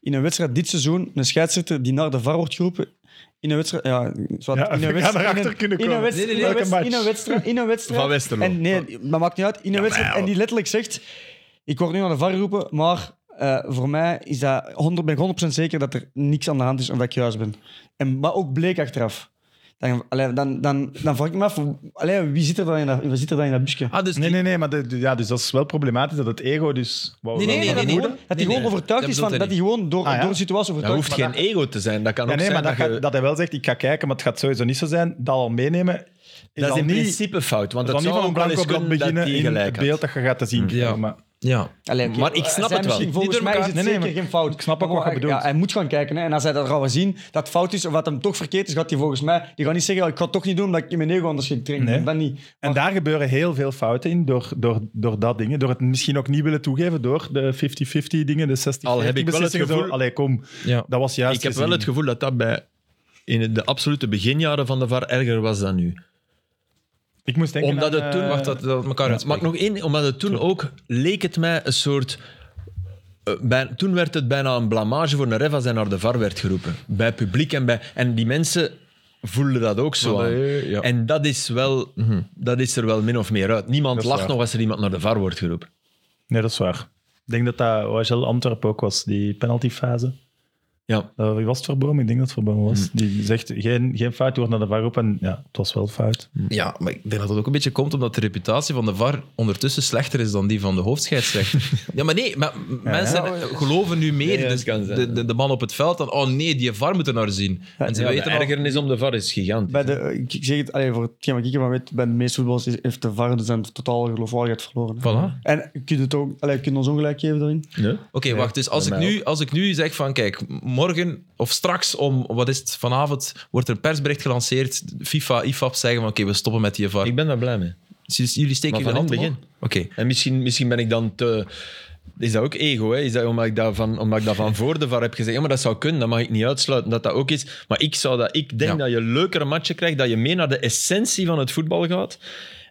in een wedstrijd dit seizoen, een scheidsrechter die naar de VAR wordt geroepen. In een wedstrijd. Ja, zwart,
Ja,
in
we
een
gaan
wedstrijd.
erachter
in een-
kunnen
in een
komen.
wedstrijd-
Nee, nee,
in
welke
een wedstrijd-
match?
In een wedstrijd. In een wedstrijd.
Van Westerlo.
En nee, dat maakt niet uit. In een wedstrijd. En die letterlijk zegt: Ik word nu naar de VAR geroepen, maar. eh, voor mij is dat 100, ben ik 100% zeker dat er niks aan de hand is of dat ik juist ben. En, maar ook bleek achteraf. Dan, allee, dan, dan, dan vraag ik me af, allee, wie zit er dan in dat, wie zit er dan in dat busje?
Ah, dus
Nee, nee, nee, maar de- de- ja, dus dat is wel problematisch dat het ego dus... wat we
Nee,
wel
nee,
Nee,
vermoeden-
dat hij gewoon, dat hij
Nee,
gewoon
nee.
overtuigd
Dat
is
bedoelt hij
van, dat hij gewoon door,
Ah, ja.
door de situatie
dat
overtuigd
hoeft
is.
geen ego te zijn. Dat kan
Ja,
ook
nee,
zijn
maar dat,
dat, je-
gaat, dat hij wel zegt, ik ga kijken, maar het gaat sowieso niet zo zijn. Dat al meenemen is,
dat
al
is in
niet,
principe fout. Want
is al
het
niet
zou
van
ook
een
wel eens
blanco blad
kunnen dat
beginnen
die
in het
gelijk had. Mm.
beeld dat je gaat te zien krijgen.
Ja.
Maar
Ja.
Allee, oké,
Maar ik
hij
snap
zei
het wel.
misschien,
Niet
Volgens
door
mij is
elkaar.
het
Nee, nee,
zeker
maar
geen fout.
ik snap ook
Maar
wat je
hij-
bedoelt.
Ja, hij moet gaan kijken. Hè, en als hij dat gaat wel zien, dat het fout is of wat hem toch verkeerd is, gaat hij volgens mij... Die gaat niet zeggen, "Ja, ik ga het toch niet doen omdat ik in mijn ego anders getraind
Nee.
ben. Dat niet.
En daar gebeuren heel veel fouten in door, door, door dat dingen. Door het misschien ook niet willen toegeven door de 50-50 dingen, de 60
Al heb ik wel het gevoel-
Allee, kom,
Ja.
dat was juist
Ik heb wel
gezien.
het gevoel dat dat bij, in de absolute beginjaren van de VAR erger was dan nu.
Ik moest denken
Omdat
aan,
het toen-
eh,
Wacht, dat, dat het elkaar
Maar
uitspreekt.
nog één, omdat het toen ook leek het mij een soort. eh, bij- toen werd het bijna een blamage voor een ref als hij naar de VAR werd geroepen. Bij publiek en bij. En die mensen voelden dat ook zo
Maar
aan.
nee, ja.
En dat is, wel, hm, dat is er wel min of meer uit. Niemand
Dat is
lacht
waar.
nog als er iemand naar de VAR wordt geroepen.
Nee, dat is waar. Ik denk dat dat OHL Antwerpen ook was, die penaltyfase.
Ja.
Eh, Wie was het Verboom? Ik denk dat het Verboom
Hmm.
was. Die zegt, geen, geen fout, je wordt naar de VAR op. En ja, het was wel fout.
Ja, maar ik denk dat dat ook een beetje komt omdat de reputatie van de VAR ondertussen slechter is dan die van de hoofdscheidsrechter. ja, maar nee, maar m- mensen geloven nu meer
ja,
dus
het kan zijn,
de, de, de man op het veld dan, oh nee, die VAR moet er naar zien. En ze
Ja, de
weten al-
ergernis om de VAR is gigantisch.
Bij de, eh, ik ik zeg het allee, voor hetgeen wat ik ervan weet, bij de meeste voetballers is- heeft de VAR dus zijn totale geloofwaardigheid verloren. hè.
Voilà.
En je kunt, het ook, allee, je kunt ons ongelijk geven daarin.
Nee?
Oké, wacht. Dus als ik,
bij mij
nu, als ik nu zeg van, kijk, morgen of straks om, wat is het, vanavond wordt er een persbericht gelanceerd. FIFA, IFAB zeggen van, oké, we stoppen met die VAR.
Ik ben daar blij mee.
Dus jullie steken
Maar
jullie
van
hand
in het
omhoog? Oké.
En misschien, misschien ben ik dan te. Is dat ook ego? Hè? Is dat omdat ik dat van, omdat ik dat van voor de VAR heb gezegd? Ja, maar dat zou kunnen, dat mag ik niet uitsluiten dat dat ook is. Maar ik, zou dat, ik denk
Ja.
dat je leukere matchen krijgt, dat je mee naar de essentie van het voetbal gaat.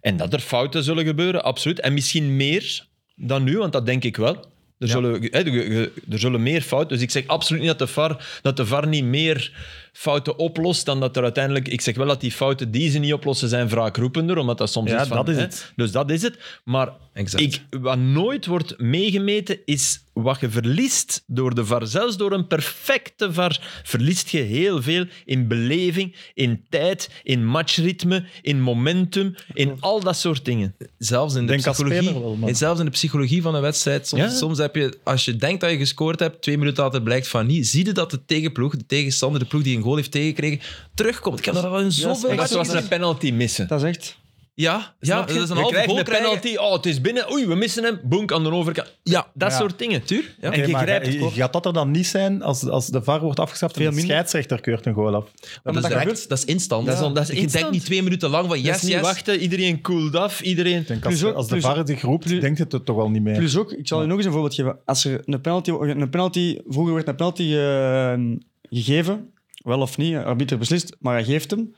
En dat er fouten zullen gebeuren, absoluut. En misschien meer dan nu, want dat denk ik wel. Er, zullen, hè, ge- ge- er zullen meer fouten. Dus ik zeg absoluut niet dat de, VAR, dat de VAR niet meer fouten oplost dan dat er uiteindelijk. Ik zeg wel dat die fouten die ze niet oplossen zijn wraakroepender, omdat dat soms
Ja,
is van.
dat is
hè,
het.
dus dat is het. Maar
Exact.
ik, wat nooit wordt meegemeten is wat je verliest door de VAR. Zelfs door een perfecte VAR verliest je heel veel in beleving, in tijd, in matchritme, in momentum, in al dat soort dingen.
Zelfs in de,
Denk als
psychologie,
speler wel, man.
en zelfs in de psychologie van een wedstrijd. Soms,
Ja.
soms heb je, als je denkt dat je gescoord hebt, twee minuten later blijkt van niet. Zie je dat de tegenploeg, de tegenstander, de ploeg die een goal heeft tegengekregen, terugkomt. Ik heb dat al in zoveel
echt
Dat
matchen
was
gezien.
een penalty missen.
Dat is echt...
Ja, ja
Snap
dat
je?
is een
je
halve
krijgt
goal
een
krijgen.
penalty, oh, het is binnen, oei, we missen hem, boenk aan de overkant.
Ja,
Dat
Ja.
soort dingen.
tuur. Ja.
En je
Oké, maar eh,
grijpt het kort.
Gaat dat er dan niet zijn als, als de VAR wordt afgeschaft en
Veel
de
minder.
scheidsrechter keurt een goal af?
Dat, is
dat
direct,
gebeurt-
dat is instant.
Dat is on- dat is
je denkt
instant.
niet twee minuten lang van
Dat
yes,
is niet
yes.
wachten, iedereen cooled af, iedereen...
Ik denk, als,
Plus ook-
als de
plus
VAR zich roept, denkt het het toch wel niet meer.
Plus ook, ik zal je nog eens een voorbeeld geven. Als er een penalty, een penalty vroeger werd een penalty eh, gegeven, wel of niet, arbiter beslist, maar hij geeft hem.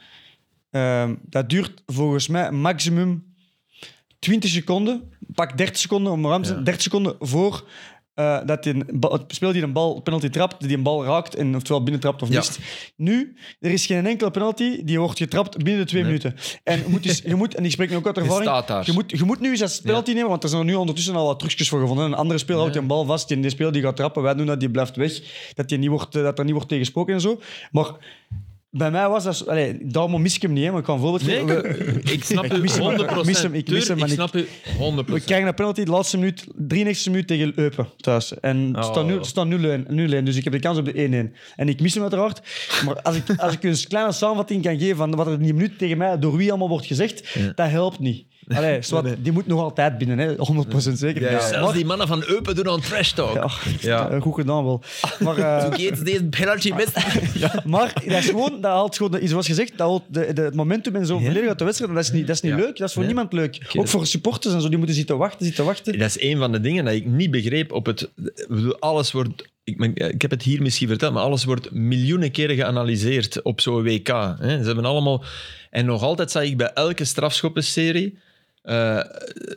Ehm, dat duurt volgens mij maximum 20 seconden, pak 30 seconden om ruim te zijn, 30 seconden voor eh, dat die een bal- het speel die een bal penalty trapt, die een bal raakt en oftewel binnentrapt of
Ja.
mist. Nu, er is geen enkele penalty die wordt getrapt binnen de twee minuten. En je moet, dus, je moet, en ik spreek nu ook uit ervaring,
staat daar.
je moet moet- je moet nu eens als penalty nemen, want er zijn er nu ondertussen al wat trucjes voor gevonden. Een andere speler houdt een bal vast, die, die speler die gaat trappen, wij doen dat, die blijft weg. Dat, die niet wordt, eh, dat er niet wordt tegensproken en zo. Maar bij mij was dat... zo- Allee, daarom mis ik hem niet, hè, maar ik kan een voorbeeld
Nee,
geven.
ik,
We-
ik snap u 100%.
mis hem, ik mis hem, ik mis hem,
Tuur,
maar ik-
snap u 100%.
we krijgen een penalty de laatste minuut, 93 minuut tegen Eupen thuis. En het
Oh.
staat nu- het staat 0-1, 0-1, dus ik heb de kans op de 1-1. En ik mis hem uiteraard. Maar als ik, als ik een kleine samenvatting kan geven van wat er in die minuut tegen mij door wie allemaal wordt gezegd, dat helpt niet. Allee, zwart, die moet nog altijd binnen, hè? 100% zeker.
Ja, ja.
Maar-
Zelfs die mannen van Eupen doen aan trash talk.
Ja,
Ja.
eh, goed gedaan wel. Maar, eh,
Geeft deze penalty mist.
maar dat is gewoon, dat haalt gewoon, is zoals gezegd, dat haalt de, de, het momentum en zo volledig uit de wedstrijd. Dat is niet, dat is niet
Ja.
leuk, dat is voor
Nee.
niemand leuk. Ook voor supporters en zo, die moeten zitten wachten, zitten wachten.
Dat is een van de dingen dat ik niet begreep op het... ik bedoel, Alles wordt... Ik, men- ik heb het hier misschien verteld, maar alles wordt miljoenen keren geanalyseerd op zo'n WK. Hè. Ze hebben allemaal... En nog altijd zag ik bij elke strafschoppenserie eh,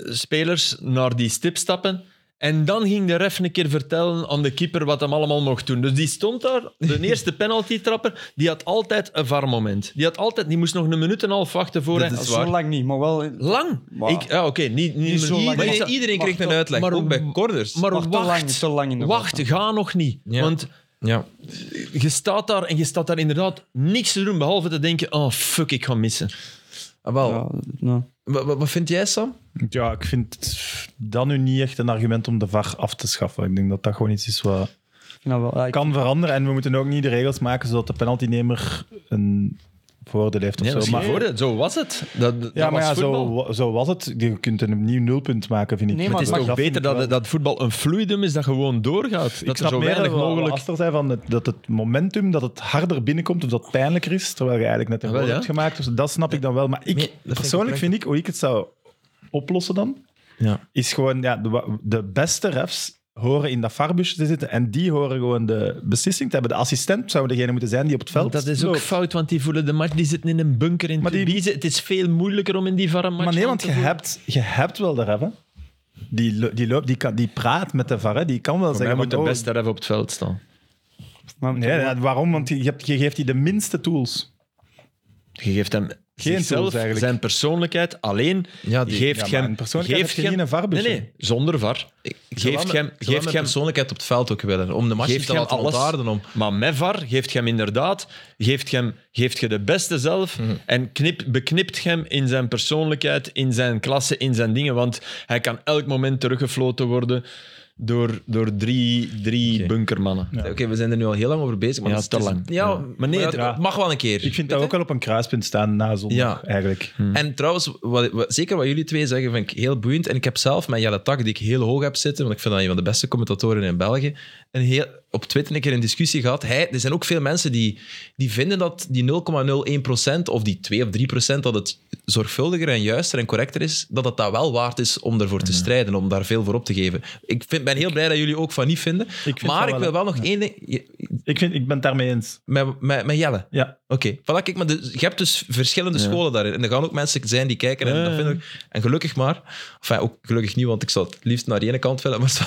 spelers naar die stip stappen. En dan ging de ref een keer vertellen aan de keeper wat hem allemaal mocht doen. Dus die stond daar, de eerste penaltytrapper, die had altijd een VAR-moment. Die, had altijd, die moest nog een minuut en een half wachten voor hij...
Dat is zo lang niet, maar wel...
Lang.
Maar-
Ik, ja, oké, niet, niet,
Niet zo
maar-
lang.
maar-
Maar-
Iedereen
Maar
kreeg een
toch-
uitleg,
maar-
ook bij corners.
Maar
Maar te
wacht,
lang, te lang in de
wacht,
wacht,
ga nog niet.
Ja.
Want
ja.
je staat daar en je staat daar inderdaad niks te doen behalve te denken: oh fuck, ik ga missen.
Ah, wel.
Ja, nou.
Wat, wat, wat vind jij, Sam?
Ja, ik vind dat nu niet echt een argument om de VAR af te schaffen. Ik denk dat dat gewoon iets is wat
Ik vind dat wel, ja, ik-
kan veranderen. En we moeten ook niet de regels maken zodat de penaltynemer een voordeel heeft of
Nee, dat is
zo.
geen
Maar,
voordeel. zo was het. Dat, dat
ja, maar
was
ja,
voetbal.
zo, wa- zo was het. Je kunt een nieuw nulpunt maken, vind ik.
Nee,
Met
maar
Het
de
is
mag-
toch
straf vind
beter
ik
dat,
wel.
dat, voetbal een fluidum is dat gewoon doorgaat.
ik
Dat er
snap
zo
meer
weinig
dat we-
mogelijk...
Aster zei van het, dat het momentum, dat het harder binnenkomt of dat het pijnlijker is, terwijl je eigenlijk net een
Ah,
goal
wel,
hebt
ja.
gemaakt. Dus dat snap ik dan wel. Maar ik,
Nee, dat vind ik
persoonlijk vind ik, hoe ik het zou oplossen dan,
Ja.
is gewoon ja, de, wa- de beste refs horen in dat varbusje te zitten en die horen gewoon de beslissing te hebben. De assistent zou degene moeten zijn die op het veld
dat is ook
loopt.
fout, want die voelen de match. Die zitten in een bunker in
Maar die-
Tubize. Het is veel moeilijker om in die varm match
Maar nee,
aan
want
te
je
voelen.
hebt, je hebt wel de ref, hè. Die, lo- die, loopt, die, kan, die praat met de VAR, hè. die kan wel
Voor mij
zeggen...
moet de
van, oh,
beste ref op het veld staan.
Maar,
Nee, ja, waarom? Want je, hebt, je geeft die de minste tools.
Je geeft hem zichzelf,
tools eigenlijk.
zijn persoonlijkheid alleen.
Ja,
Je
die-
geeft
ja, maar
hem...
een persoonlijkheid
geeft
heb je
hem-
niet in een VAR
Nee,
-busje.
nee, zonder var.
Zowel
Geeft
met-
hem...
zowel
Geeft
met
hem
persoonlijkheid op het veld ook willen. Om de match
geeft
te
hem
laten
alles.
ontdaden. Om.
Maar met VAR geeft je hem inderdaad geeft je hem, geeft je de beste zelf
Mhm.
en knip, beknipt je hem in zijn persoonlijkheid, in zijn klasse, in zijn dingen. Want hij kan elk moment teruggefloten worden door, door drie, drie bunkermannen.
Oké, we zijn er nu al heel lang over bezig. Maar
Ja,
het is-
te
het is-
lang.
Ja,
Ja.
maar nee, het
ja.
het mag wel een keer.
Ik vind
Weet
dat
je?
ook wel op een kruispunt staan na zondag,
Ja.
eigenlijk.
Hm.
En trouwens, wat, wat- zeker wat jullie twee zeggen, vind ik heel boeiend. En ik heb zelf met Jelle Tak, die ik heel hoog heb zitten, want ik vind dat een van de beste commentatoren in België, een heel, op Twitter een keer een discussie gehad. Hij, er zijn ook veel mensen die, die vinden dat die 0,01% of die 2 of 3% dat het zorgvuldiger en juister en correcter is, dat het dat wel waard is om ervoor te strijden, om daar veel voor op te geven. Ik vind, ben heel blij dat jullie ook van niet vinden.
vind
maar
dat
ik
wel-
wil wel nog één ding... je-
Ik, vind, ik ben het daarmee eens.
Met, met, met Jelle.
Ja.
Oké, voilà, kijk, maar de- je hebt dus verschillende scholen daarin. En er gaan ook mensen zijn die kijken. En, dat vind ik, en gelukkig maar, enfin, ook gelukkig niet, want ik zou het liefst naar de ene kant willen. Maar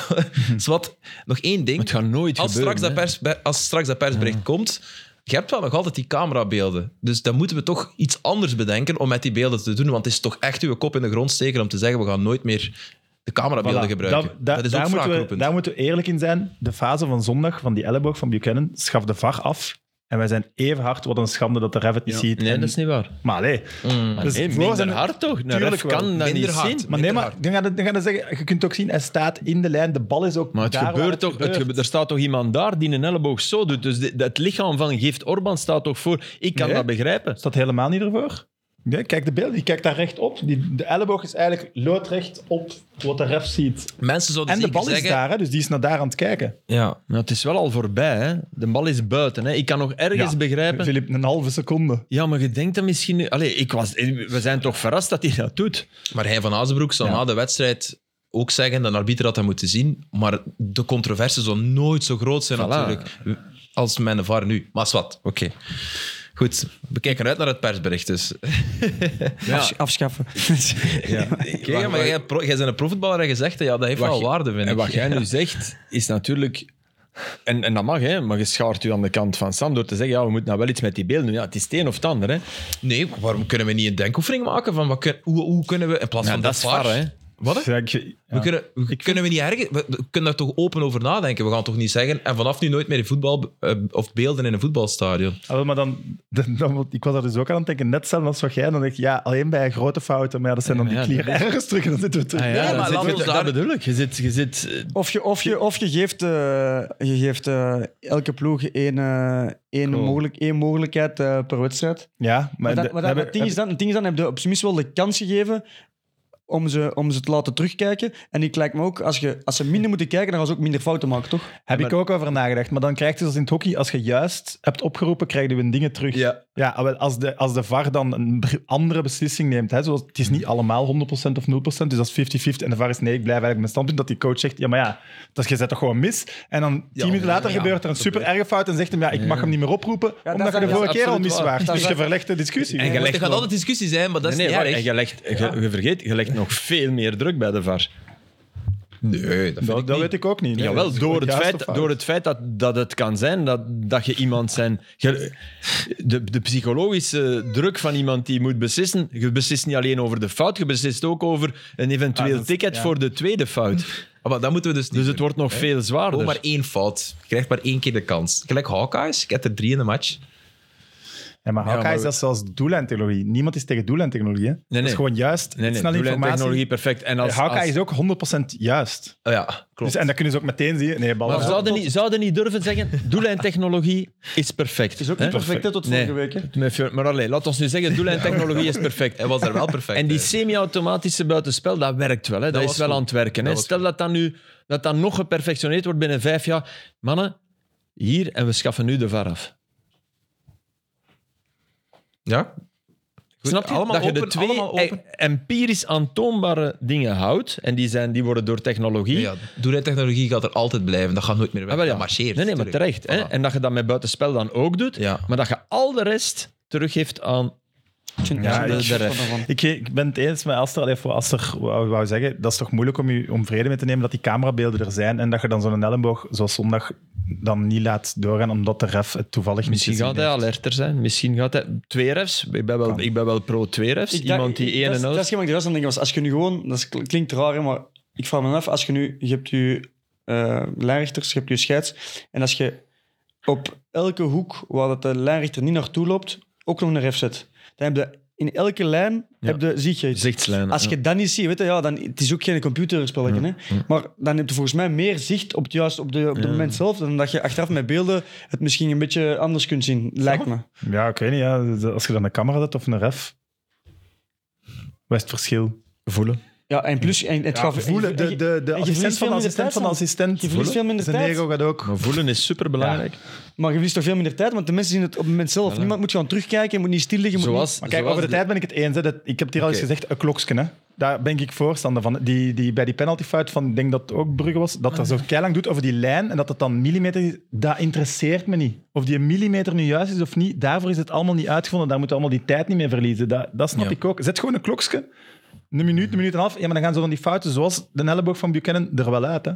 zo- zwart, nog één ding.
Het gaat nooit
als,
gebeuren.
straks dat
hè.
pers, als straks dat persbericht komt, je hebt wel nog altijd die camerabeelden. Dus dan moeten we toch iets anders bedenken om met die beelden te doen. Want het is toch echt uw kop in de grond steken om te zeggen: we gaan nooit meer de camerabeelden
Voilà.
gebruiken. Dat,
Da- da-
is ook
daar, moeten we,
wraakroepend.
daar moeten we eerlijk in zijn. De fase van zondag, van die elleboog van Buchanan, schaf de VAR af. En wij zijn even hard. Wat een schande dat de ref het niet ziet.
Nee,
En-
dat is niet waar.
Maar allee.
Mm.
Maar
Dus
nee,
voor
minder
zijn-
hard toch? Een
Tuurlijk
ref
wel.
kan dat
Minder
niet
hard.
zien.
Maar nee,
Minder
maar dan gaan, we- dan gaan we zeggen, je kunt ook zien, hij staat in de lijn, de bal is ook
Maar het
daar waar
gebeurt toch, het
gebeurt.
gebe- er staat toch iemand daar die een elleboog zo doet. Dus de- dat lichaam van Gift Orban staat toch voor. Ik kan
Nee.
dat begrijpen.
Staat helemaal niet ervoor? Nee, kijk de beelden, die kijkt daar recht op. Die, de elleboog is eigenlijk loodrecht op wat de ref ziet.
Mensen zouden
En de
zeker
bal is
zeggen.
daar, hè, dus die is naar daar aan het kijken.
Ja,
Nou, het is wel al voorbij. Hè? De bal is buiten. Hè? Ik kan nog ergens
Ja.
begrijpen.
Filip, een halve seconde.
Ja, maar je denkt dat misschien... nu- Allee, ik was... we zijn toch verrast dat hij dat doet.
Maar hij van Azenbroek zou
Ja.
na de wedstrijd ook zeggen dat een arbiter had dat moeten zien. Maar de controverse zou nooit zo groot zijn
Voilà.
natuurlijk als mijn VAR nu. Maar zwart, oké. Goed, we kijken uit naar het persbericht dus.
afs- afschaffen.
Oké, maar jij, pro- jij bent een profvoetballer en je zegt dat, ja, dat heeft
Wat
wel
je-
waarde, vind ik.
En wat jij nu zegt, is natuurlijk... En, en dat mag, hè, maar je schaart u aan de kant van Sam door te zeggen ja, we moeten nou wel iets met die beelden doen. Ja, het is het een of het ander. Hè.
Nee, waarom kunnen we niet een denkoefening maken van wat kun- hoe, hoe kunnen we in plaats
Ja,
van
dat
de
is
VAR...
VAR, hè.
Wat? hè?
Ja, ik- ja.
We kunnen, we- kunnen we niet ergens... We, we kunnen daar toch open over nadenken? We gaan toch niet zeggen... En vanaf nu nooit meer in voetbal... eh, of beelden in een voetbalstadion.
Ah, wel, maar dan, dan, dan- ik was er dus ook aan het denken, net zelfs als wat jij, dan denk ik, ja, alleen bij grote fouten, maar ja, dat zijn dan
Ja,
die
maar ja,
klier ergens terug en dan zitten we terug.
ja,
Ah dan
maar
zit-
laat
dat,
ons daar-
bedoel ik. Je zit, je zit, eh,
Of je, of je, of je geeft, eh, je geeft eh, elke ploeg één, eh, één, mogelijk, één mogelijkheid eh, per wedstrijd.
Ja,
Maar,
maar,
dan,
de-
maar dan-
hebben-
het ding is dan, het ding is dan heb je op zijn minst wel de kans gegeven om ze, om ze te laten terugkijken. En ik lijkt me ook, als, je, als ze minder moeten kijken, dan gaan ze ook minder fouten maken, toch?
heb ik ook over nagedacht. Maar dan krijgt je zoals in het hockey, als je juist hebt opgeroepen, krijg je hun dingen terug.
Ja.
ah, wel, als, de, als de VAR dan een br- andere beslissing neemt, hè, zoals, het is niet allemaal 100% of 0%, dus dat is 50-50. En de VAR is nee, ik blijf eigenlijk mijn standpunt. Dat die coach zegt, ja, maar ja, dat je zet toch gewoon mis. En dan tien minuten later
ja,
gebeurt er een super erge fout en zegt hem, ja, ik mag hem niet meer oproepen, omdat je
zijn-
de
dat
vorige
is
keer al
absoluut
mis
waar.
waart.
Dat
Dus
is
je
waar.
verlegt de discussie.
En je
Er
legt
gaat
wel-
altijd discussies zijn, maar dat is
nee, nee,
niet
wacht,
erg.
en je, legt, je, je vergeet, je legt nog veel meer druk bij de VAR.
Nee, dat vind ik
Dat, dat
niet.
weet ik ook niet. nee. Dat
Jawel,
is
door
gewoon
het,
juist
feit,
of fout.
door het feit dat, dat het kan zijn dat, dat je iemand zijn. je- de, de psychologische druk van iemand die moet beslissen. Je beslist niet alleen over de fout, je beslist ook over een eventueel
Ah, dat-
ticket
ja. Ah,
voor de tweede fout.
Maar dat moeten we dus niet
Dus het wordt nog veel zwaarder.
Oh,
Gewoon maar één fout. Je krijgt maar één keer de kans. Gelijk Hawkeyes, ik heb er drie in de match.
Ja, maar Hawkeye
maar
is
we-
dat zelfs doellijntechnologie. Niemand is tegen doellijntechnologie. hè.
nee.
Dat is gewoon juist.
nee, nee,
snelle informatie.
technologie perfect. En als,
Hawkeye
als-
is ook 100% juist.
Oh ja, klopt.
Dus, en dat kunnen ze ook meteen zien. Nee, bal.
maar zouden niet, zouden niet durven zeggen: doellijntechnologie is perfect.
is ook
hè?
niet perfect, hè, tot
Nee.
vorige week. hè.
Met Fjord- Maar alleen, laat ons nu zeggen: doellijntechnologie is perfect.
Hij was daar wel perfect.
En die
bij.
semi-automatische buitenspel, dat werkt wel. Hè? Dat,
was
is wel
goed.
aan het werken.
Dat
Hè?
was
Stel dat dat nu dat dat nog geperfectioneerd wordt binnen vijf jaar. Mannen, hier en we schaffen nu de VAR af.
Ja?
Snap je?
allemaal
dat je de
open,
twee
allemaal open.
e- empirisch aantoonbare dingen houdt, en die, zijn, die worden door technologie...
Ja, doelrijtechnologie gaat er altijd blijven. Dat gaat nooit meer weg.
Ah, wel ja.
Dat marcheert.
Nee, nee, maar
terug.
terecht. Hè?
Voilà.
En dat je dat met buitenspel dan ook doet,
Ja.
maar dat je al de rest teruggeeft aan...
Ja,
de-
ik-
de ref.
Ik, ik ben het eens met Aster. Allee, voor Aster wou, wou zeggen, dat is toch moeilijk om, je, om vrede mee te nemen dat die camerabeelden er zijn en dat je dan zo'n elleboog zoals zondag dan niet laat doorgaan omdat de ref het toevallig
Misschien
niet
gaat hij alerter zijn. Misschien gaat hij... Twee refs. Ik ben wel, ik ben wel pro twee refs.
Ik
Iemand
dacht-
die één
dat is-
en
Dat
out...
is wat ik er was aan het denken was. Als je nu gewoon... Dat is- klinkt raar, hè, maar ik vraag me af. Als je nu... Je hebt je eh lijnrichters, je hebt je scheids. En als je op elke hoek waar dat de lijnrichter niet naartoe loopt, ook nog een ref zet. Dan heb je in elke lijn... Heb je, zie je iets.
Zichtslijnen.
Als je dat niet ziet, weet je, ja, dan, het is ook geen computerspelletje. Hè? Maar dan heb je volgens mij meer zicht op het, juist, op de, op het moment zelf dan dat je achteraf met beelden het misschien een beetje anders kunt zien. Lijkt me.
Ja, ik weet niet. Ja. Als je dan een camera zet of een ref, wat is het verschil?
voelen.
Ja, en plus... En, het gaat
Voelen. De, de, de
en Ah, je verliest
assistent van
veel
de
minder
assistent
tijd
van de
dan.
assistent.
Je verliest veel minder
Zijn
tijd.
ego gaat ook.
Maar voelen is superbelangrijk.
Maar je verliest toch veel minder tijd, want de mensen zien het op het moment zelf. Niemand moet gaan terugkijken, je moet niet stil liggen. je Moet
Zoals,
Maar kijk,
zoals
over de, tijd ben ik het eens. Hè. Dat, ik heb het hier al eens
Oké.
gezegd, een klokje. Hè. Daar ben ik voorstander van. Die, die bij die penaltyfout van, ik denk dat het ook Brugge was, dat er zo keilang doet over die lijn en dat het dan millimeter is, dat interesseert me niet. Of die een millimeter nu juist is of niet, daarvoor is het allemaal niet uitgevonden. Daar moeten we allemaal die tijd niet mee verliezen. Dat, dat snap
Ja.
ik ook. Zet gewoon een klokje. Een minuut, een minuut en een half. Ja, maar dan gaan zo van die fouten, zoals de elleboog van Buchanan, er wel uit. Hè.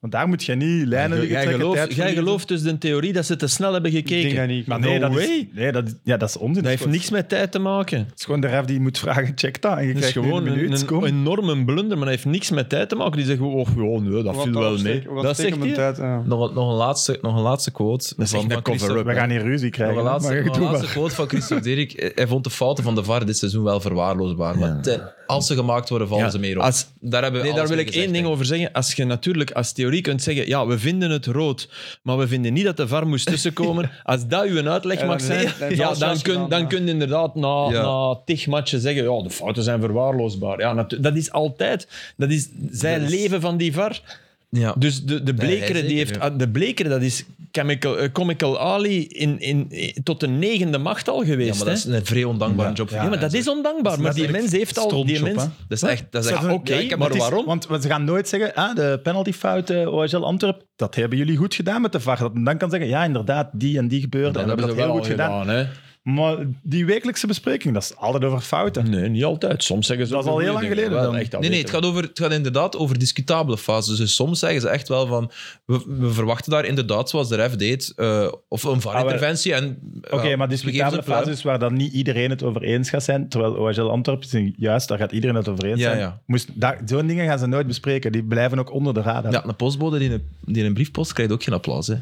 Want daar moet je niet lijnen liggen
Jij
trekken,
gelooft,
tijd
jij
verliezen.
gelooft dus de theorie dat ze te snel hebben gekeken.
denk dat niet.
Maar nee,
No
dat is,
way.
nee dat, is- ja, dat is onzin.
Dat heeft niks met tijd te maken.
Het is gewoon de ref die moet vragen, check dat. En je
Het is
krijgt gewoon
gewoon
een minuut.
een, een
kom.
enorme blunder, maar dat heeft niks met tijd te maken. Die zeggen, oh, oh nee, dat viel wel mee. Dat zegt hij.
tijd, ja.
Nog, een- nog, een laatste, nog een laatste quote.
Dat is
van,
echt
van
een cover-up.
Christophe-
We gaan hier ruzie krijgen.
Nog een
hè,
laatste,
maar
nog een
doe maar.
laatste quote van Christophe Dirk. Hij vond de fouten van de VAR dit seizoen wel verwaarloosbaar. Maar te- als ze gemaakt worden, vallen
Ja,
ze meer op.
als-
daar hebben we
Nee, daar
alles
wil ik
mee gezegd,
één ding
denk
over zeggen. Als je natuurlijk als theorie kunt zeggen, ja, we vinden het rood, maar we vinden niet dat de VAR moest tussenkomen. Als dat uw uitleg
Ja,
mag
dan-
zijn,
dan- dan-
ja,
dan-
dan kun, dan
ja.
kun je inderdaad na,
Ja.
na tig matchen zeggen, ja, de fouten zijn verwaarloosbaar. Ja, natu- dat is altijd... Dat is, zij leven van die VAR.
ik. Ja.
Dus de, de
hij
blekere,
zeker,
die heeft,
ja.
ah, de blekere, dat is Chemical, eh, Comical Ali in, in, eh, tot de negende macht al
ja,
geweest.
maar
hè?
dat is een vrij ondankbare job. voor
Ja, maar dat
mensen.
is ondankbaar. maar die mens heeft al... Die
strontjob,
mens,
hè?
Dat is echt... Dat is echt
Ja, Oké,
Ja, ik heb
maar
het is-
waarom?
Want ze gaan nooit zeggen, ah, de penaltyfout eh OHL Antwerp, dat hebben jullie goed gedaan met de VAR. Dat men dan kan zeggen, ja, inderdaad, die en die gebeurde. en we hebben dat heel goed gedaan.
hè?
Maar die wekelijkse bespreking, dat is altijd over fouten.
Nee, niet altijd. Soms zeggen ze
Dat is
ook
al
goede
heel lang
dingen.
geleden
Wel,
dan.
echt al
Nee, nee, het
weten.
gaat, over, het gaat inderdaad over discutabele fases. Dus soms zeggen ze echt wel van... We, we verwachten daar inderdaad, zoals de ref deed, eh, of een VAR-interventie. en
Ah, Oké, maar discutabele fases waar dan niet iedereen het over eens gaat zijn, terwijl OHL Antwerp, is een- juist, daar gaat iedereen het over eens
Ja,
zijn.
ja.
Moest, daar, zo'n dingen gaan ze nooit bespreken. Die blijven ook onder de radar.
Ja, een postbode die een, die een brief post krijgt ook geen applaus. Hè.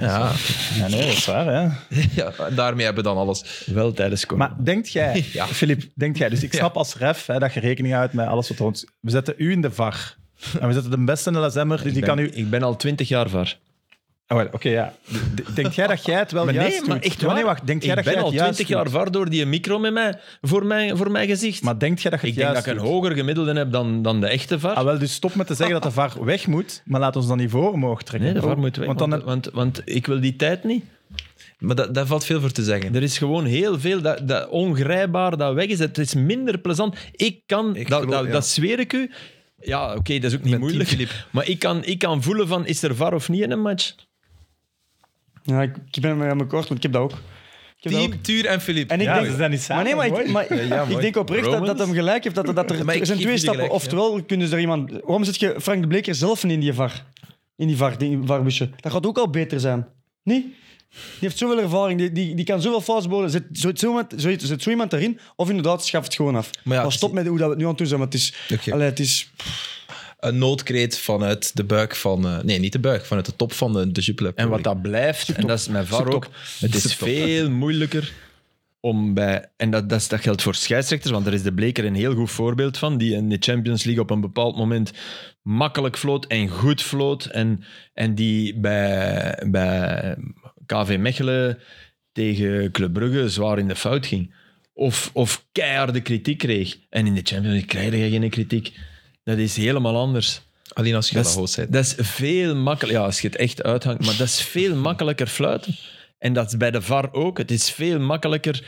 Ja,
Ja, nee, dat is waar, hè.
ja, daarmee hebben we dan alles.
Wel tijdens corona.
Maar denkt jij,
Ja.
Filip, denkt jij, dus ik snap als ref hè, dat je rekening houdt met alles wat er ons... We zetten u in de VAR. En we zetten de beste LSM'er, dus die
ik,
kan
ben,
u...
ik ben al twintig jaar var.
Oh, wel, Oké, ja. D- d- Denkt jij dat jij het wel juist doet? Ja, nee, wacht. Denkt jij
ik
dat
ben
jij
al
het juist
twintig jaar
doet?
var door die micro met mij, voor, mijn, voor mijn gezicht.
Maar denkt jij dat je
ik
het
denk
juist
dat ik een
doet?
hoger gemiddelde heb dan, dan de echte var.
Ah, wel, dus stop met te zeggen dat de VAR weg moet, maar laat ons dan niveau omhoog trekken.
Nee, de var moet weg.
Oh, Want
Want,
dan
want,
heb-
want, ik wil die tijd niet.
Maar dat, daar valt veel voor te zeggen.
Er is gewoon heel veel dat, dat ongrijpbaar dat weg is. Het is minder plezant. Ik kan,
Ik
dat,
geloof-
dat,
ja.
dat zweer ik u. Ja, oké, dat is ook niet
ben team
moeilijk. Maar ik kan, ik kan voelen van, is er var of niet in een match?
Ja, ik, ik ben met me kort, want ik heb dat ook. Ik heb dat ook.
Team, Tuur en Filip.
En ik
Ja,
denk,
ze zijn niet samen,
maar nee, maar ik,
mooi.
maar, ik denk oprecht dat, dat hem gelijk heeft. Dat, dat, dat er,
Maar ik
er zijn
geef
twee
je
stappen.
gelijk, ja.
Oftewel, kunnen ze er iemand... Waarom zit je Frank de Bleker zelf niet in die var? In die var, die varbusje. Dat gaat ook al beter zijn. Nee? Die heeft zoveel ervaring. Die, die, die kan zoveel fouts boden. Zet zo, zo, iemand- zo, zet zo iemand erin. Of inderdaad, schaf het gewoon af.
Maar
Maar,
ja,
stop met hoe dat we het nu aan toe zijn. Want het is...
Oké.
allee, het is
Een noodkreet vanuit de buik van... eh, nee, niet de buik. Vanuit de top van de, de Jupiler Pro
En wat
League.
dat blijft, en dat is mijn VAR ook, het is
Zoektop.
veel moeilijker om bij... En dat, dat, is- dat geldt voor scheidsrechters, want daar is de Bleker een heel goed voorbeeld van, die in de Champions League op een bepaald moment makkelijk floot en goed floot. En, en die bij, bij KV Mechelen tegen Club Brugge zwaar in de fout ging. Of, of keiharde kritiek kreeg. En in de Champions League krijg je geen kritiek. Dat is helemaal anders.
Alleen als je dat
Dat
host
is,
bent.
dat is veel makkelijker. Ja, als je het echt uithangt, maar dat is veel makkelijker fluiten. En dat is bij de VAR ook. Het is veel makkelijker.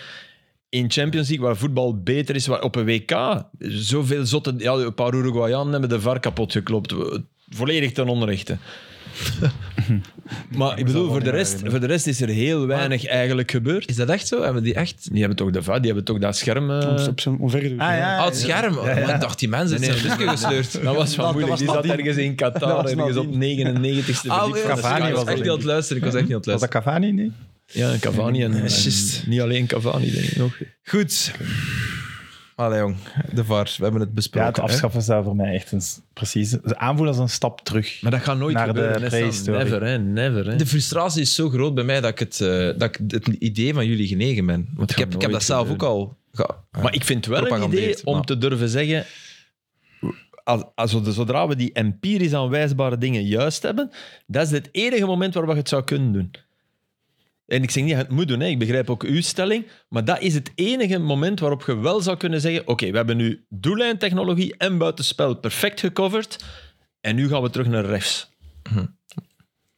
in Champions League, waar voetbal beter is, waar op een WK zoveel zotte... Ja, een paar Uruguayanen hebben de VAR kapot geklopt. Volledig ten onrechte. maar ik bedoel, voor de, rest, voor de rest is er heel weinig eigenlijk gebeurd.
Is dat echt zo? Hebben die echt...
Die hebben toch de VAR, die hebben toch dat scherm... eh,
Op zijn omvergedoe.
Ah, ja,
Oh, het scherm. Oh,
ja.
ik dacht, die mensen zijn een busje gesleurd.
Dat was
Dat-
wel moeilijk.
dat
Die
was
zat
nadien.
ergens in
Dat
Qatar,
was
ergens op 99ste
Ah,
verdieping.
nee,
Cavani
ik was
was dat,
echt niet aan het luisteren. Ik was echt niet aan het
Was dat
luisteren.
Cavani? Nee?
Ja, en Cavani en, en
juist.
niet alleen Cavani, denk ik nog.
Goed. Allee, jong. De VAR. We hebben het
Ja,
besproken.
het
hè.
afschaffen zou voor mij echt een... s- Precies. Dus Aanvoelen als een stap terug.
Maar dat gaat nooit
Naar de
gebeuren. hè, Sam.
prehistorie.
never, hè, never. Hè.
De frustratie is zo groot bij mij dat ik het, eh, dat ik het idee van jullie genegen ben. Want ik
gaat
heb, ik heb dat
nooit
zelf ook
gebeuren.
al... Ga,
Maar ik vind wel een
Propagandeert,
idee om
maar-
te durven zeggen... Als, als we, zodra we die empirisch aanwijsbare dingen juist hebben, dat is het enige moment waar we het zou kunnen doen. En ik zeg niet dat je het moet doen, hè. ik begrijp ook uw stelling, maar dat is het enige moment waarop je wel zou kunnen zeggen oké, we hebben nu doellijntechnologie en buitenspel perfect gecoverd en nu gaan we terug naar rechts.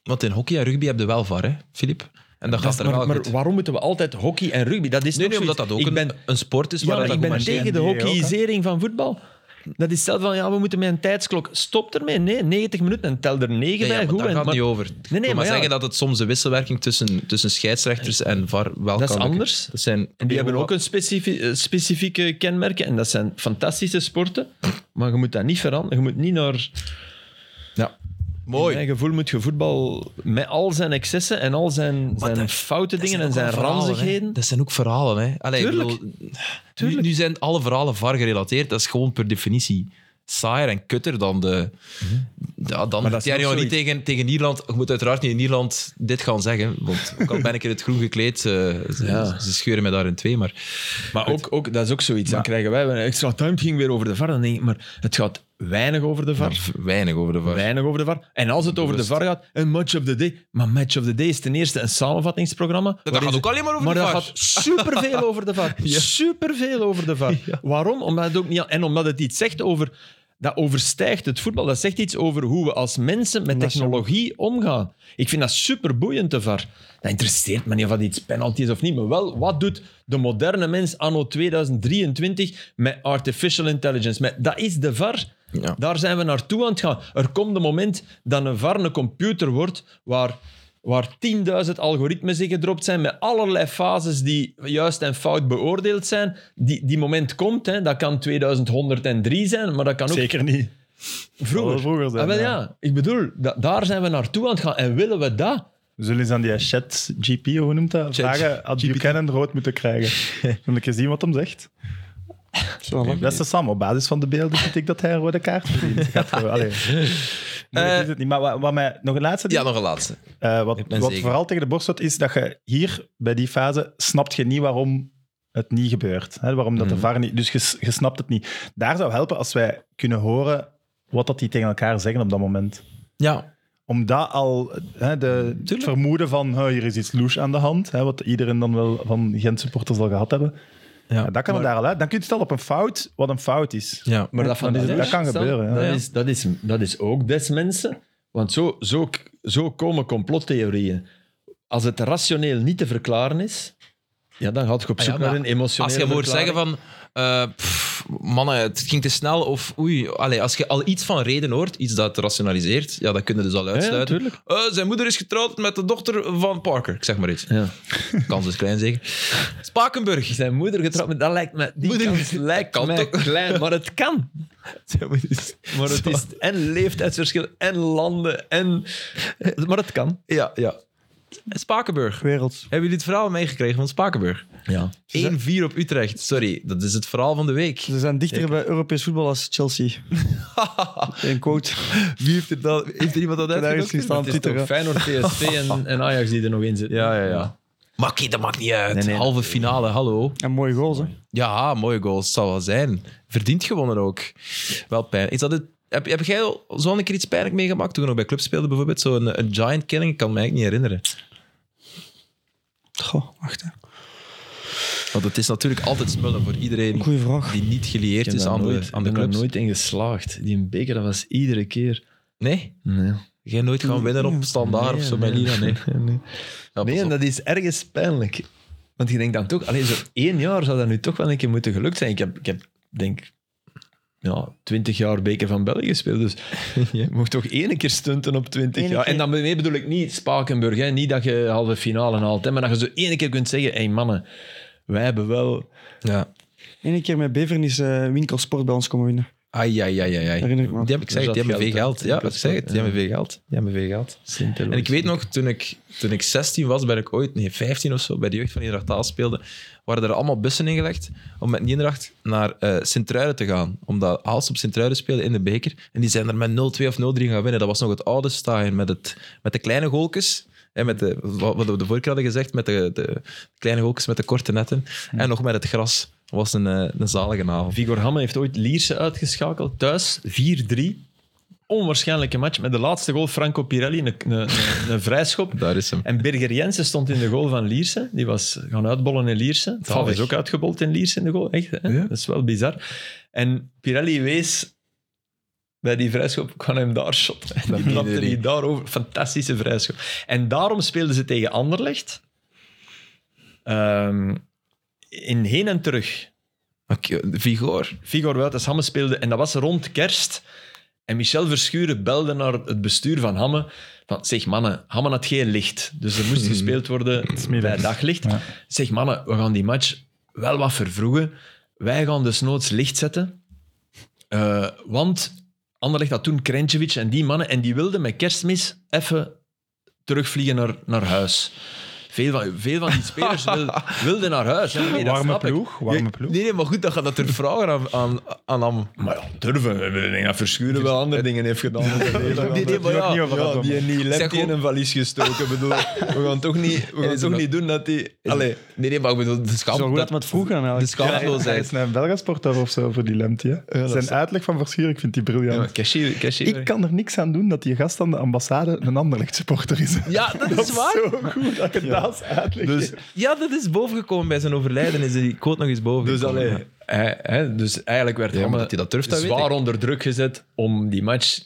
Want in hockey en rugby heb je wel VAR, hè, Filip? En dat gaat er wel
maar, maar
goed.
waarom moeten we altijd hockey en rugby? Dat is
Nee,
nog
nee, omdat
zoiets.
dat ook
Ik
een,
ben-
een sport is.
Ja,
waar
maar
dat
ik ben
gemancheerd-
tegen de
NBA ook, hè?
hockeyisering van voetbal. Dat is zelf van, ja, we moeten met een tijdsklok. Stop ermee. Nee, 90 minuten en tel er
Ja,
9
ja,
bij.
maar
Goed,
daar
en-
gaat het
maar
niet over.
nee,
Nee, nee, maar,
maar ja.
zeggen dat het soms de wisselwerking tussen, tussen scheidsrechters en VAR wel
Dat is
kan lukken.
anders.
Dat zijn,
En die hebben ook een specifie- eh, specifieke kenmerken. En dat zijn fantastische sporten. Maar je moet dat niet veranderen. Je moet niet naar...
Ja.
In
Mooi.
mijn gevoel moet je voetbal met al zijn excessen en al zijn, zijn foute dingen en zijn ranzigheden...
Dat zijn ook verhalen. Hè. Allee, ik
Tuurlijk.
bedoel, Nu, nu zijn alle verhalen VAR gerelateerd. Dat is gewoon per definitie saaier en kutter dan de... Ja, dan
Mhm. dat
het
is nog
jaar niet
zoiets.
tegen, tegen Ierland. Je moet uiteraard niet in Ierland dit gaan zeggen. Want ook al ben ik in het groen gekleed, eh, ze,
Ja.
ze scheuren mij daar in twee. Maar
Maar ook, ook, dat is ook zoiets. Dan krijgen wij... een Extra time ging weer over de VAR. Dan denk ik, maar het gaat weinig over de VAR.
weinig over de VAR.
Weinig over de VAR. En als het over de
Bewust.
VAR gaat, een match of the day. Maar match of the day is ten eerste een samenvattingsprogramma.
Dat
waarin
gaat
ze-
ook alleen maar over
maar
de
dat
VAR.
gaat superveel over de VAR. Superveel over de VAR. Waarom? Omdat het ook niet... En omdat het iets zegt over... Dat overstijgt het voetbal. Dat zegt iets over hoe we als mensen met
Dat is
technologie omgaan. Ik vind dat superboeiend, de VAR. Dat interesseert me niet of dat iets penalty is of niet. Maar wel, wat doet de moderne mens anno 2023 met artificial intelligence? Met, dat is de VAR.
Ja.
Daar zijn we naartoe aan het gaan. Er komt een moment dat een VAR een computer wordt waar, waar 10.000 algoritmes in gedropt zijn met allerlei fases die juist en fout beoordeeld zijn. Die, die moment komt, hè, dat kan 2103 zijn, maar dat kan ook
Zeker niet.
vroeger.
wel vroeger zijn,
Ah, wel, ja.
ja.
Ik bedoel, da- daar zijn we naartoe aan het gaan. En willen we dat?
We zullen eens aan die chat GP, hoe noemt dat? Vragen had Buchanan rood moeten krijgen. Moet ik eens zien wat hem zegt.
Zo, hè.
Beste Sam, op basis van de beelden vind ik dat hij een rode kaart verdient. Gaat gewoon, allee. Nee,
Eh,
dat is het niet. Maar wat, wat mij, nog een laatste ding.
Ja, nog een laatste.
Eh, wat
Ik ben
wat
zeker.
vooral tegen de borst stoot, is dat je hier bij die fase snapt je niet waarom het niet gebeurt. Hè? Waarom dat de
Mhm.
VAR niet... Dus je, s- je snapt het niet. Daar zou helpen als wij kunnen horen wat dat die tegen elkaar zeggen op dat moment.
Ja,
Omdat al hè, de, het
Tuurlijk.
vermoeden van "Huh, hier is iets louche aan de hand, hè, wat iedereen dan wel van Gent supporters al gehad hebben,
Ja.
ja, dat kan er daar al uit. Dan kun je het al op een fout, wat een fout is.
ja.
Maar dat, van
dat is-
Daesh
dat kan
staan,
gebeuren, ja.
Dat,
Ja.
is, dat, is, dat is ook des mensen. Want zo, zo, zo komen complottheorieën. Als het rationeel niet te verklaren is, ja, dan gaat je op
Ah ja,
zoek naar
maar
een emotionele
Als je hoort zeggen
verklaring.
van... eh, pff, mannen, het ging te snel of oei. Allee, als je al iets van reden hoort, iets dat rationaliseert, ja, dat kunnen dus al
Ja, ja,
uitsluiten.
tuurlijk.
Eh, zijn moeder is getrouwd met de dochter van Parker. Ik zeg maar iets.
Ja.
Kans is klein zeker. Spakenburg.
Zijn moeder getrouwd, maar dat lijkt me... Die
Moeder-
kans lijkt
kan
mij
toch?
klein, maar het kan. Maar het is en leeftijdsverschil, en landen, en... Maar het kan.
Ja, ja. Spakenburg.
Wereld.
Hebben jullie het verhaal meegekregen van Spakenburg?
Ja.
1-4 op Utrecht. Sorry, dat is het verhaal van de week.
Ze zijn dichter bij Europees voetbal als Chelsea. Een quote.
Wie heeft er, dat, heeft er iemand dat
heb daar eens
uitgezocht?
gestaan.
Het is toch
Twitteren.
Feyenoord, PSV en, en Ajax die er nog in zitten.
Ja, ja, ja. Maar oké, dat maakt niet uit.
nee.
Halve finale, hallo.
En mooie goals, hè.
Ja, mooie goals. Het zal wel zijn. Verdient gewonnen ook. Wel pijn. Is dat het, heb, heb jij al zo een keer iets pijnlijk meegemaakt toen we nog bij club speelden bijvoorbeeld? Zo'n eh, een giant killing? Ik kan me eigenlijk niet herinneren.
Goh, wacht, hè.
Want het is natuurlijk altijd smullen voor iedereen
Goeie vraag.
die niet gelieerd
Ik
is
ben daar
aan de,
nooit-
aan de
ik ben daar
clubs.
nooit in geslaagd. Die beker, dat was iedere keer...
Nee?
Nee.
Jij nooit gaan winnen op standaard of zo bij Lina? Nee. Ja, pas
Nee, en
op.
dat is ergens pijnlijk. Want je denkt dan toch, alleen zo één jaar zou dat nu toch wel een keer moeten gelukt zijn. Ik heb, ik heb denk ja, 20 jaar Beker van België gespeeld. Dus je mocht toch één keer stunten op 20
Eén
jaar.
keer.
En daarmee bedoel ik niet Spakenburg, hè, niet dat je halve finale haalt. Hè, maar dat je zo één keer kunt zeggen: hé hey, mannen, wij hebben wel.
Ja.
Eén keer met Bevernis eh winkelsport bij ons komen winnen.
Ai, ai, ai, ai, ai.
Herinner ik me.
Die heb ik
Dus
gezegd,
dat
die hebben veel
geld,
geld.
hè?
Ja, ik zeg het, die
Ja.
hebben veel geld. Die hebben veel geld. En ik weet nog, toen ik, toen ik 16 was, ben ik ooit, nee, 15 of zo, bij de jeugd van Inderdaad speelde, waren er allemaal bussen ingelegd om met Niendracht naar eh Sint-Truiden te gaan. Omdat Haals op Sint-Truiden speelde in de beker. En die zijn er met 0-2 of 0-3 gaan winnen. Dat was nog het oude stadion met, het, met de kleine goaltjes. En met de, wat wat we de vorige keer hadden gezegd, met de, de kleine goaltjes met de korte netten. En nog met het gras. Dat was een, eh, een zalige avond.
Vigor Hamme heeft ooit Lierse uitgeschakeld, thuis 4-3. Onwaarschijnlijke match. Met de laatste goal Franco Pirelli, een, een, een, een vrijschop.
Daar is hem.
En Birger Jensen stond in de goal van Lierse. Die was gaan uitbollen in Lierse. Het
Zalig.
is ook uitgebold in Lierse in de goal. Echt, hè?
Ja.
Dat is wel bizar. En Pirelli wees bij die vrijschop, kan hem daar shotten. En die
meen
knapte
je
die
niet.
daarover. Fantastische vrijschop. En daarom speelden ze tegen Anderlecht. Ehm, in heen en terug.
Oké, Vigor.
Vigor Wuitens Hamme speelde. En dat was rond kerst. En Michel Verschuren belde naar het bestuur van Hamme. Van, zeg mannen, Hamme had geen licht. Dus er moest gespeeld worden bij
middags.
daglicht.
Ja.
Zeg mannen, we gaan die match wel wat vervroegen. Wij gaan dus noods licht zetten. Eh, want Anderlecht had toen Krentjevic en die mannen. En die wilden met kerstmis even terugvliegen naar, naar huis. Veel van, veel van die spelers wil- wilden naar huis. Ja, nee, dat
warme
snap ik.
ploeg, warme ploeg.
Nee, nee, maar goed, dat gaat dat er vragen aan, aan, aan hem.
Maar ja, durven. We denken dat Verschuren wel andere dingen heeft gedaan.
Die- die- maar
Die
ja,
ook niet over dat
Ja,
doen.
die niet
zeg
lep die in
gewoon-
een valies gestoken. bedoel, we gaan toch niet, we gaan
is
toch
een-
niet doen dat die... Allee,
Nee, nee, maar ik bedoel, de
Zo
schaamte.
goed dat we
dat-
het vroegen aan
De
Dus
Hij
eigenlijk.
schaamteloosheid.
is een Belgasport of zo voor die Lemty. hè?
dat
Zijn
is-
uitleg van Verschuur, ik vind die briljant.
cashier, cashier.
ik kan er niks aan doen dat die gast aan de ambassade een anderlecht supporter is.
Ja, dat is waar.
Zo goed dat je dat eens uitlegt.
Dus,
Ja, dat is bovengekomen bij zijn overlijden. Is die quote nog eens bovengekomen.
dus, allee, hij- hè, dus eigenlijk werd
Ja, maar
Hamme
dat hij dat durft, dat weet
zwaar
ik.
onder druk gezet om die match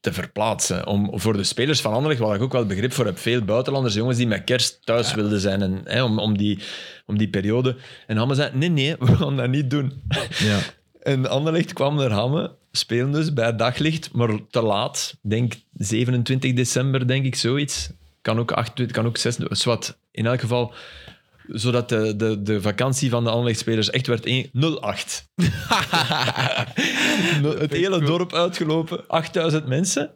te verplaatsen. Om, voor de spelers van Anderlecht, waar ik ook wel begrip voor heb, veel buitenlanders, jongens die met kerst thuis wilden zijn en, hè, om, om, die, om die periode. En Hamme zei, nee, nee, we gaan dat niet doen.
Ja.
En Anderlecht kwam naar Hamme, spelen dus bij daglicht, maar te laat. Denk 27 december, denk ik, zoiets. Kan ook 28, kan ook 26, zwart. In elk geval, zodat de, de, de vakantie van de Anderlecht-spelers echt werd één- 08. Eh, het hele dorp uitgelopen, 8000 mensen,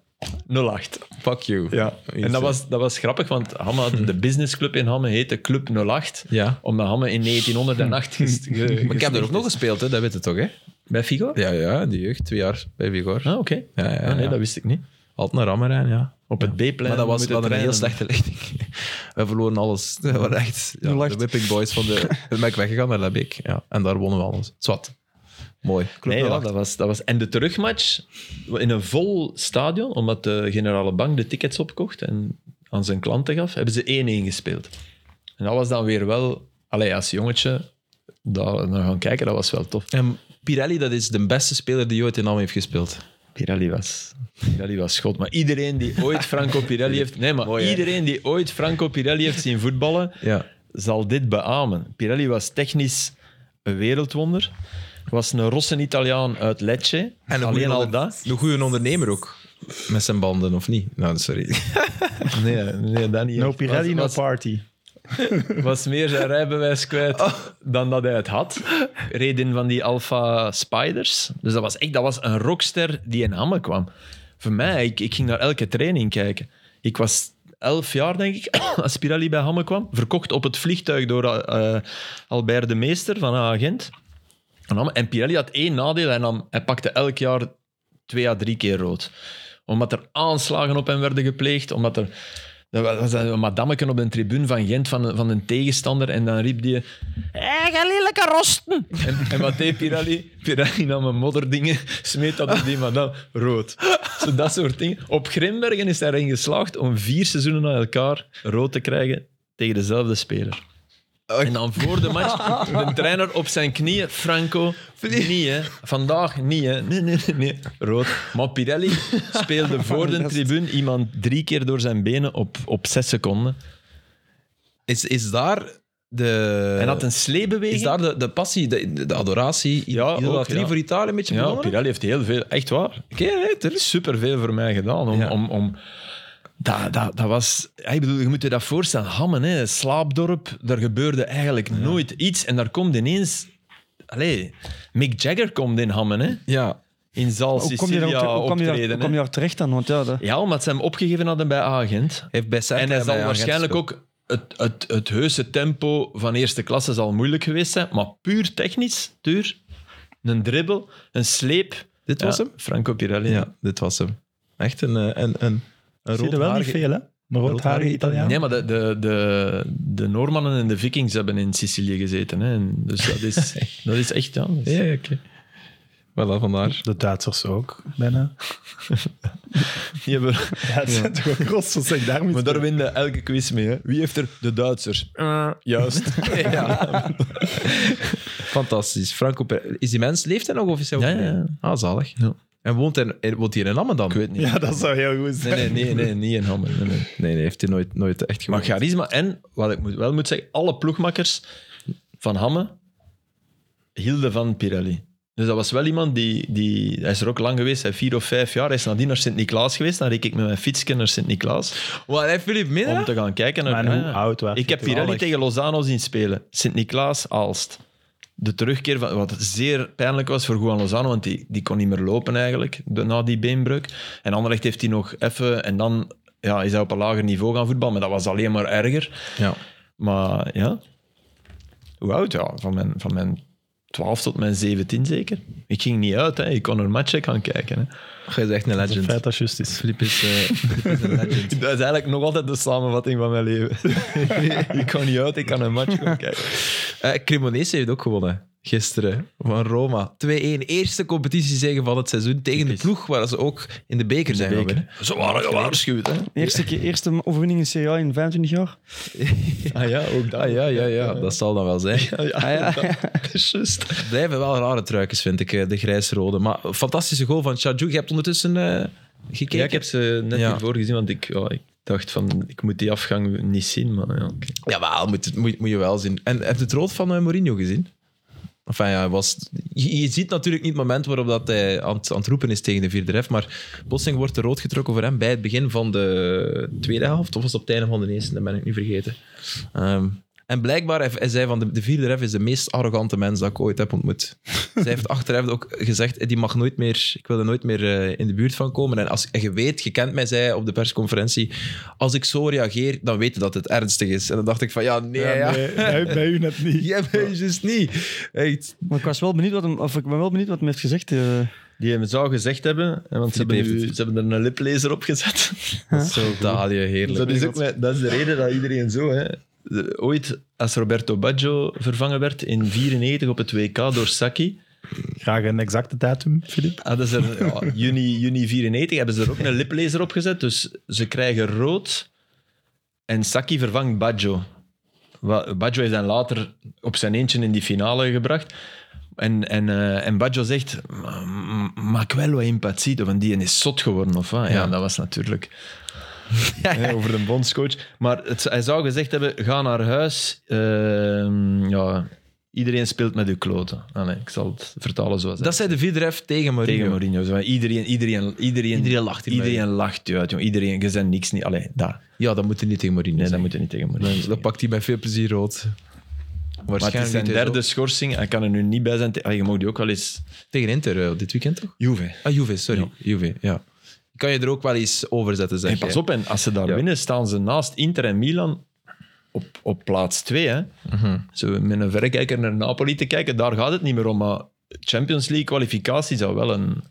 08.
Fuck you.
Ja, en dat was, dat was grappig, want Hamme had de businessclub in Hamme heette Club 08,
Ja.
omdat Hamme in 1908 gest- ge-
Maar ik heb er ook
gesticht
nog
is.
gespeeld, hè? dat weet je toch, hè?
Bij Figo?
Ja, ja, in de jeugd, twee jaar bij Vigor.
Ah, oké.
Ja, ja,
Ah, nee,
ja.
dat wist ik niet.
Altijd naar Ammerijn, ja.
Op het B-plein.
maar dat was
moeten
wel een heel
trainen.
slechte lichting. We verloren alles. Dat was echt ja,
lacht.
de whipping boys van de... Dan ben ik weggegaan naar Lebeek. Ja. En daar wonnen we alles. Zwat. Mooi. Klopt
Nee, ja, dat was, dat was... En de terugmatch in een vol stadion, omdat de generale bank de tickets opkocht en aan zijn klanten gaf, hebben ze 1-1 gespeeld. En dat was dan weer wel... Allee, als jongetje daar naar gaan kijken, dat was wel tof.
En Pirelli, dat is de beste speler die ooit in Am heeft gespeeld.
Pirelli was... Pirelli was schot. Maar iedereen die ooit Franco Pirelli heeft... Nee, maar
Mooi, hè?
iedereen die ooit Franco Pirelli heeft zien voetballen,
Ja.
zal dit beamen. Pirelli was technisch een wereldwonder. Was een Rossen-Italiaan uit Lecce.
een
Alleen
goede
al
onder-
dat.
Een goede ondernemer ook. Met zijn banden, of niet? Nou, sorry.
Nee, nee dat niet.
no
echt.
Pirelli, no
was, was,
party.
was meer zijn rijbewijs kwijt dan dat hij het had. Reed in van die Alpha Spiders. Dus dat was echt dat was een rockster die in Hamme kwam. Voor mij, ik, ik ging naar elke training kijken. Ik was elf jaar, denk ik, als Pirelli bij Hamme kwam. Verkocht op het vliegtuig door eh, Albert de Meester van een agent. En nam- En Pirelli had één nadeel. Hij, nam, hij pakte elk jaar twee à drie keer rood. Omdat er aanslagen op hem werden gepleegd. Omdat er... Er was een madammeken op de tribune van Gent van, een- van een tegenstander. En dan riep die... Hé, ga lelijke rosten! En, en wat deed Pirelli? Pirelli nam een modderdingen, smeet dat op die madame. Rood. Zo dat soort dingen. Op Grimbergen is hij erin geslaagd om vier seizoenen aan elkaar rood te krijgen tegen dezelfde speler. En dan voor de match, de trainer op zijn knieën. Franco, niet hè. Vandaag niet hè. Nee, nee, nee, nee. Rood. Maar Pirelli speelde voor de tribune iemand drie keer door zijn benen op, op zes seconden.
Is, is daar de,
en had een sleebeweging.
is daar de, de passie, de, de adoratie,
Ja,
idolatrie
ook, ja.
voor Italië een beetje
Ja,
begonnen?
Pirelli heeft heel veel, echt waar,
Oké, hè, tuurlijk.
superveel voor mij gedaan. Om,
Ja.
om, om, dat, dat, dat was, ja, ik bedoel, je moet je dat voorstellen, Hammen, hè, slaapdorp, daar gebeurde eigenlijk nooit iets. En daar komt ineens, allee, Mick Jagger komt in Hammen, hè,
Ja,
in Zaal
Hoe kom je daar,
Sicilia
hoe kom je daar, hoe
optreden.
kom je
hè.
daar terecht dan? Want ja, dat-
Ja, omdat ze hem opgegeven hadden bij Agent.
heeft bij
En
Saint-Tropez bij
hij zal
Agent
waarschijnlijk
gespeeld.
ook het, het, het heuse tempo van eerste klasse zal moeilijk geweest zijn, maar puur technisch, duur. Een dribbel, een sleep.
Dit was hem?
Franco Pirelli.
Ja, dit was hem. Echt een, eh, een, een, een
Zie je er wel niet
roodharige-
veel, hè? Een roodharige
roodharige
Italiaan.
Nee, maar de, de, de, de Noormannen en de Vikings hebben in Sicilië gezeten. Hè. En Dus dat is, dat is echt... Ja, dat is-
Ja, oké. Voilà, vandaar.
De Duitsers ook, bijna.
Die hebben-
Ja, het zijn toch ook rots, wat zeg ik daar
Maar daar winnen elke quiz mee. Hè. Wie heeft er... De Duitsers. Eh, juist.
Fantastisch. Franco, Per- is die mens, leeft hij nog of is hij
Ja,
overleden?
ja,
Ah, zalig.
Ja.
En woont hij, eh, woont hij in Ammen dan?
Ik weet niet.
Ja, dat zou heel goed
Nee,
zijn.
nee, nee, nee, niet in Hammen. Nee, nee.
Nee, nee, heeft hij nooit, nooit echt
Maar
gewoond.
charisma en, wat ik moet, wel moet zeggen, alle ploegmakkers van Hamme hielden van Pirelli. Dus dat was wel iemand die, die... Hij is er ook lang geweest, hij heeft vier of vijf jaar. Hij is nadien naar Sint-Niklaas geweest. Dan reed ik met mijn fietsje naar Sint-Niklaas
Wat, heeft Filip Minna?
om te gaan kijken. Naar,
Maar hoe
Ja, ja.
oud was
ik heb Pirelli tegen Lozano zien spelen. Sint-Niklaas, Aalst. De terugkeer, van, wat zeer pijnlijk was voor Juan Lozano, want die, die kon niet meer lopen eigenlijk de- na die beenbreuk. En Anderlecht heeft hij nog even... En dan ja, is hij op een lager niveau gaan voetballen, maar dat was alleen maar erger.
Ja.
Maar ja. Hoe oud? Ja, van mijn, van mijn 12 tot mijn 17 zeker. Ik ging niet uit, hè. ik kon een matchen gaan kijken. Hè.
Hij is echt een
Het
legend.
feit dat juist is.
Filip is, eh, Filip is een legend.
Dat is eigenlijk nog altijd de samenvatting van mijn leven. ik kon niet uit, ik kan een match gaan kijken.
Eh, Cremonese heeft ook gewonnen. Gisteren van Roma. 2-1. Eerste competitiezege van het seizoen tegen de ploeg waar ze ook in de beker zijn.
beker.
geworden.
Ze waren gewaarschuwd, hè?
eerste, keer- eerste overwinning in Serie A in 25 jaar.
Ah ja, ook dat.
Ah, ja, ja, ja. Dat zal dan wel zijn.
ja, ja.
Ah, ja.
dat is juist.
Blijven wel rare truikjes, vind ik, eh, de grijs-rode. Maar fantastische goal van Chadju. Je hebt ondertussen eh, gekeken.
Ja, ik heb ze net
Ja.
hiervoor gezien, want ik, ja, ik dacht van, ik moet die afgang niet zien. Maar ja, oké.
Jawel, moet, het- moet, moet je wel zien. En heb je het rood van eh, Mourinho gezien? Enfin, ja, hij was, je, je ziet natuurlijk niet het moment waarop dat hij aan het, aan het roepen is tegen de vierde ref, maar Bossing wordt er rood getrokken voor hem bij het begin van de tweede helft, of was het op het einde van de eerste, dat ben ik nu vergeten. Ehm, en blijkbaar, hij, hij zei van de, de vierde ref is de meest arrogante mens dat ik ooit heb ontmoet. Zij heeft achteraf ook gezegd, eh, die mag nooit meer, ik wil er nooit meer eh, in de buurt van komen. En, als, en je weet, je kent mij, zei hij op de persconferentie, als ik zo reageer, dan weet je dat het ernstig is. En dan dacht ik van, ja, nee, ja.
Ja, nee, bij- bij u net niet.
Jij weet dus niet. Echt.
Maar ik, was wel benieuwd wat hem, of ik ben wel benieuwd wat hij heeft gezegd. eh.
Die hem zou gezegd hebben, hè, want ze
Philippe
hebben, nu-
heeft het.
ze hebben er een liplezer op gezet.
Italië, heerlijk.
Dat is, ook, mijn- dat is de reden dat iedereen zo... Hè. De- Ooit, als Roberto Baggio vervangen werd in 94 op het WK door Sacchi,
Graag een exacte datum, Filip.
hadden ze er, ja, juni, juni 94 hebben ze er ook een liplezer op gezet. Dus ze krijgen rood en Sacchi vervangt Baggio. Wa- Baggio heeft dan later op zijn eentje in die finale gebracht. En, en, eh, en Baggio zegt, "M- ma quello è impazzito, want die is zot geworden. Of wat? Ja,
Ja.
dat was natuurlijk hè, over de bondscoach. Maar het, hij zou gezegd hebben, ga naar huis. Ehm, ja, iedereen speelt met uw kloten. Ah, nee, ik zal het vertalen zoals hij
Dat zei de vierde ref tegen Mourinho.
tegen Mourinho. Zo, Iedereen, iedereen, iedereen,
Iedereen lacht hierbij.
Iedereen lacht je uit, jong. Iedereen, je bent niks niet. Allee, daar.
Ja, dat moet hij niet tegen Mourinho
Nee,
zeggen.
dat moet je niet tegen Mourinho.
Dat
zeggen.
pakt hij met veel plezier rood.
Maar het is
Waarschijnlijk
zijn
niet eens
derde schorsing. Hij kan er nu niet bij zijn. Allee, je mag die ook wel eens...
op- Tegen Inter eh, dit weekend toch?
Juve.
Ah, Juve, sorry. Juve, ja. Kan je er ook wel eens over zetten, zeg
En pas
hè?
op, en als ze daar
Ja.
winnen, staan ze naast Inter en Milan op, op plaats 2. Hè.
Mhm.
Zo met een verrekijker naar Napoli te kijken, daar gaat het niet meer om. Maar Champions League kwalificatie zou wel een...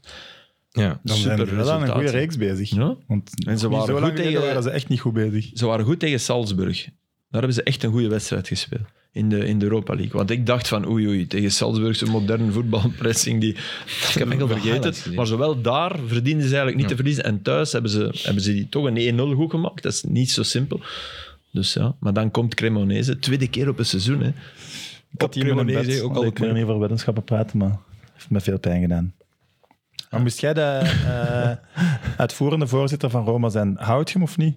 Ja.
Dan
Super
zijn we wel aan een
resultaat,
goede
hè.
reeks bezig.
Ja?
Want
En ze
niet
waren
zo
goed
lang tegen...
tegen-
waren ze echt niet goed bezig.
Ze waren goed tegen Salzburg. Daar hebben ze echt een goede wedstrijd gespeeld. In de, in de Europa League. Want ik dacht van oei oei, tegen Salzburg, zo'n moderne voetbalpressing, die ik heb
enkel de
vergeten.
highlights gezien.
Maar zowel daar verdienden ze eigenlijk niet te verliezen. En thuis hebben ze, hebben ze die toch een 1-0 goed gemaakt. Dat is niet zo simpel. Dus ja, maar dan komt Cremonese. Tweede keer op een seizoen. Hè.
Ik had hier
Cremonese ook
ook
al
al Ik
het
wil niet over weddenschappen praten, maar het heeft me veel pijn gedaan. Maar moest jij de eh, uitvoerende voorzitter van Roma zijn, houdt je hem of niet?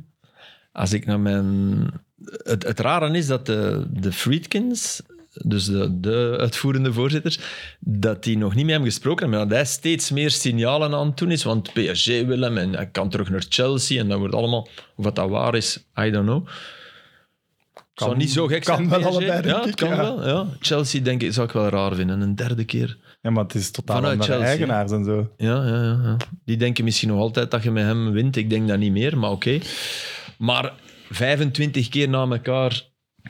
Als ik naar mijn het, het rare is dat de, de Friedkins, dus de, de uitvoerende voorzitter, dat die nog niet met hem gesproken hebben. En dat hij steeds meer signalen aan het doen is, want PSG wil hem en hij kan terug naar Chelsea en dat wordt allemaal, of wat dat waar is, I don't know. Kan, zou
Kan-
niet zo gek
kan
zijn.
wel
PSG.
allebei, denk
ja, het
ik,
kan
ja.
wel. Ja. Chelsea denk ik, zou ik wel raar vinden, een derde keer.
Ja, maar het is totaal
Vanuit
andere
Chelsea,
eigenaars en zo.
Ja, ja, ja, ja. Die denken misschien nog altijd dat je met hem wint. Ik denk dat niet meer, maar oké. Maar 25 keer na elkaar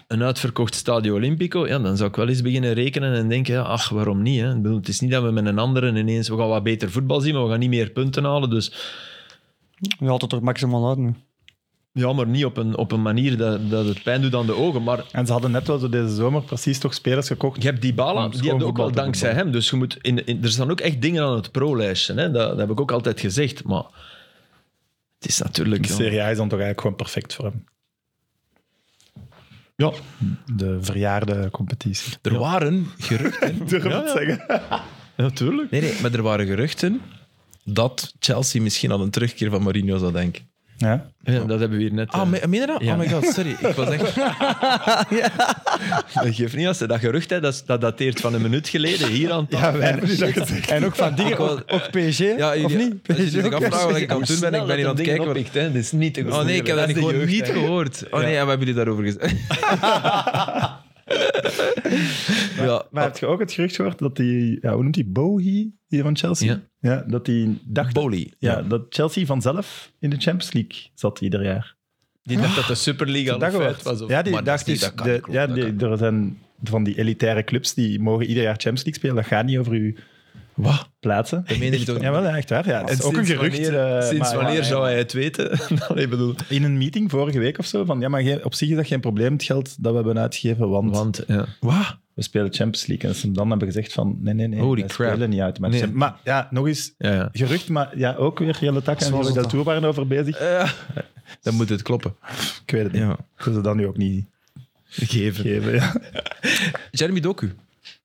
een uitverkocht Stadio Olimpico, ja, dan zou ik wel eens beginnen rekenen en denken, ja, ach, waarom niet? Hè? Ik bedoel, het is niet dat we met een andere ineens... We gaan wat beter voetbal zien, maar we gaan niet meer punten halen. Dus
Je haalt het er maximaal uit nu.
ja, maar niet op een, op een manier dat, dat het pijn doet aan de ogen. Maar
En ze hadden net wel zo deze zomer precies toch spelers gekocht.
Je hebt Dybala,
Om
die
schoon
hebben ook
voetbal
wel
te
dankzij hem. Dus je moet in, in- er staan ook echt dingen aan het pro-lijstje. Hè? Dat, dat heb ik ook altijd gezegd. Maar het is natuurlijk...
De Serie A is dan toch eigenlijk gewoon perfect voor hem.
Ja,
De verjaarde competitie.
Er waren geruchten.
Durf het zeggen.
natuurlijk.
Nee, nee, maar er waren geruchten dat Chelsea misschien aan een terugkeer van Mourinho zou denken.
Ja.
Ja, dat hebben we hier net.
Ah,
eh,
me- meen je dat?
Ja.
Oh my god, sorry. Ik was echt...
dat geeft niet als dat gerucht, hè, dat, is- dat dateert van een minuut geleden hier aan tafel.
Ja, wij hebben niet dat gezegd.
En ook van dingen,
Ik wou-
ook, ook PSG, of niet?
Als jullie zich
ook,
afvragen dus wat ik aan
Hoe
het doen
snel
ben, ik
dat
ben hier
een
aan het
ding
kijken. wat-
oppikt, hè. Dit is niet te
Oh nee, ik heb dat
is de
gewoon
jeugd,
niet
hè.
gehoord. Oh nee, en we hebben jullie daarover gezegd. ja,
Maar heb je ook het gerucht gehoord dat die, ja, hoe noemt die, Bowie, die van Chelsea?
Ja.
dat die dacht
Boli.
ja, dat Chelsea vanzelf in de Champions League zat ieder jaar.
Die dacht dat de Superliga al
Dat
een
gehoord.
feit was. Of...
ja, die
maar dat
dacht
is niet-
dus,
dat kan
de-
niet kloppen,
ja,
dat
die, er zijn van die elitaire clubs die mogen ieder jaar Champions League spelen. Dat gaat niet over uw
Wat?
plaatsen.
Dat meen je toch niet?
Ja, wel, echt waar. Ja. Het is ook een
sinds
gerucht.
wanneer-
eh,
sinds
maar-
wanneer
maar-
zou hij het weten? Allee, bedoel...
In een meeting vorige week of zo, van ja, maar geen- op zich is dat geen probleem, het geld dat we hebben uitgegeven, want,
Want, ja.
Wat?
we spelen Champions League. En ze dan hebben gezegd van, nee, nee, nee,
Holy
wij
crap.
spelen niet uit. Maar,
Nee.
maar ja, nog eens,
Ja, ja.
gerucht, maar ja, ook weer Jelle Tak en
Zoals
Jelle Del
dat.
Tour waren over bezig.
Dan moet het kloppen.
Ik weet het niet.
Ja.
Ik wil ze dan nu ook niet
Geven.
geven. Ja.
Jeremy Doku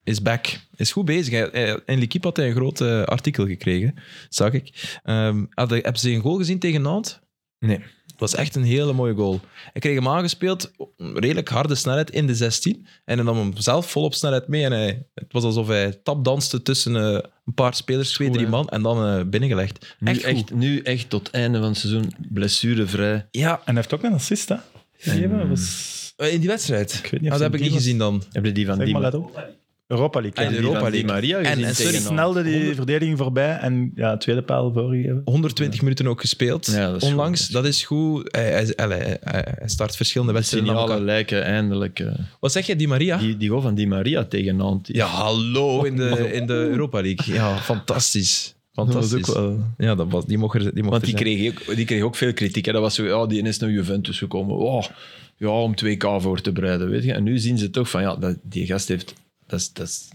is back. Is goed bezig. Hij- hij- In L'Equipe had hij een groot eh, artikel gekregen, zag ik. Ehm had hij- hebben ze een goal gezien tegen Nantes? Nee. Het was echt een hele mooie goal. Hij kreeg hem aangespeeld, op een redelijk harde snelheid in de 16. En hij nam hem zelf volop snelheid mee. En hij, het was alsof hij tapdanste tussen eh, een paar spelers, twee,
goed,
drie
hè?
man, en dan eh, binnengelegd.
Nu
Echt,
echt,
goed.
nu echt tot het einde van het seizoen blessurevrij.
Ja, eh,
En hij heeft ook een assist, hè? Gegeven, dat was...
in die wedstrijd. Ik
weet niet of
dat
ze
heb ik
die
niet
was.
gezien dan.
Heb je die van
Zeg
die
maar, let op. Europa League.
Ah,
ja.
de
die van
Europa
Di
League.
Maria
En-
gezien
en
tegen
sorry,
Nantes?
Snelde die verdediging voorbij en ja, tweede paal voorgegeven.
120 minuten ook gespeeld.
Ja, dat is goed,
Onlangs,
dat is
dat is goed. Hij, hij, hij- hij- hij start verschillende wedstrijden. na
Signalen
elkaar.
lijken eindelijk. eh,
Wat zeg je, Di Maria?
die, die goal van Di Maria tegen Nantes.
Ja, hallo in de, in de Europa League. Ja, fantastisch. Fantastisch. Ja, dat was, die mocht er, die mocht
Want
er
die
zijn.
kreeg, ook, die kreeg ook veel kritiek. Hè. Dat was zo, ja, die is naar Juventus gekomen. Oh, ja, om 2K voor te bereiden. Weet je. En nu zien ze toch van, ja, dat, die gast heeft... Dat is, dat is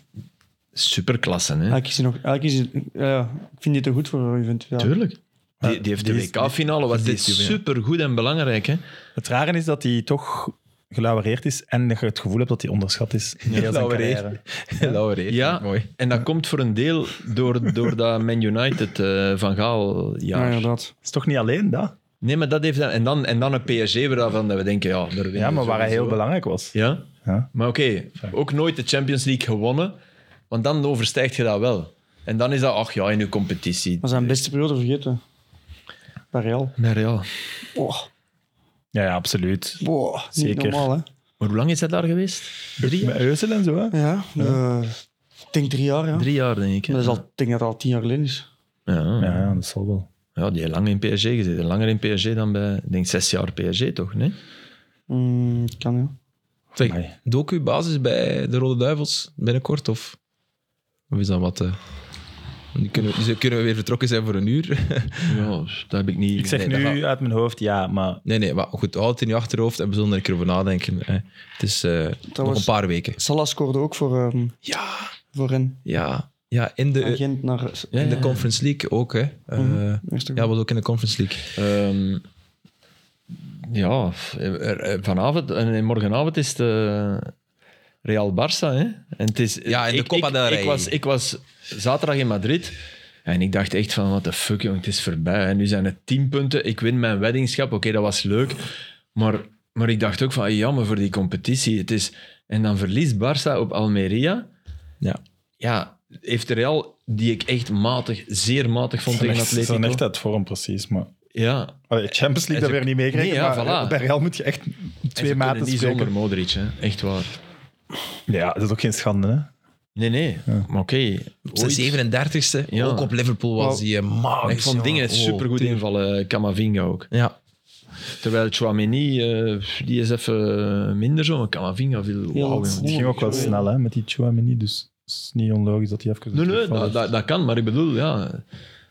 superklasse, hè.
eigenlijk is hij nog, eigenlijk is hij- ja, ja, ik vind die te goed voor eh, Juventus. Ja.
Tuurlijk. Die, die heeft
Die
de
is-
WK-finale, was
die
dit
is Juve, ja.
supergoed en belangrijk, hè.
Het rare is dat hij toch gelauwereerd is en dat je het gevoel hebt dat hij onderschat is. in heel zijn
Lauwereer.
carrière.
Lauwereer,
Ja,
mooi.
en dat komt voor een deel door, door dat Man United eh, van
Ja,
Gaal-jaar.
inderdaad.
Het is toch niet alleen dat?
Nee, maar dat heeft dan, en, dan, en dan een PSG waarvan dat we denken, ja, daar winnen
Ja,
we
maar waar hij
sowieso.
heel belangrijk was.
Ja,
Ja.
maar oké, ook nooit de Champions League gewonnen, want dan overstijgt je dat wel. En dan is dat, ach ja, in uw competitie.
Maar zijn beste periode vergeten. Bij Real.
Bij Real.
Oh,
Ja, ja, absoluut.
boah, niet
Zeker.
normaal, hè?
Maar hoe lang is dat daar geweest? Drie,
Met Euzel en zo, hè?
Ja, eh, ik denk drie jaar, ja.
drie jaar, denk ik. hè?
Maar dat is al, ik denk dat dat al tien jaar geleden is.
Ja, ja.
Ja, dat zal wel.
ja, die heeft lang in PSG gezeten. Langer in PSG dan bij, ik denk zes jaar PSG toch, nee?
Mm, kan, ja.
Zeg,
Amai.
docu basis bij de Rode Duivels binnenkort? Of, of is dat wat... eh, die kunnen, we- die kunnen we weer vertrokken zijn voor een uur.
Ja, dat heb ik niet...
Ik zeg
Nee, dat
nu
gaat-
uit mijn hoofd ja, maar
Nee, nee, maar goed, houd het in je achterhoofd en we zullen er een keer over nadenken. Hè. Het is eh, nog
was-
een paar weken.
Salah scoorde ook voor, ehm,
Ja, Eh,
voor hen.
ja, ja in
Van
de,
Gent naar...
Ja,
in
ja,
de
ja.
Conference League ook. Hè. Eh,
Eerste
ja, was ook in de Conference League.
Ehm, ja, er- er- vanavond en morgenavond is het eh, Real Barça. Hè? En het is,
Ja, in de
ik-
Copa
ik-
del Rey.
Ik was, ik was zaterdag in Madrid en ik dacht echt van, what the fuck, jong, het is voorbij. En nu zijn het tien punten, ik win mijn weddingschap. Oké, dat was leuk, maar Maar ik dacht ook van, jammer voor die competitie. Het is... En dan verliest Barça op Almeria.
Ja.
Ja, heeft Real, die ik echt matig, zeer matig vond tegen
Ze
Atletico.
zijn echt uit vorm, precies. Maar
Ja,
Allee, Champions League,
En
dat
ze-
weer niet meegekregen.
Eh, Nee, ja,
maar eh,
voilà.
bij Real moet je echt
En ze
twee
kunnen
maten
niet
spelen.
zonder Modric, hè. echt waar.
Ja, dat is ook geen schande, hè?
Nee, nee, maar oké.
Op zijn
ooit.
37e,
Ja.
ook op Liverpool was
Wow.
hij eh, magisch.
Ik vond
jongen.
dingen het
Wow,
supergoed
Oh,
tuurlijk.
invallen, Camavinga ook.
Ja,
Terwijl Chouameni, eh, die is even eh, minder zo, maar Camavinga viel...
Heel
wauw,
goed.
jongen.
Het ging ook wel
Sorry.
snel, hè, met die Chouamini. Dus het is niet onlogisch dat hij even...
Nee, nee,
terugvalt.
dat, dat, dat kan, maar ik bedoel, ja.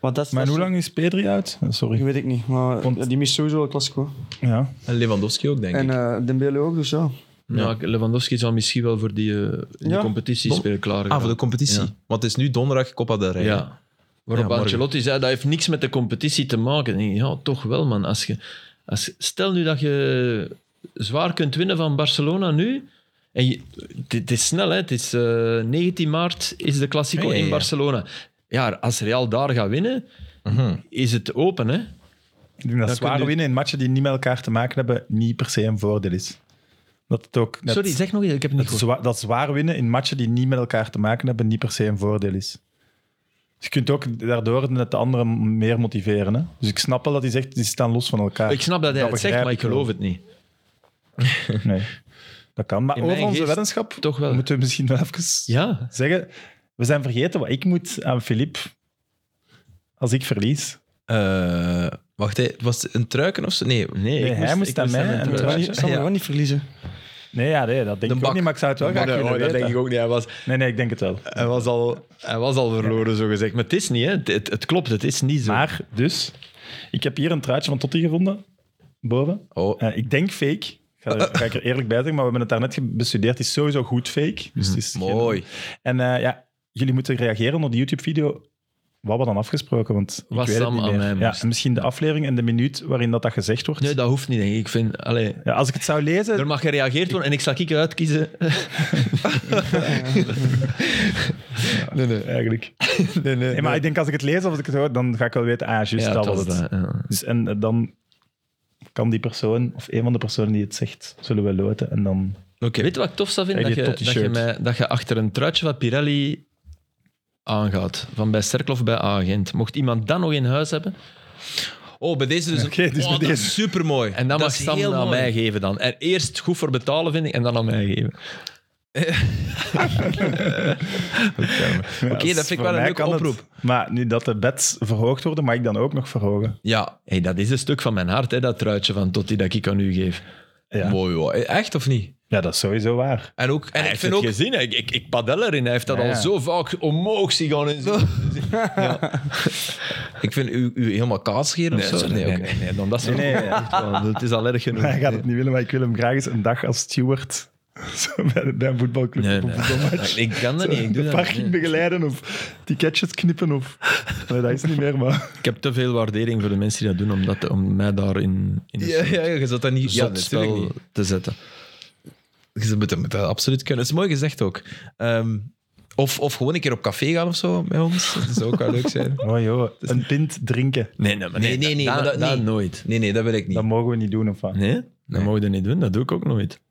Want dat is-
Maar
dat
hoe
is-
lang is Pedri uit? Eh,
Dat
Sorry.
weet ik niet, maar
Want-
ja, die mist sowieso wel Classico.
Ja.
en Lewandowski ook, denk
En
ik.
eh Dembele ook, dus ja.
ja. Lewandowski zal misschien wel voor die eh, in de
Ja.
competitie
Dom-
spelen klaar.
ah, voor de competitie.
Ja.
Want het is nu donderdag Copa del Rey.
Ja. Waarop
Ja, morgen.
Ancelotti zei, dat heeft niks met de competitie te maken. En Ja, toch wel, man. Als je, als, stel nu dat je zwaar kunt winnen van Barcelona nu. En je- het- het is snel, hè. Het is, eh, 19 maart is de Classico
Ja, ja,
in
ja.
Barcelona. Ja, als Real daar gaat winnen,
Mhm.
is het open, hè.
Ik denk dat
Dan
zwaar
kun je-
winnen in matchen die niet met elkaar te maken hebben, niet per se een voordeel is. Dat het ook... net-
Sorry, zeg nog eens. Ik heb het niet
dat,
gehoord.
zwa- dat zwaar winnen in matchen die niet met elkaar te maken hebben, niet per se een voordeel is. Dus je kunt ook daardoor net de anderen meer motiveren. Hè? Dus ik snap wel dat hij zegt, die staan los van elkaar.
Ik snap dat hij
dat
het zegt,
begrijp
maar ik
ik wel.
geloof het niet.
Nee, dat kan. Maar
In
over
mijn
onze
geest
weddenschap
Toch wel.
moeten we misschien wel even
Ja.
zeggen. We zijn vergeten wat ik moet aan Filip als ik verlies.
Eh, wacht, hè, was het een truiken of zo? Nee,
Nee,
Nee,
ik
hij moest
ik
aan mij
hem
en
een
terwijl-
truitje-
Ik zal
ja.
er wel niet verliezen.
Nee, ja, nee, dat denk
De
ik
bak.
ook niet, maar ik zou het wel graag
Nee,
willen
dat oh,
weten.
denk ik ook niet. Hij was,
Nee, nee, ik denk het wel.
Hij was al, hij was al verloren, zo gezegd. Maar het is niet, hè. Het, het, het klopt, het is niet zo.
Maar dus, ik heb hier een truitje van Totti gevonden, boven.
Oh,
Eh, ik denk fake. Ga, ga ik er eerlijk bij zeggen, maar we hebben het daarnet ge- bestudeerd. Het is sowieso goed fake. Dus het is geen-
mooi.
En eh, ja, jullie moeten reageren op de YouTube-video. Wat we dan afgesproken, want ik
Wat
weet het
Sam
niet
aan
meer.
mij
ja,
moest.
en misschien de aflevering en de minuut waarin dat, dat gezegd wordt.
Nee, dat hoeft niet, denk ik. ik vind, allee,
Ja, als ik het zou lezen,
er mag gereageerd worden en ik zal ik uitkiezen. nee, nee.
eigenlijk.
nee, nee,
Nee, maar ik denk als ik het lees of als ik het hoor, dan ga ik wel weten, ah, juist,
Ja,
dat was
dat
het.
was dat, ja.
Dus, en eh, dan kan die persoon, of een van de personen die het zegt, zullen we loten. En dan...
Oké.
Weet je wat ik tof zou
Kijk,
vinden?
die
Dat je, dat, je
Totti-shirt.
mij, dat je achter een truitje van Pirelli aangaat. Van bij Cerkel of bij Agent. Mocht iemand dat nog in huis hebben.
Oh, bij deze dus.
Oké, dus
oh,
bij
dat
deze.
is supermooi.
En dan
dat
mag
is
Sam
heel
aan
mooi.
mij geven dan. En eerst goed voor betalen, vind ik, en dan aan mij geven.
Oké,
dat vind ik wel een leuke oproep.
Maar nu dat de bets verhoogd worden, mag ik dan ook nog verhogen.
Ja,
Hey, dat is een stuk van mijn hart, hè, dat truitje van Totti dat ik aan u geef.
Ja.
mooi hoor. Echt of niet?
ja, dat is sowieso waar.
En, ook, en
Hij
ik
heeft
vind
het
ook...
gezien, hè. ik, ik, ik padel erin. Hij heeft dat
Ja,
al
ja.
zo vaak omhoog zien gaan. En zo.
Ik vind u, u helemaal kaasgeren of zo? Nee, oké.
nee, dan dat is
Nee, nee,
wel- echt wel, Het is al erg genoeg.
Hij gaat het niet willen, maar ik wil hem graag eens een dag als steward zo bij, bij een voetbalclub
Nee,
op een
nee.
voetbalmatch.
Ik kan dat niet, ik doe
de
dat
parking
niet.
begeleiden of ticketjes knippen. Of... Nee, dat is niet meer, maar...
Ik heb te veel waardering voor de mensen die dat doen om, dat, om mij daarin in een
Ja,
soort
ja, ja, je zult dat
dus
niet... Ja, natuurlijk
zotspel
niet.
te zetten.
Je moet dat, moet dat absoluut kunnen. Het is mooi gezegd ook. Ehm, of, of gewoon een keer op café gaan of zo bij ons. Dat zou ook wel leuk zijn.
Oh joh, een pint drinken.
Nee, nee, maar nee,
Nee, nee, nee,
dat,
maar dat
dat
niet.
nooit.
Nee, nee, dat wil ik niet.
Dat mogen we niet doen, of wat?
Nee, dat mogen we dat niet doen, dat doe ik ook nooit.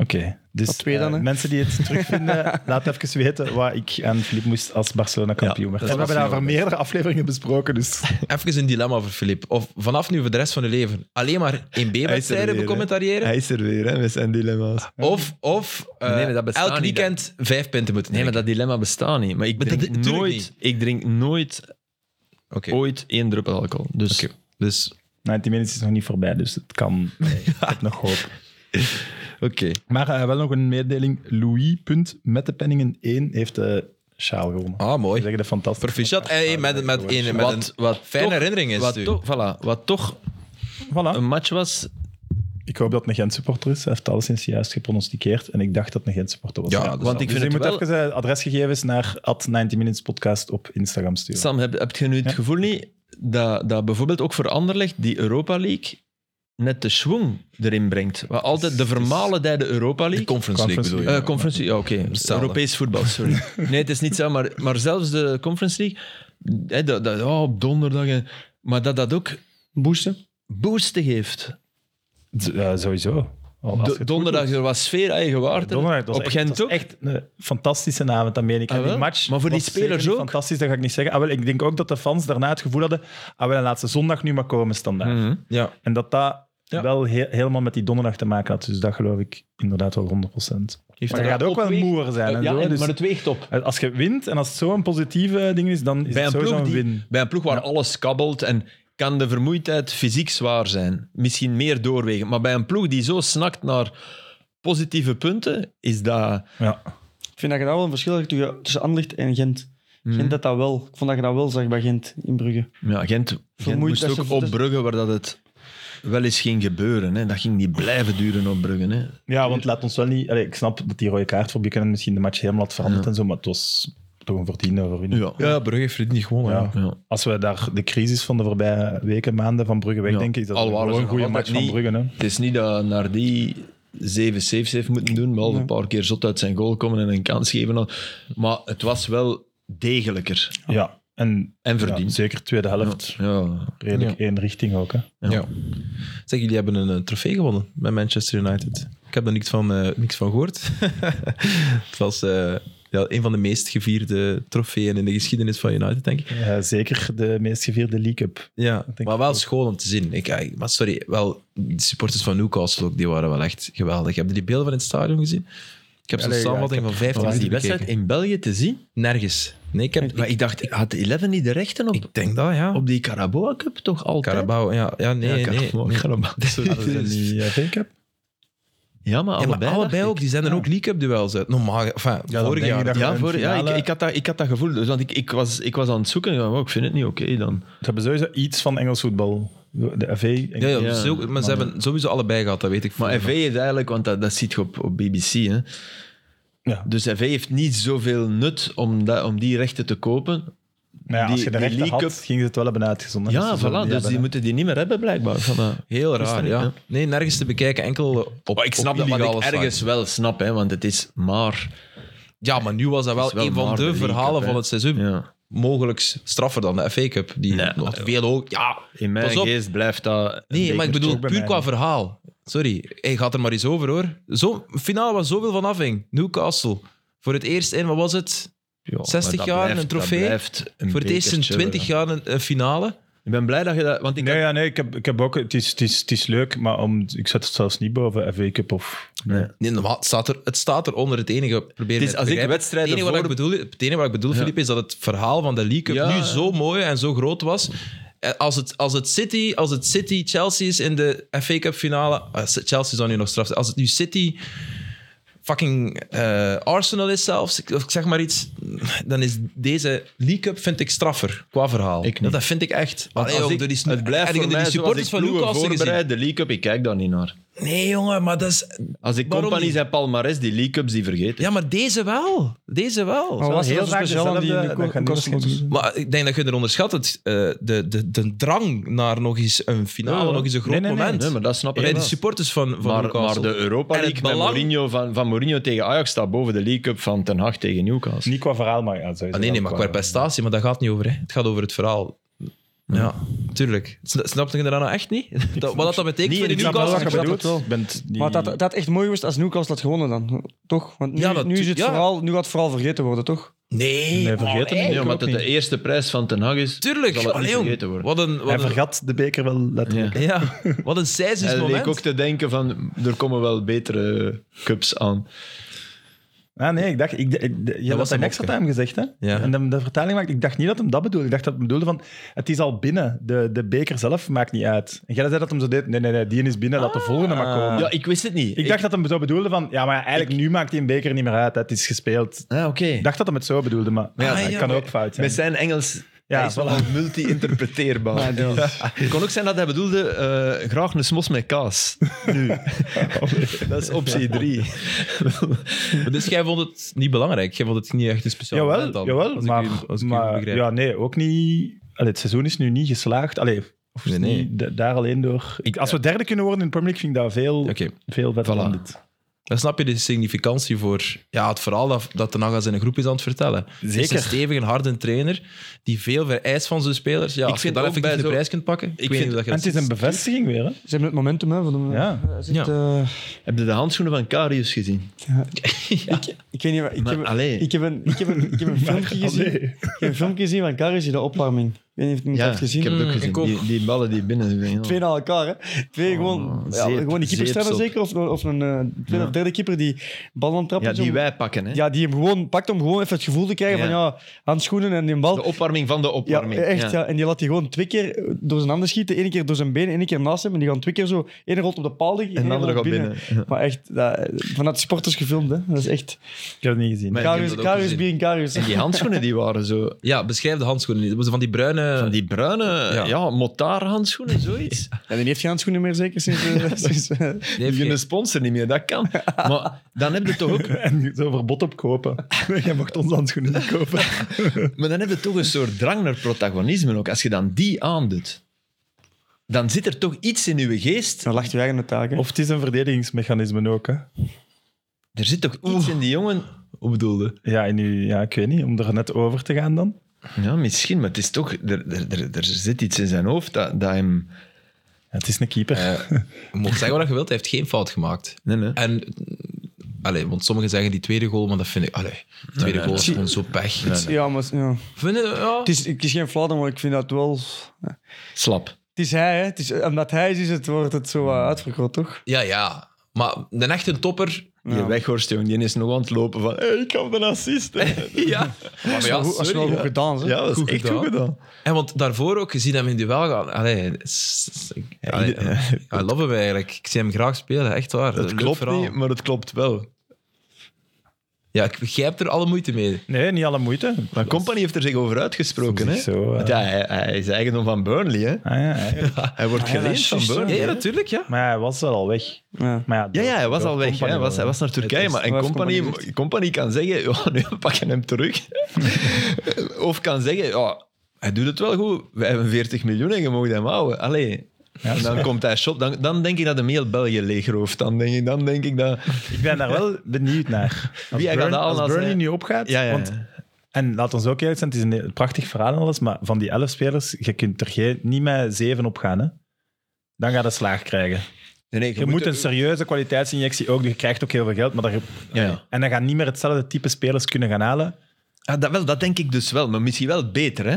Oké, dus
Dat twee dan,
eh,
hè?
mensen die het terugvinden, laat even weten wat ik aan Filip moest als Barcelona kampioen werd.
dat
En we
was
hebben daar
heel
voor meerdere afleveringen besproken, dus
Even een dilemma voor Filip. Of vanaf nu voor de rest van je leven alleen maar in B-wedstrijden
weer, hè.
becommentariëren.
is er weer, hè, met zijn dilemma's.
Of, of eh,
Nee, nee, dat bestaat
elk
niet,
weekend vijf punten moeten
Nee, maar
nemen.
dat dilemma bestaat niet. Maar ik
dat-
drink,
tuurlijk
nooit,
niet.
ik drink nooit
Oké.
ooit één druppel alcohol. Dus
Oké. Dus,
19 Nou, minutes is nog niet voorbij, dus het kan. Nee, ik heb nog hoop.
oké.
Maar eh, wel nog een mededeling. Louis, punt, met de penningen 1, heeft de sjaal gewonnen.
Ah,
Ze
mooi.
zeggen dat fantastisch.
Proficiat. Hey,
eh,
met, met, een, met een
wat, wat
fijne
toch-
herinnering is
wat,
het u.
toch, voilà, wat toch
Voilà.
een match was.
Ik hoop dat het een Gent-supporter is. Hij heeft alleszins juist gepronosticeerd en ik dacht dat het een Gent-supporter was.
Ja,
dus
dat
Want ik
je
vind het
moet
wel.
even zijn adresgegevens naar at 90 minutes podcast op Instagram sturen.
Sam, heb, heb je nu het gevoel niet dat, dat bijvoorbeeld ook voor Anderlecht die Europa League net de schwung erin brengt? Wat altijd de vermalendijde Europa
De
League.
Conference League
Conference
bedoel je?
Eh, conference League, ja, oké.
Hetzelfde.
Europees voetbal, sorry. Nee, het is niet zo, maar, maar zelfs de Conference League, hè, dat, dat, oh, op donderdag, en- maar dat dat ook
Boosten.
boosten geeft.
Z- ja, eh, sowieso. Al als je het
Do-
goed
donderdag,
doet.
er was sfeer, eigen waard.
Donderdag, dat
Op
was echt,
Gent
dat
ook.
was echt een fantastische avond, Amerika.
Ah,
die
wel?
match
Maar voor die
was
spelers
zeker
ook?
Fantastisch, dat ga ik niet zeggen. Ah, wel, ik denk ook dat de fans daarna het gevoel hadden, ah, wel, laat ze zondag nu maar komen standaard.
Mhm.
Ja.
En dat dat
Ja.
wel he- helemaal met die donderdag te maken had. Dus dat geloof ik inderdaad wel 100%.
Heeft
Maar je
hij-
gaat ook wel
opweegt-
moer zijn. En
Eh, ja,
zo,
en-
dus
maar het weegt op.
Als je wint en als het zo'n positieve ding is, dan is
Bij
het
een,
sowieso een
ploeg die-
win.
bij een ploeg waar alles kabbelt en kan de vermoeidheid fysiek zwaar zijn. Misschien meer doorwegen. Maar bij een ploeg die zo snakt naar positieve punten, is dat...
Ja.
Ik vind dat je daar wel een verschil hebt tussen- tussen Anderlecht en Gent. Gent had dat wel. Ik vond dat je dat wel zag bij Gent in Brugge.
Ja, Gent, Gent
Vermoeid
moest
dat ze-
ook op Brugge, waar dat het wel eens ging gebeuren. Hè. Dat ging niet blijven duren op Brugge. Hè.
ja, want laat ons wel niet... Allee, ik snap dat die rode kaart voor Buchanan misschien de match helemaal had veranderd en zo, maar het was toch een verdiende overwinning.
Ja.
Ja, Brugge heeft het niet gewonnen.
Ja.
ja.
Ja.
Als we daar de crisis van de voorbije weken, maanden van Brugge
Ja.
wegdenken, is dat
Al waren
gewoon
ze
een goede
nog
match
altijd
van
niet-
Brugge. Hè?
Het is niet dat naar die zeven saves heeft moeten doen, behalve een paar keer zot uit zijn goal komen en een kans geven. Maar het was wel degelijker
Ja, en
en
ja,
verdiend.
zeker tweede helft.
ja.
Redelijk één richting ook. Hè?
Ja. Zeg, jullie hebben een, eh, trofee gewonnen bij Manchester United. Ik heb er niks van, eh, niks van gehoord. het was eh, ja, een van de meest gevierde trofeeën in de geschiedenis van United, denk ik.
Ja, zeker de meest gevierde League Cup.
Ja,
denk
maar
ik
wel
ook.
schoon om te zien. Ik, eh, maar sorry, wel, de supporters van Newcastle ook, die waren wel echt geweldig. Hebben jullie beelden van het stadion gezien? Ik heb zo'n
Allee, ja,
samenvatting
ik
van 15
Was
minuten
die wedstrijd
bekeken.
in België te zien?
Nergens. Nee, ik, heb,
Maar ik dacht, had Eleven niet de rechten op,
ik denk dat, ja.
op die Carabao Cup toch altijd?
Carabao, ja. Ja, nee,
ja,
nee.
Carabao,
nee.
Carabao.
Die eh, V-Cup?
Ja, maar
Ja, maar
allebei.
allebei,
dacht ik.
ook. Die zijn er ook League Cup duels uit. Normaal, enfin,
dan
vorig
denk
jaar.
je dat-
Ja,
Een
voor, ja ik,
finale.
ik, had dat, ik had dat gevoel. Dus, want ik, ik, was, ik was aan het zoeken. Ja, maar ik vind het niet oké dan.
Ze hebben sowieso iets van Engels voetbal. De AV.
Ja, ja,
Ja.
zo- maar ze hebben sowieso allebei gehad, dat weet ik.
Maar
van.
FV heeft eigenlijk, want dat, dat ziet je op, op BBC. Hè.
Ja.
Dus FV heeft niet zoveel nut om, dat, om die rechten te kopen.
Maar ja, als je
die-
de
die
rechten
League
had,
Cup-
gingen ze het wel hebben uitgezonden.
ja,
Dus ze zullen
voilà. Dus die
hebben.
moeten die niet meer hebben, blijkbaar. Van dat-
Heel
Is dat
raar,
niet,
ja.
ja?
Nee, nergens te bekijken, enkel eh, op
Maar ik snap
op
dat, wat
illegale
ik ergens
sites.
wel snap, hè, want het is maar...
Ja, maar nu was dat wel,
is wel
een van
maar de
de
League
verhalen
Cup, hè.
van het seizoen.
Ja.
Mogelijk straffer dan de FA Cup, die
Nee,
nog
joh.
veel ook... Ja,
In mijn
Pas op.
geest blijft dat... een
nee, maar ik
bekertje.
bedoel
ook bij
puur
mij,
qua
hè.
verhaal. Sorry, hij gaat er maar eens over, hoor. Zo, finale was zoveel van afhing. Newcastle. Voor het eerst in, wat was het?
Ja, maar
60
dat
jaar een
blijft- dat
trofee.
blijft een
Voor het eerst in
bekertje,
20
hè.
jaar een, een finale.
Ik ben blij dat je dat... Want ik
Nee,
had-
ja, nee ik, heb, ik heb ook... Het is, het is, het is leuk, maar om, ik zet het zelfs niet boven AV Cup of...
Nee.
Nee, normaal, het, staat er, het staat er onder het enige. Probeer
Het
me
is
te
als ik
begrijpen.
wedstrijden
het enige, wat
voor-
ik bedoel, het enige wat ik bedoel,
Ja.
Filip, is dat het verhaal van de League Cup
Ja.
nu zo mooi en zo groot was. Eh, Als het, als het City, als het City Chelsea is in de FA Cup finale, eh, Chelsea zou nu nog straf zijn. Als het nu City fucking eh, Arsenal is zelfs, ik, of ik zeg maar iets, dan is deze League Cup vind ik straffer qua verhaal.
Ik niet.
Dat vind ik echt. Allee,
als
jong,
ik-
door die-
het blijft
heb je
voor
die
mij
supporters
zoals ik
van
ploegen
Newcastle gezien?
voorbereid, de League Cup, ik kijk daar niet naar.
Nee, jongen, maar dat is.
Als ik
Waarom
Company
niet?
zijn palmarès, die League Cups, die vergeten.
Ja, maar deze wel. Deze wel.
Oh.
Maar was
heel
heel
vaak
speciaal aan die
dezelfde- dat gaan die
Newcastle?
Newcastle-
Maar ik denk dat je er onderschat het. eh, de, de, de drang naar nog eens een finale,
Ja.
nog eens een groot
Nee, nee, nee.
moment.
Nee, maar dat snap ik
Bij
wel.
de supporters van, van
Maar, maar
Newcastle.
de Europa
En het
League met
belang-
Mourinho van, van Mourinho tegen Ajax staat boven de League Cup van Ten Hag tegen Newcastle.
Niet qua verhaal, maar... Ja, sowieso
Ah, nee, nee,
wel
maar qua prestatie, maar dat gaat niet over. Hè. Het gaat over het verhaal. Ja, tuurlijk. Sna- Snapte je daarna nou echt niet? Dat, wat dat dan betekent
Nee,
voor die
Ik snap wel wat
Newcastle?
je
Ik snap
bedoelt.
het wel.
Ik ben het niet-
Maar dat, dat had echt mooi was als Newcastle had gewonnen dan, toch? Want nu,
Ja, dat-
nu, is het
ja.
vooral, nu gaat het vooral vergeten worden, toch?
Oh, Nee,
Nee, vergeet het
allee.
niet.
Ja,
ik
omdat
ook
het de eerste prijs van Ten Hag is,
Tuurlijk.
zal het
Allee,
niet
jong.
vergeten worden.
Wat een,
Hij
wat een,
vergat de beker wel letterlijk.
Ja.
ja, wat een seismisch
Hij leek
moment.
ook te denken van, er komen wel betere cups aan.
Ah, nee, ik dacht... Ik, ik, de- je had
was
dat
een
extra
mopke.
time gezegd, hè?
Ja.
En de, de vertaling maakt... Ik dacht niet dat hem dat bedoelde. Ik dacht dat hem bedoelde van... Het is al binnen. De, de beker zelf maakt niet uit. En jij zei dat hem zo deed... Nee, nee, nee. Die is binnen.
Ah.
Laat de volgende maar komen.
Ja, ik wist het niet.
Ik dacht dat hem zo bedoelde van... Ja, maar eigenlijk nu maakt hij een beker niet meer uit. hè. Het is gespeeld.
Ah, oké.
Ik dacht dat hem het zo bedoelde, maar...
ja,
Ja,
ja,
het kan
maar-
ook fout zijn.
Met zijn Engels
Ja,
hij is wel
voilà.
al multi-interpreteerbaar. Het kon ook zijn dat hij bedoelde eh, graag een smos met kaas. Nu. dat is optie 3.
Dus jij vond het niet belangrijk? Jij vond het niet echt een speciaal moment
Jawel,
dan?
jawel
als ik
maar,
u- als ik u
maar
begrijp.
ja, nee, ook niet... Allee, het seizoen is nu niet geslaagd. Allee, of is
Nee,
het
nee.
niet da- daar alleen door... Ik, als we derde kunnen worden in de Premier League, vind ik dat veel,
Oké.
veel beter
Voilà.
dan dit.
Dan snap je de significantie voor ja, het verhaal dat, dat de Nagas in een groep is aan het vertellen. Het is
Zeker.
een stevige, harde trainer die veel vereist van zijn spelers. Ja,
Ik
ik als je
vind
dan
ook
effectief
bij
de
zo-
prijs kunt pakken, ik,
Ik
weet
vind-
niet hoe
En
dat
het
je
is
dat
een bevestiging weer, hè?
Ze hebben het momentum, hè, van de...
Ja.
Eh, zit,
Ja.
eh,
Heb je de handschoenen van Karius gezien?
ik weet niet... wat- Ik
Maar
heb,
allee.
ik heb een, ik heb een, ik heb een filmpje gezien. Ik heb een filmpje gezien van Karius in de opwarming. Ik weet niet of je het
Ja,
hebt gezien.
ik heb het ook
Mm,
gezien.
ik ook.
Die, die ballen die binnen zijn. ja.
Twee na elkaar, hè?
Oh,
Twee gewoon, ja,
zeep-
gewoon die keepers
zeepsop.
hebben zeker, of, of een eh, tweede of derde keeper die bal aan het trappen
Ja,
is
die
om-
wij pakken. Hè?
ja, die hem gewoon pakt om gewoon even het gevoel te krijgen
Ja.
van ja, handschoenen en die bal.
De opwarming van de
Ja,
opwarming.
echt. Ja. En die laat hij gewoon twee keer door zijn handen schieten. Eén keer door zijn benen, één keer naast hem. En die gaan twee keer zo. Eén rolt op de paal liggen,
En de
één
andere
rolt
gaat binnen. Ja.
Maar echt, dat, vanuit sporters gefilmd, hè. Dat is echt...
Ik heb het niet gezien.
Maar- ik heb
Karius,
dat ook
Karius
gezien.
being Karius.
En die handschoenen die waren zo.
Ja, beschrijf de handschoenen. niet. Dat was Van die bruine...
Van die bruine ja.
Ja.
motaarhandschoenen, zoiets.
En die heeft geen handschoenen meer, zeker, sinds... eh, sinds eh,
Nee,
Die
geen-
kunnen sponsor niet meer, dat kan. Maar dan heb je toch ook
En zo verbod op kopen. Jij mocht onze handschoenen niet kopen.
Maar dan heb je toch een soort drang naar protagonisme ook. Als je dan die aandoet, dan zit er toch iets in je geest.
Dan lacht je eigen de taak, hè.
Of het is een verdedigingsmechanisme ook, hè?
Er zit toch iets in die jongen.
Hoe bedoelde?
Ja, en nu, ja, ik weet niet, om er net over te gaan dan.
Ja, misschien, maar het is toch. Er, er, er, er zit iets in zijn hoofd dat, dat hem.
Ja, het is een keeper.
Je Eh, mocht zeggen wat je wilt, hij heeft geen fout gemaakt.
Nee, nee.
En, eh, allee, want sommigen zeggen die tweede goal, maar dat vind ik... Allee, de tweede goal is gewoon zo pech.
Ja, maar... Ja.
Vind je- ja.
Het, is, het is geen flauw, maar ik vind dat wel...
Slap.
Het is hij, hè. Het is, omdat hij is, is het, wordt het zo wat uitvergroot, toch?
ja, ja. Maar de echte topper...
Die weghorst, jongen, die is nog aan het lopen van. Hey, ik heb een assist. hè."
Ja. Maar ja,
dat is wel goed- dat is wel
sorry,
goed
ja.
gedaan, hè.
Ja, dat is
Goed
echt
gedaan.
goed gedaan.
En want daarvoor ook, je ziet hem in duel gaan. Allee, het is- is- ik- allee, I love hem eigenlijk. Ik zie hem graag spelen, echt waar.
Het
Leuk
klopt
verhaal.
niet, maar het klopt wel.
Ja, ik begrijp er alle moeite mee.
Nee, niet alle moeite.
Maar Company heeft er zich over uitgesproken.
Zich
Hè?
zo, eh.
Want ja, hij, hij is eigendom van Burnley. Hè?
Ah, ja, eigenlijk.
Hij wordt
ja, dat
geleend
is
van
juist, ja.
Ja,
Burnley.
ja, natuurlijk, ja.
Maar hij was wel al weg.
Ja.
Maar ja,
Ja, ja, hij was al weg. hè. Hij was, hij was naar Turkije.
is-
Maar en
waar is
company,
Company
company kan zeggen, ja, nu pak je hem terug. of kan zeggen, ja, hij doet het wel goed. 45 miljoen en je mag hem houden. Allee. en dan komt hij shot. Dan, dan denk ik dat hem heel België leegrooft. Dan denk ik, dan denk ik dat...
Ik ben daar wel benieuwd naar. Als,
Wie hij gaat
Burn-
halen
als
als
Burnley
hij-
nu opgaat.
Ja, ja, ja.
Want, en laat ons ook eerlijk zijn, het is een prachtig verhaal en alles, maar van die elf spelers, je kunt er geen, niet met zeven op gaan. Hè? Dan gaat je slaag krijgen.
Nee, nee,
Je, moet, een serieuze kwaliteitsinjectie ook. Je krijgt ook heel veel geld, maar daar,
Ja, ja.
en dan gaan niet meer hetzelfde type spelers kunnen gaan halen.
Ah, dat, wel, dat denk ik dus wel, maar misschien wel beter. Hè?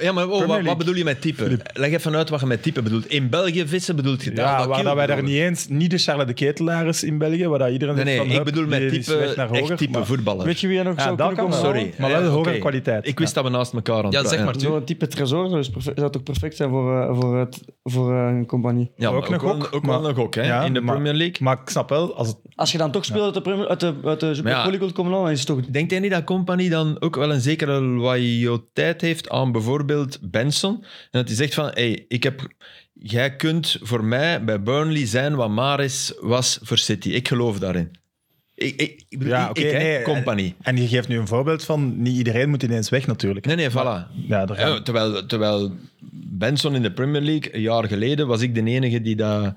Ja, maar oh, wat,
League.
wat bedoel je met type? Leg even uit wat je met type bedoelt. In België vissen bedoelt je
Ja,
dat
waar dat wij daar niet eens, niet de Charles de Ketelaar is in België, waar dat iedereen
Nee,
zegt
nee,
van, hup,
ik bedoel met
die is
type,
weg naar hoger,
echt type
maar-
voetballer.
Weet je wie er nog
Ja,
zou
dat
kunnen
kan
komen?
wel.
Sorry.
Maar wel
Ja,
hogere
oké.
kwaliteit.
Ik wist dat we naast elkaar aan het
Ja, zeg
praten-
maar.
Zo'n type Tresor zou, is perfect- zou toch perfect zijn voor, eh, voor, het, voor eh, een compagnie.
Ja,
Ook
maar ook,
een
wel-
gok,
ook wel
maar-
een gok, hè?
Ja,
in de
maar-
Premier League.
Maar ik snap wel, als het
Als je dan toch speelt uit de, Premier- uit de, uit de Super
Maar ja.
League wilt komen, dan is het toch...
Denkt hij niet dat Company dan ook wel een zekere loyaliteit heeft aan bijvoorbeeld Benson? En dat hij zegt van, hey, ik heb, jij kunt voor mij bij Burnley zijn wat Maris was voor City. Ik geloof daarin. Ik, ik, ik, bedoel,
Ja,
ik-
oké.
ik, hè,
nee,
Company.
En je geeft nu een voorbeeld van niet iedereen moet ineens weg natuurlijk.
Nee, nee, voilà.
Ja, daar gaan
Ja, terwijl, terwijl Benson in de Premier League, een jaar geleden, was ik de enige die dat...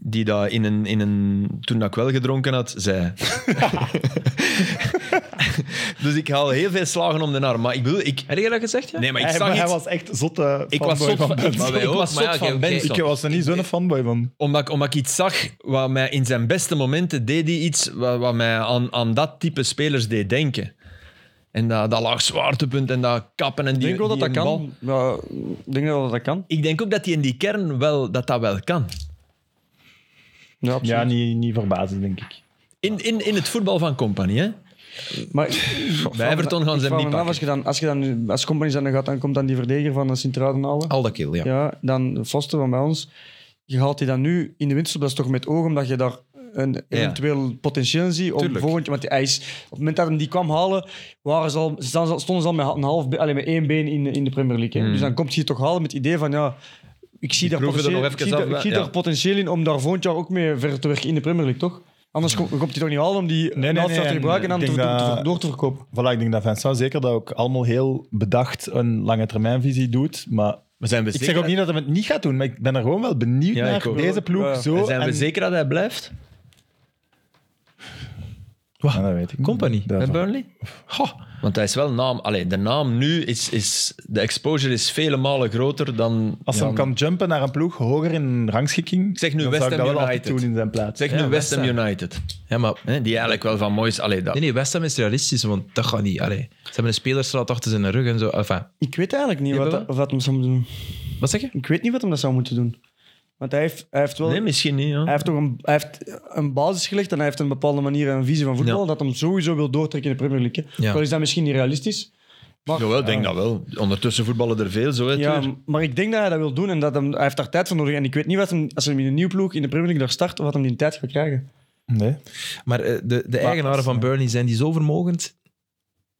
Die dat in een, in een, toen dat ik wel gedronken had, zei. dus ik haal heel veel slagen om de arm. Maar ik bedoel, ik.
Heb je dat gezegd, ja?
Nee, maar ik
Hij,
zag
maar hij
iets.
was echt zotte
ik was
fanboy
zot van,
van Benson.
Maar wij
ik
ook,
was
maar
zot
ja,
van
oké,
Benson.
Ik was er niet zo'n fanboy van.
Omdat, ik- omdat ik iets zag wat mij in zijn beste momenten deed, hij iets wat, wat mij aan, aan dat type spelers deed denken. En dat, dat laag zwaartepunt en dat kappen en
Ik
die.
denk wel dat
die
dat
bal.
kan. Ja, ik denk wel dat dat kan.
Ik denk ook dat hij in die kern wel, dat, dat wel kan.
Ja, absoluut.
Ja, niet, niet verbazen, denk ik.
In, in, in het voetbal van Company, hè?
Maar ik-
Bij Everton gaan
ik
ze hem
vraag
niet
me af, Als je dan, als je dan als company dan gaat, dan komt dan die verdediger van Sint-Truidenalen.
Al dat kill, ja.
Ja, dan Foster van bij ons. Je haalt die dan nu in de winterstop, dat is toch met oog, omdat je daar een eventueel potentieel ziet om
Tuurlijk.
volgend want hij is, op het moment dat hem die kwam halen, waren ze al, ze staan- stonden ze al met, een half, be- allee, met één been in, de- in de Premier League. Hè. Dus dan komt je toch halen met het idee van ja, ik zie, daar
proeven er
potentieel, ik
nog
zie,
even af,
daar- ik
hè.
zie
Ja.
daar potentieel in om daar volgend jaar ook mee verder te werken in de Premier League, toch? Anders kom- komt hij toch niet halen om die
nee,
nee,
nee,
te
en
gebruiken en
ik
dan
denk
te, te-
dat-
te- door te verkopen.
Voilà, ik denk dat Vincent zeker dat ook allemaal heel bedacht een lange termijnvisie doet. Maar
We zijn we
ik zeg ook niet dat hij het niet gaat doen, maar ik ben er gewoon wel benieuwd
Ja, ik
naar
ook.
deze ploeg
Ja.
zo.
Zijn we
en-
zeker dat hij blijft?
Wat?
Ja, dat weet ik niet.
Company?
Dat-
Bij Burnley? Want hij is wel naam. Allee, de naam nu is, is. De exposure is vele malen groter dan.
Als
dan-
hij kan jumpen naar een ploeg hoger in rangschikking,
zeg nu
dan
West
zou ik
Ham
dat wel altijd
United.
doen in zijn plaats.
Zeg
Ja,
nu West Ham
West
United.
Ja, maar
Hè, die eigenlijk wel van moois. Allee, dat.
nee, nee, West Ham is realistisch, want dat gaat niet. Allee. Ze hebben een spelerstraat achter zijn rug en zo. Enfin,
Ik weet eigenlijk niet
Ja,
wat,
wel.
dat- of dat hem zou moeten doen.
wat zeg je?
Ik weet niet wat hem dat zou moeten doen. Want hij heeft, hij heeft wel...
Nee, misschien niet. Ja.
Hij heeft toch een, hij heeft een basis gelegd en hij heeft een bepaalde manier en een visie van voetbal dat hem sowieso wil doortrekken in de Premier League. hè.
Ja.
Ook al is dat misschien niet realistisch. Maar,
Jawel, ik denk dat wel. Ondertussen voetballen er veel, zo hè,
ja,
Tuur?
maar ik denk dat hij dat wil doen en dat hem, hij heeft daar tijd voor nodig. En ik weet niet wat hem, als hij hem in een nieuw ploeg in de Premier League daar start, of wat hem die tijd gaat krijgen.
Nee.
Maar eh, de, de eigenaren van Burnley, zijn die zo vermogend?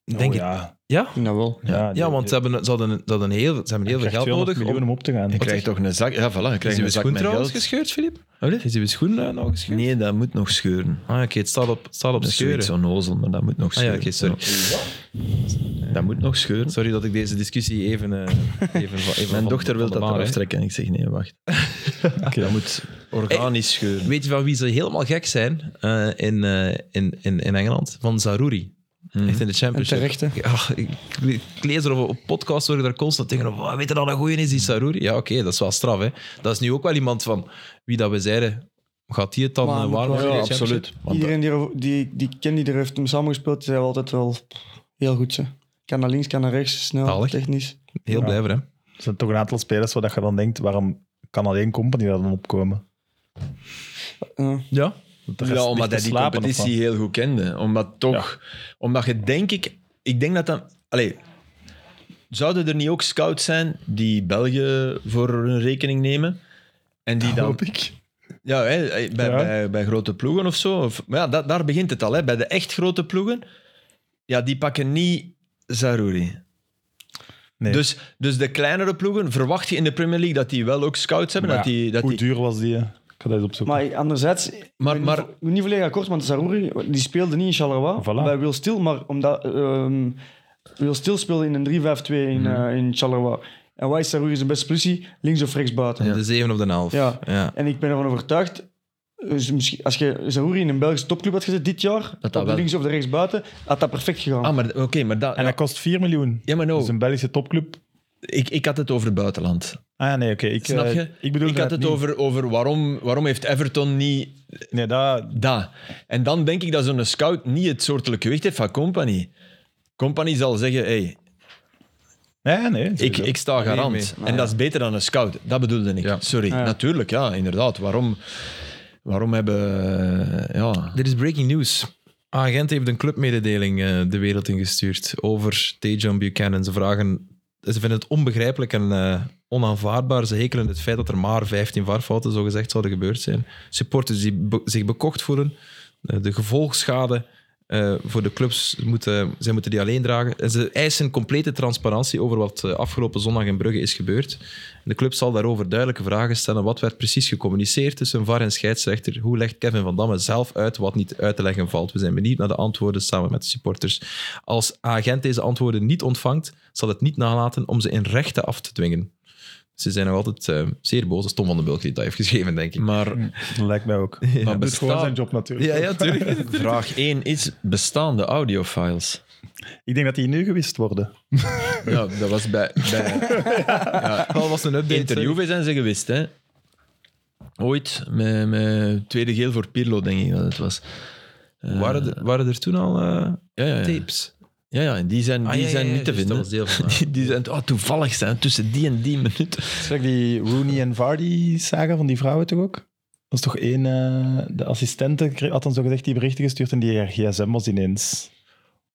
Denk
Oh,
ik.
ja.
Ja?
Ik denk dat wel.
Ja, die-
Ja, want ze hebben, ze hadden, ze hadden heel, ze hebben heel veel
krijgt
geld nodig.
200 miljoen
Om...
om op te gaan.
Je krijgt toch een zak. Ja, voilà. Je
Is
krijgt
uw
een zak
schoen
met
trouwens
geld.
gescheurd, Filip? Is uw schoen eh, nou gescheurd?
Nee, dat moet nog scheuren.
Ah, oké, het staat op, het staat op
Dat is zoiets
scheuren.
zo'n ozel, maar dat moet nog
Ah ja,
scheuren.
oké, sorry.
Dat moet nog scheuren.
Sorry dat ik deze discussie even... eh, even, van- even
Mijn
van-
dochter wil
van de
dat
baan,
eraf
hè.
trekken. Ik zeg nee, wacht.
Oké.
Dat moet organisch scheuren.
Weet je van wie ze helemaal gek zijn eh, in, eh, in, in, in Engeland? Van Zaruri. Echt in de championship.
En terecht, hè?
Ja, ik, ik lees er op, op podcasts hoor ik daar constant tegen. Oh, weet je dat een goeie is, die Zaruri? Ja, oké, dat is wel straf. Hè. Dat is nu ook wel iemand van wie dat we zeiden. Gaat die het dan
Maar-
eh, waar maken in de championship?
Want
Iedereen die, er- die, die ik ken die er heeft hem samengespeeld, die zijn wel altijd wel heel goed. Hè. Kan naar links, kan naar rechts, snel,
Zalig.
technisch.
Heel
Ja.
blij voor hem.
Er zijn toch een aantal spelers waar dat je dan denkt, waarom kan alleen Company daar dan opkomen?
Ja.
Ja.
Dat de rest
Ja,
ligt
omdat
te
hij die
slapen of wat?
competitie heel goed kende. Omdat toch... Omdat je denk ik... Ik denk dat dat... Allee, zouden er niet ook scouts zijn die België voor hun rekening nemen? En die dan...
Hoop ik.
Ja, hè, eh, bij,
Ja.
Bij, bij grote ploegen of zo. Of, maar ja, da- daar begint het al. Hè. Bij de echt grote ploegen, ja, die pakken niet Zaruri.
Nee.
Dus, dus de kleinere ploegen, verwacht je in de Premier League dat die wel ook scouts hebben?
Maar
dat die, dat
Hoe
die,
duur was die? hè? Ik ga dat eens opzoeken.
Maar anderzijds, ik
Maar-
ben
maar-
niet, vo- niet volledig akkoord, want Sarouri die speelde niet in Charleroi
Voilà.
bij Will Stil, maar omdat ehm Will Stil speelde in een 3-5-2 in, eh, in Charleroi. En wij Sarouri zijn beste positie, links of rechts buiten.
De 7 op de 11.
Ja.
ja.
En ik ben ervan overtuigd, dus misschien, als je Sarouri in een Belgische topclub had gezet dit jaar,
dat
op de
wel.
links of de rechts buiten, had dat perfect gegaan.
Ah, maar oké, maar dat...
en dat kost 4 miljoen.
ja, maar no.
Dus een Belgische topclub.
Ik, ik had het over het buitenland.
Ah ja, nee, oké. Ik,
Snap
eh,
je?
Ik bedoel
ik had het over, over waarom, waarom heeft Everton niet
Nee, dat...
dat. En dan denk ik dat zo'n scout niet het soortelijk gewicht heeft van Company. Company zal zeggen, hey,
Nee, nee.
ik,
sowieso.
ik sta garant.
mee.
en dat is beter dan een scout. Dat bedoelde ik.
Ja.
Sorry.
ja.
Natuurlijk, ja, inderdaad. Waarom, waarom hebben... eh, Ja.
Dit is breaking news. Agent heeft een clubmededeling eh, de wereld ingestuurd over Tejon Buchanan. Ze vragen, ze vinden het onbegrijpelijk en eh, onaanvaardbaar. Ze hekelen het feit dat er maar 15 varfouten zogezegd zouden gebeurd zijn. Supporters die be- zich bekocht voelen, eh, de gevolgschade eh, voor de clubs, moeten, zij moeten die alleen dragen. En ze eisen complete transparantie over wat eh, afgelopen zondag in Brugge is gebeurd. De club zal daarover duidelijke vragen stellen. Wat werd precies gecommuniceerd tussen VAR en scheidsrechter? Hoe legt Kevin Van Damme zelf uit wat niet uit te leggen valt? We zijn benieuwd naar de antwoorden samen met de supporters. Als agent deze antwoorden niet ontvangt, zal het niet nalaten om ze in rechten af te dwingen. Ze zijn nog altijd eh, zeer boos. Dat is Tom van den Bulk die dat heeft geschreven, denk ik.
Maar
Dat lijkt mij ook.
Maar
Maar doet
besta-
gewoon zijn job natuurlijk.
Ja, ja, tuurlijk.
vraag 1 is, bestaande audiofiles?
Ik denk dat die nu gewist worden.
Ja, dat was bij... bij
Al was een update. sorry.
interview zijn ze gewist, hè? Ooit, met, met tweede geel voor Pirlo, denk ik dat het was. Eh,
Waren, er- waren er toen al eh,
ja, ja, ja.
tapes?
ja, Ah, ja, en die zijn, die zijn niet te vinden.
deel van.
Die, die zijn oh, toevallig zijn tussen die en die minuut.
Zeg die Rooney en Vardy saga van die vrouwen toch ook? Dat is toch één... eh, de assistente kreeg- had dan zo gezegd die berichten gestuurd en die haar gsm was ineens...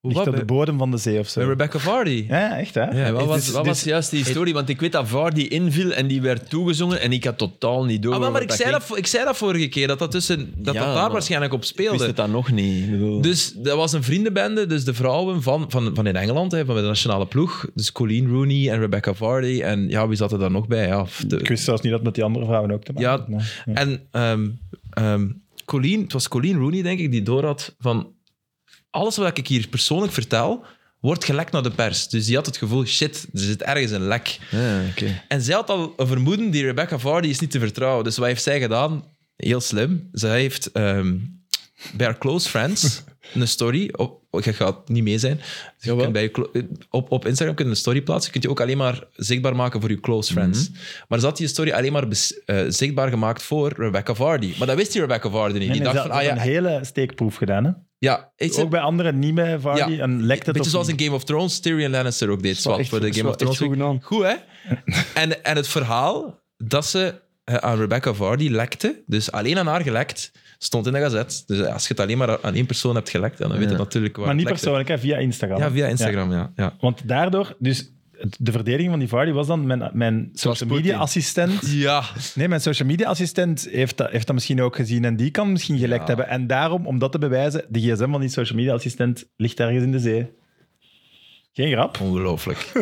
Ligt op de bodem van de zee of zo.
Rebecca Vardy.
Ja, echt hè?
Ja,
En wat
dit
was,
is-
wat
dit
was
is-
juist die historie? Want ik weet dat Vardy inviel en die werd toegezongen en ik had totaal niet door.
Ah, maar, maar
waarover
ik, zei
ging.
dat, vo- ik zei dat vorige keer, dat dat, tussen, dat,
Ja,
dat daar
maar-
waarschijnlijk op
Ik wist
speelde.
het dan nog niet. Ik bedoel-
Dus dat was een vriendenbende, dus de vrouwen van, van, van in Engeland, hè, van de nationale ploeg. Dus Colleen Rooney en Rebecca Vardy. En ja, wie zat er dan nog bij? Ja, f- de-
Ik wist zelfs niet dat het met die andere vrouwen ook te maken
Ja,
had, maar- ja.
En ehm, ehm, Colleen, het was Colleen Rooney, denk ik, die door had van... Alles wat ik hier persoonlijk vertel, wordt gelekt naar de pers. Dus die had het gevoel, shit, er zit ergens een lek.
Ja, oké.
En zij had al een vermoeden, die Rebecca Vardy is niet te vertrouwen. Dus wat heeft zij gedaan? Heel slim. Zij heeft ehm, bij haar close friends een story. Op, je gaat niet mee zijn. Dus je kunt bij je clo- op, op Instagram kun je een story plaatsen. Kun je ook alleen maar zichtbaar maken voor je close
Mhm.
friends. Maar ze had die story alleen maar bes- eh, zichtbaar gemaakt voor Rebecca Vardy. Maar dat wist die Rebecca Vardy niet.
En
Die
ze
dacht
had
van, ah
een
ja,
hele steekproef gedaan. Hè?
ja is
Ook bij anderen, niet bij Vardy.
Ja.
En lekt het
Beetje
of
zoals
niet?
in Game of Thrones, Tyrion Lannister ook deed. Swat
echt-
voor de
is
Game
wel
of Thrones.
echt goed gedaan.
Goed, hè? en, en het verhaal dat ze eh, aan Rebecca Vardy lekte, dus alleen aan haar gelekt, stond in de gazette. Dus eh, als je het alleen maar aan één persoon hebt gelekt, dan weet je natuurlijk waar
Maar niet
het lekte.
persoonlijk, hè, via Instagram.
Ja, via Instagram, ja. ja.
Want daardoor, dus het- de verdediging van die Vardy was dan mijn, mijn social media assistent.
Ja,
Nee, mijn social media assistent heeft dat, heeft dat misschien ook gezien en die kan misschien gelekt
Ja.
hebben. En daarom, om dat te bewijzen, de gsm van die social media assistent ligt ergens in de zee. Geen grap.
ongelooflijk.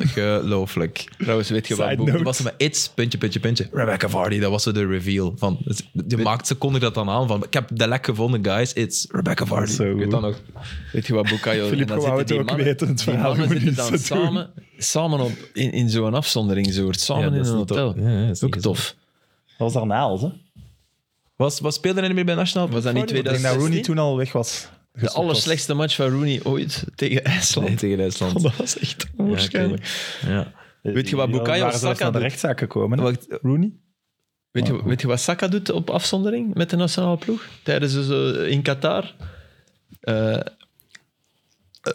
Ongelooflijk.
Trouwens, weet je wat?
Side
boek-
Toen
note.
was ze met It's, puntje, puntje, puntje. Rebecca Vardy, dat was zo de reveal. Van, je maakt, ze konden dat dan aan van, ik heb de lek gevonden, guys. It's Rebecca Vardy.
Zo
Ik weet
goed.
dat nog.
Weet je wat Bukayo...
Philippe
en dan
wou
zitten die
het ook
mannen-
weten, het
die
verhaal
mannen
moet niet
zitten dan
zo doen.
samen, samen op, in, in zo'n afzonderingssoort.
Ja,
Samen
dat
in
is
een
niet
hotel.
tof. Ja, ja, dat is
ook
niet
tof.
Dat was daar naals, hè?
Was, was speelde hij niet meer bij Nationaal?
Was dat niet
Ik denk dat
2016?
Rooney toen al weg was.
De allerslechtste match van Rooney ooit tegen IJsland.
Nee, tegen IJsland.
Dat was echt onwaarschijnlijk.
Ja.
Weet je wat Bukayo
Waren zelfs
Saka
naar de
doet?
rechtszaak gekomen. hè?
Wacht, eh,
Rooney?
Weet
Ah,
je, weet je wat Saka doet op afzondering met de nationale ploeg? Tijdens dus, eh, in Qatar. Eh, eh,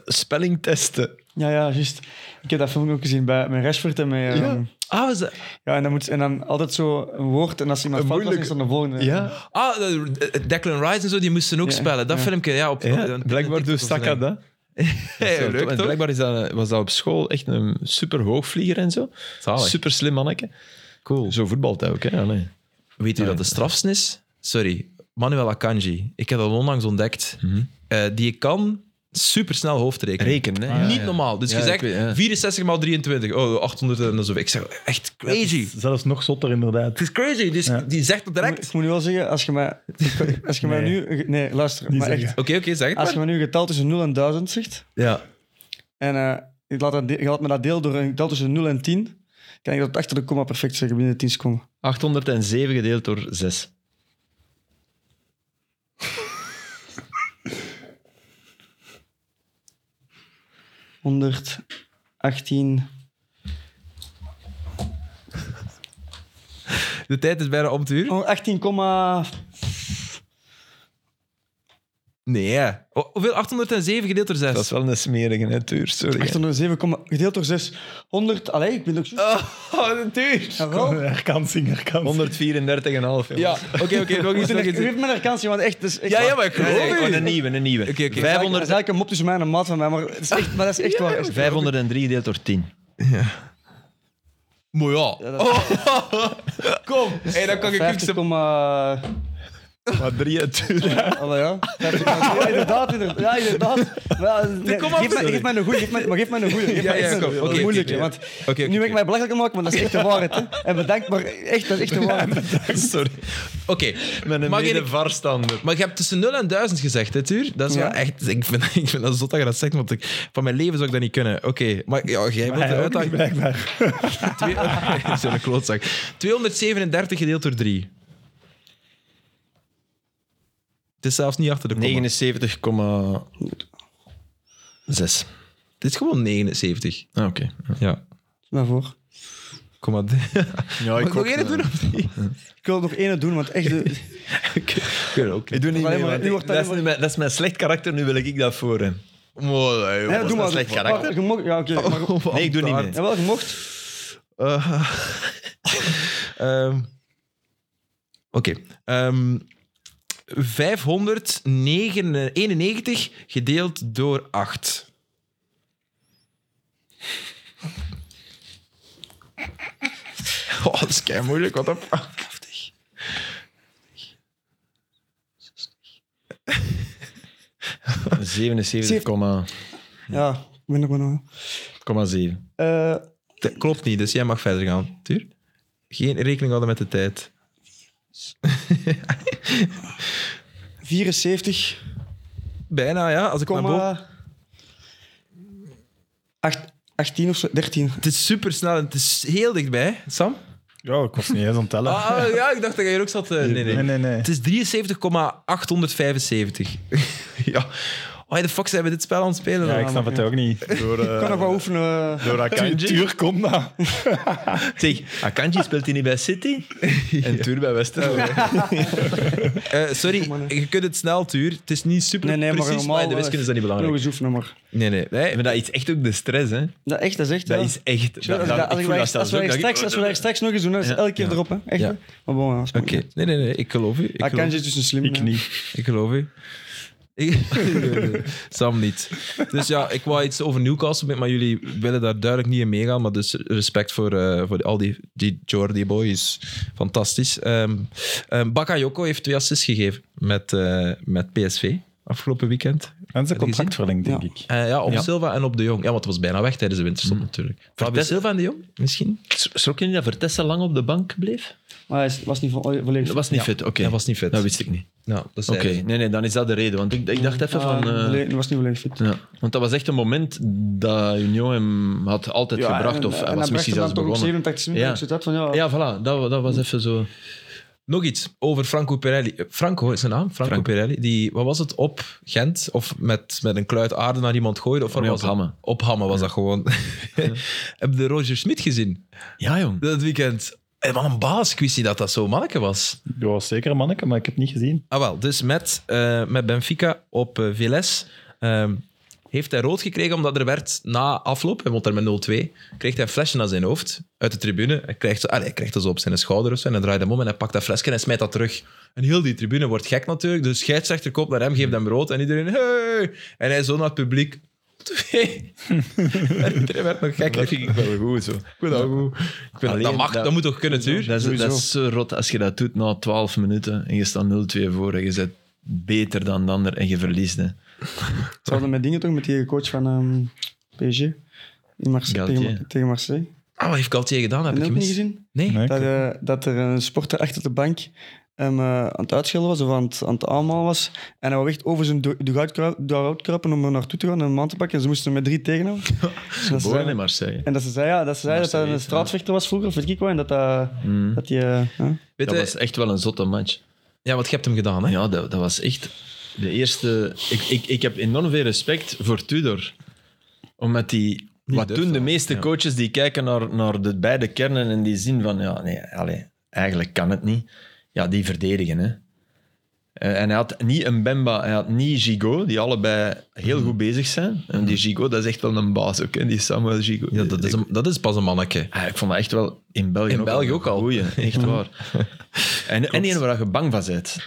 spelling testen.
Ja, ja, juist. Ik heb dat filmpje ook gezien bij mijn Rashford en mijn...
Ja.
ehm,
Ah, was dat...
Ja, en dan, moet, en dan altijd zo een woord. En als iemand
Een
fout was, is
moeilijke-
dan de volgende.
Ja,
Ah, eh, eh, Declan Rice en zo, die moesten ook
Ja,
spellen. Dat
ja.
filmpje, ja. Op,
ja
op-
eh, blijkbaar
op-
doet
op-
Saka dat.
Hey,
Zo,
Eh, leuk,
en
toch?
blijkbaar is dat, was dat op school echt een super hoogvlieger en zo.
Zalig.
Super slim manneke.
Cool.
Zo voetbalt hij ook. Hè? Ja, nee.
Weet u dat de strafsn is? Sorry, Manuel Akanji. Ik heb dat onlangs ontdekt. Eh, die kan supersnel hoofdrekenen.
Mhm. Rekenen, hè?
Ah,
Ja,
Niet
ja.
normaal. Dus
Ja,
je
ik
zegt
weet- ja.
64 x 23. Oh, 800 en zo. Ik zeg, echt crazy.
Zelfs nog zotter, inderdaad.
Het is crazy. Dus die zegt dat
Ik moet-
direct.
Ik moet nu wel zeggen, als je mij, als je mij
Nee.
nu... Nee, luister. Maar
zeggen.
echt,
Oké, oké, zeg het
als je
maar.
mij nu een getal tussen 0 en 1000 zegt...
Ja.
En eh, ik laat dat, de- je laat me dat deel door een getal tussen 0 en 10... Kan ik dat achter de komma perfect zeggen binnen 10 seconden.
807 gedeeld door 6.
Honderd, 18...
De tijd is bijna om het uur.
Oh, 18, komma-
Nee. hè. Oh, Hoeveel? 807 gedeeld door 6.
Dat is wel een smerige hè, Tuur. Sorry. hè.
807, komma- gedeeld door 6. 100... Allee, ik ben ook zo...
Oh, natuurlijk.
Jawel.
Herkansing, herkansing.
134,5.
Ja,
Ja.
oké, oké. nog
Je
iets, nog
geeft
iets.
me een herkansje, want echt... Dus echt
Ja, ja, maar ik geloof
Nee,
u.
gewoon een nieuwe, een nieuwe.
Oké, oké.
Dat is
500,
eigenlijk een mop tussen mij en een maat van mij, maar, het is echt, maar dat is echt waar.
503 gedeeld door 10.
Maar ja.
Ja, dat-
Oh, kom. Hey, dan kan ik even
50,
zo-
komma-
Maar 3
Allee, ja. 50, ja, inderdaad, inderdaad. Ja, inderdaad. Ja, nee,
kom op,
geef, mij,
sorry.
geef mij een goeie, geef mij, maar geef mij een goeie. Geef
Ja,
mij
ja,
echt een-
kom,
dat is
oké,
moeilijk,
oké,
hè, want
oké,
nu ben
oké.
ik mij belachelijk maken, maar dat is echt de waarheid. Hè. En bedankt, maar echt, dat is echt de waarheid.
Sorry.
Oké.
Met een
Mag ik-
mede-varstander.
Maar je hebt tussen 0 en 1000 gezegd, hè, Tuur? Dat is
Ja.
wel echt... Ik vind, ik vind dat zot dat je dat zegt, want ik, van mijn leven zou ik dat niet kunnen. Oké, maar ja, jij wilt
Hij
de
ook niet,
uitdaging...
blijkbaar.
Twee- Zo'n klootzak. 237 gedeeld door 3. Het is zelfs niet achter de komma.
79,6.
Het is gewoon 79.
Ah, Oké.
Ja.
Maar voor.
Komma d-
Ja,
Mag ik nog één doen? of niet?
Ik wil nog één doen, want echt... de-
Oké, oké.
Ik doe niet
Alleen
mee,
maar-
want
u
ik-
wordt
dat, is
alleen
niet mijn, dat is mijn slecht karakter, nu wil ik dat voor hem.
Mooi,
Nee,
jongen.
doe
dat
maar.
is slecht
Maar
karakter.
je mocht- Ja, oké. maar-
Oh,
Nee, ik doe niet mee.
Jawel, je mocht.
Eh, ehm, Oké. ehm, 591 gedeeld door 8. Oh, dat is kei moeilijk. Wat een
Ja, ik ben er gewoon
77,7.
aan. Eh,
Dat klopt niet, dus jij mag verder gaan. Tuur. Geen rekening houden met de tijd.
74...
Bijna, ja. Als ik maar boven...
Komma... acht- 18 of zo, 13.
Het is super snel en het is heel dichtbij. Sam?
Ja, ik was niet eens aan het tellen.
Ah, ah, ja, ik dacht dat jij hier ook zat. eh, nee, nee.
nee, nee, nee.
Het is 73,875. ja. Why the fuck zijn we dit spel aan het spelen?
Ja,
dan?
ik snap het ook niet. Door,
Ik kan nog wel oefenen. eh.
door Akanji. Tuur komt dat.
Zeg, Akanji speelt hij niet bij City? En Tuur bij West Ham.
Eh, sorry, je kunt het snel, Tuur. Het is niet super
Nee, nee, maar
precies,
normaal eh,
in de wiskunde is dat niet
Nog
belangrijk.
eens oefenen, maar.
Nee, nee. nee.
Maar dat is echt ook de stress, hè?
Dat, echt, dat is echt.
Dat
ja.
is echt.
Als we
dat- dat-
daar-
ik
als we
voel
daar
dat zelfs
straks- als we
ook,
daar
dat ik-
straks- als we daar straks nog eens doen, dat is
Ja.
elke keer erop. Hè. Echt,
Ja.
hè. Maar bon, ja,
Oké, nee, nee, nee, ik geloof u. Ik,
Hij
geloof,
kan je dus een slim.
Ik niet.
ik geloof u. Ik- Nee, nee, Sam niet. Dus ja, ik wou iets over Newcastle, met- maar jullie willen daar duidelijk niet in meegaan. Maar dus respect voor, eh, voor al die, die Jordi Boy is fantastisch. Ehm ehm, Bakayoko heeft twee assists gegeven met, eh, met PSV afgelopen weekend.
En zijn contract verlengd, denk
Ja.
ik.
Eh, ja, op
Ja.
Silva en op de Jong. Ja, want het was bijna weg tijdens de winterstop natuurlijk. Fabio
Vertel-
Silva en de Jong, misschien?
Schrok je niet dat Vertessa lang op de bank bleef?
Maar hij is- was niet vo- volledig.
Dat was niet fit, oké.
Dat was niet vet.
Dat wist ik niet.
Ja, dat
Oké,
zeiden ze.
nee, nee, dan is dat de reden. Want ik, ik dacht even
Ah,
van... eh,
volledig- was niet volledig fit.
ja. Want dat was echt een moment dat Union hem had altijd gebracht.
en- eh,
Of
en hij
hij was
bracht
misschien
hem
zelfs
dan toch op
begonnen.
87 minuten.
Ja.
Ik zit dat van ja.
Ja, voilà. Dat, dat was even zo...
Nog iets over Franco Pirelli. Eh, Franco is zijn naam, Franco
Franco.
Pirelli. Die, wat was het, op Gent? Of met, met een kluit aarde naar iemand gooien? Of waar
Nee,
was
op
het?
Hamme.
Op Hamme was dat gewoon. Heb je Roger Smit gezien
Ja, jong.
dat weekend? En wat een baas, ik wist niet dat dat zo'n manneke was.
Ja, zeker een manneke, maar ik heb het niet gezien.
Ah wel, dus met, eh, met Benfica op eh Villes ehm, heeft hij rood gekregen omdat er werd na afloop, hij won daar met 0-2, kreeg hij een flesje naar zijn hoofd uit de tribune. Hij krijgt, zo, allee, hij krijgt dat zo op zijn schouder of zo en hij draait hem om en hij pakt dat flesje en hij smijt dat terug. En heel die tribune wordt gek natuurlijk, dus scheidsrechter komt naar hem, geeft hem rood en iedereen hey! En hij zo naar het publiek. "Twee." en iedereen werd nog gekker. Ik
ik wel goed, zo.
vind dat goed. Ik vind dat,
Alleen,
dat mag, dat,
dat-
moet toch kunnen, tuur?
Dat is,
Sowieso.
dat is zo rot als je dat doet na 12 minuten en je staat 0-2 voor en je bent beter dan de ander en je verliest. Hè.
Hetzelfde met dingen toch, met die coach van ehm, PSG. In Marseille,
Galtier.
tegen, tegen Marseille.
Ah, wat heeft Galtier gedaan? Heb
Heb je
ik
dat ook niet
gemist?
gezien?
Nee.
Nee, ik-
Dat, eh, dat er een sporter achter de bank hem, eh, aan het uitschelden was of aan het, aan het aanmalen was. En hij wou echt over zijn du- dugout kru- dugout kruipen om er naartoe te gaan en hem aan te pakken. En ze moesten hem met drie tegen hem. En dat ze
Geboren in
zeiden-
Marseille.
En dat ze zei, ja, dat, ze zei dat hij een straatvechter was vroeger, of weet ik wat. En dat, dat,
Mm.
dat die... eh, ja.
Weet
Dat
je-
was echt wel een zotte match.
Ja, wat je hebt hem gedaan, hè?
Ja, dat, dat was echt de eerste. Ik, ik, ik heb enorm veel respect voor Tudor. Omdat die. Wat
durft
doen de
wel,
meeste coaches die kijken naar, naar de beide kernen en die zien van ja, nee, allee, eigenlijk kan het niet. Ja, die verdedigen. Hè. Eh, En hij had niet een Bemba, hij had niet Gigot, die allebei heel
Mhm.
goed bezig zijn. En die Gigot, dat is echt wel een baas ook, hè, die Samuel Gigot.
Ja, dat is, een- dat is pas een manneke.
Ah, ik vond dat echt wel in België
In
ook
België
al.
ook al.
Goeie, echt waar. en, en één waar je bang van bent.